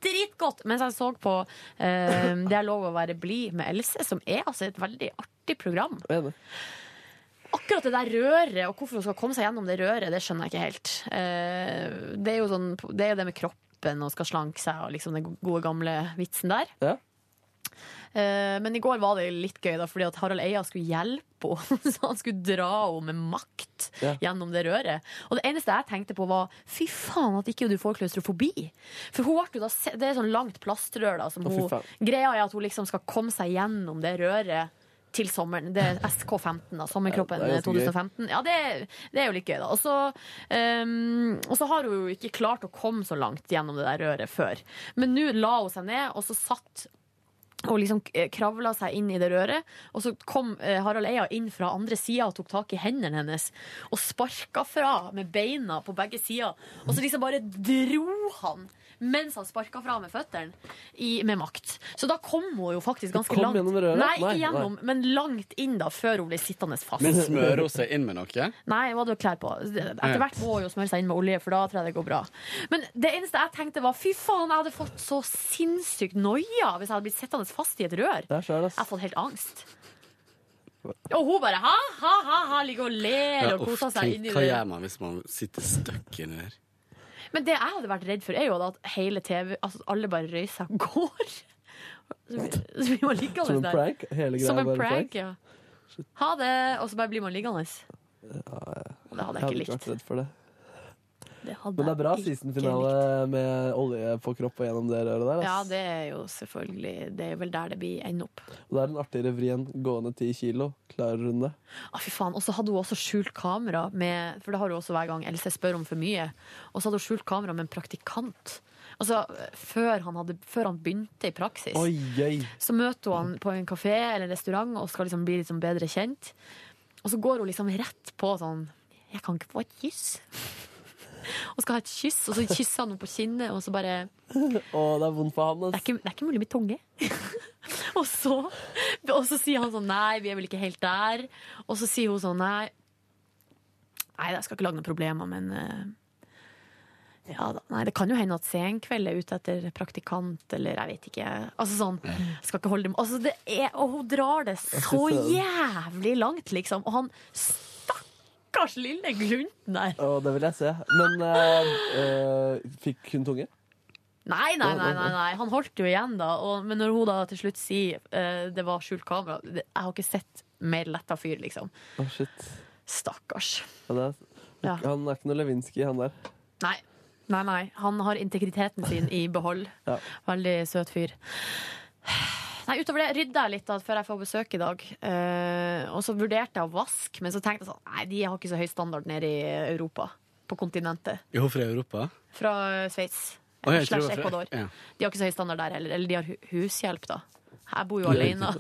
S2: dritgodt! Mens jeg så på eh, Det er lov å være blid med Else, som er altså et veldig artig program.
S5: Jeg er enig.
S2: Akkurat det der røret, og hvorfor hun skal komme seg gjennom det røret, det skjønner jeg ikke helt. Eh, det er jo sånn, det er jo det med kroppen og skal slanke seg og liksom den gode gamle vitsen der.
S5: Ja.
S2: Eh, Men i går var det litt gøy, da, fordi at Harald Eia skulle hjelpe henne. Så han skulle dra henne med makt
S5: Ja.
S2: gjennom det røret. Og det eneste jeg tenkte på, var fy faen at ikke du får klaustrofobi. For hun ble jo da, se- det er sånn langt plastrør. da som
S5: Å, fy
S2: hun,
S5: faen.
S2: Greia er at hun liksom skal komme seg gjennom det røret. Til sommeren. Det er SK15, da. Sommerkroppen
S5: Ja, det er ganske gøy.
S2: 2015. Ja, det, det er jo litt gøy, da. Og så, ehm, og så har hun jo ikke klart å komme så langt gjennom det der røret før. Men nå la hun seg ned, og så satt og liksom eh, kravla seg inn i det røret. Og så kom eh, Harald Eia inn fra andre sida og tok tak i hendene hennes. Og sparka fra med beina på begge sider. Og så liksom bare dro han mens han sparka fra med føttene i- med makt. Så da kom hun jo faktisk ganske
S5: Kom
S2: langt.
S5: gjennom røret?
S2: Nei, ikke
S5: Nei, nei.
S2: gjennom, men langt inn da, før hun ble sittende fast.
S9: Men smører hun seg inn med noe?
S2: Nei, hva hadde du klær på? Etter hvert må hun jo smøre seg inn med olje, for da tror jeg det går bra. Men det eneste jeg tenkte var fy faen, jeg hadde fått så sinnssykt noia hvis jeg hadde blitt sittende fast i et rør.
S5: Der skjer det,
S2: Jeg har
S5: ass.
S2: fått helt angst. Og hun bare ha, ha, ha, ha ligger og ler og koser seg inni
S9: hva
S2: det.
S9: gjør man hvis man sitter stuck inni der?
S2: Men det jeg hadde vært redd for, er jo da at hele TV, altså at alle bare røyser og går. Så blir- så blir man
S5: Som en
S2: liggende der.
S5: prank. Hele greia
S2: Som
S5: er
S2: en
S5: bare prank.
S2: prank, ja. Ha det, og så bare blir man liggende. Og
S5: Jeg
S2: det hadde jeg
S5: hadde
S2: ikke
S5: ikke vært
S2: likt.
S5: redd for det.
S2: Det hadde
S5: Men det er bra
S2: jeg ikke
S5: seasonfinale med olje på kropp og gjennom det røret der.
S2: Ja,
S5: ass.
S2: det er jo selvfølgelig Det er vel der det blir ender opp.
S5: Og det er en artig revri enn gående ti kilo. Klarer hun det?
S2: Å, fy faen. Og så hadde hun også skjult kamera, med, for det har hun også hver gang Else spør om for mye. Og så hadde hun skjult kamera med en praktikant. Altså, før han, hadde, før han begynte i praksis.
S5: Oi, oi.
S2: Så møter hun han på en kafé eller en restaurant og skal liksom bli litt sånn bedre kjent. Og så går hun liksom rett på sånn Jeg kan ikke få et kyss. Og skal ha et kyss, og så kysser han henne på kinnet, og så bare
S5: Å, det er vondt for han.
S2: det er,
S5: Ass.
S2: ikke, det er ikke mulig med tunge. og, så, og så sier han sånn nei, vi er vel ikke helt der. Og så sier hun sånn nei, nei jeg skal ikke lage noen problemer, men eh, ja, da, nei, det kan jo hende at Senkveld er ute etter praktikant, eller jeg vet ikke. Altså sånn, jeg skal ikke holde dem altså, det er, Og hun drar det så jævlig langt, liksom. Og han stakkars lille glunten der.
S5: Å, det vil jeg se. Men eh, eh, fikk hun tunge?
S2: Nei, nei, nei, nei, nei. han holdt jo igjen da. Og, men når hun da til slutt sier eh, det var skjult kamera det, Jeg har ikke sett mer letta fyr, liksom.
S5: Å, shit.
S2: Stakkars.
S5: Ja, det er,
S2: Ja.
S5: Han er ikke noe Lewinsky, han der.
S2: Nei. Nei, nei. Han har integriteten sin i behold.
S5: Ja.
S2: Veldig søt fyr. Nei, Utover det rydda jeg litt da, før jeg får besøk i dag. Eh, og så vurderte jeg å vaske, men så tenkte jeg sånn Nei, de har ikke så høy standard nede i Europa. På kontinentet.
S9: Er hun fra Europa?
S2: Fra Sveits.
S9: Å,
S2: slash
S9: jeg tror det var fra-
S2: Ecuador.
S9: ja.
S2: De har ikke så høy standard der heller. Eller de har hu- hushjelp, da. Jeg bor jo
S9: Det er
S2: alene.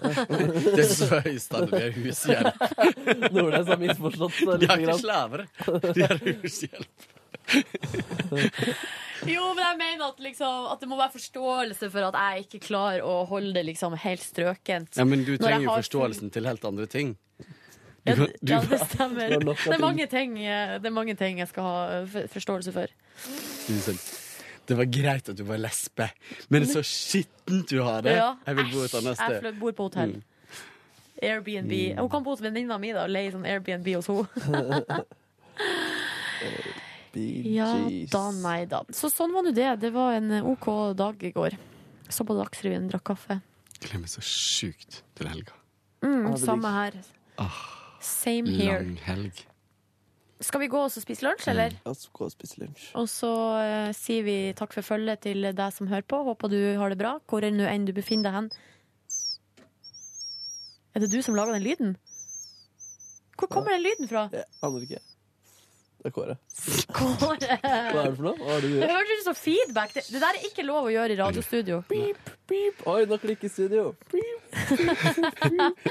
S9: Det er så høy standard. Vi har hushjelp.
S5: Nordnes har misforstått det
S9: De
S5: lite
S9: har ikke
S5: grann.
S9: slavere. De har hushjelp.
S2: Jo, men jeg mener at, liksom, at det må være forståelse for at jeg ikke klarer å holde det liksom helt strøkent.
S9: Ja, men du
S2: Når jeg
S9: trenger jo
S2: har
S9: forståelsen til helt andre ting. Du
S2: Ja,
S9: kan- du-
S2: ja, det stemmer.
S9: Det var nok av
S2: Det er,
S9: ting.
S2: mange ting, eh, det er mange ting jeg skal ha eh, for- forståelse for.
S9: Unnskyld. sånn, Det var greit at du var lesbe, men så skittent du har det!
S2: Ja,
S9: Jeg vil bo et annet
S2: æsj, jeg
S9: sted.
S2: flyt- bor på hotell.
S9: Mm.
S2: Airbnb. Hun kan bo hos venninna mi da, og leie sånn Airbnb hos henne. ja da, nei da. Så sånn var nå det. Det var en eh, OK dag i går. Så på Dagsrevyen, drakk kaffe.
S9: Glemmer så sjukt til helga.
S2: Mm,
S9: Ha Ah, det
S2: samme
S9: digg.
S2: her. Same here.
S9: Lang Mm. helg.
S2: Skal vi gå og så spise lunsj, eller?
S5: Ja, så gå og spise lunsj.
S2: Og så eh, sier vi takk for følget til deg som hører på. Håper du har det bra, hvor enn- enn du befinner deg hen. Er det du som lager den lyden? Hvor kommer den lyden fra?
S5: Aner ikke. Det er Kåre.
S2: Kåre!
S5: Hva er det for noe? Hva er det du
S2: Det
S5: gjør?
S2: hørtes ut som feedback. Det, det der er ikke lov å gjøre i radiostudio.
S5: Beep. Oi, nå klikker studio.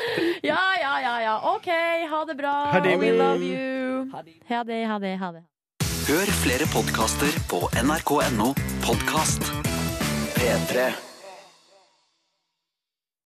S2: Ja, ja, ja, ja. OK, ha det bra.
S14: Ha det.
S2: We love you. Ha det, ha det, ha det.
S14: Hør flere podkaster på nrk.no podkast P3.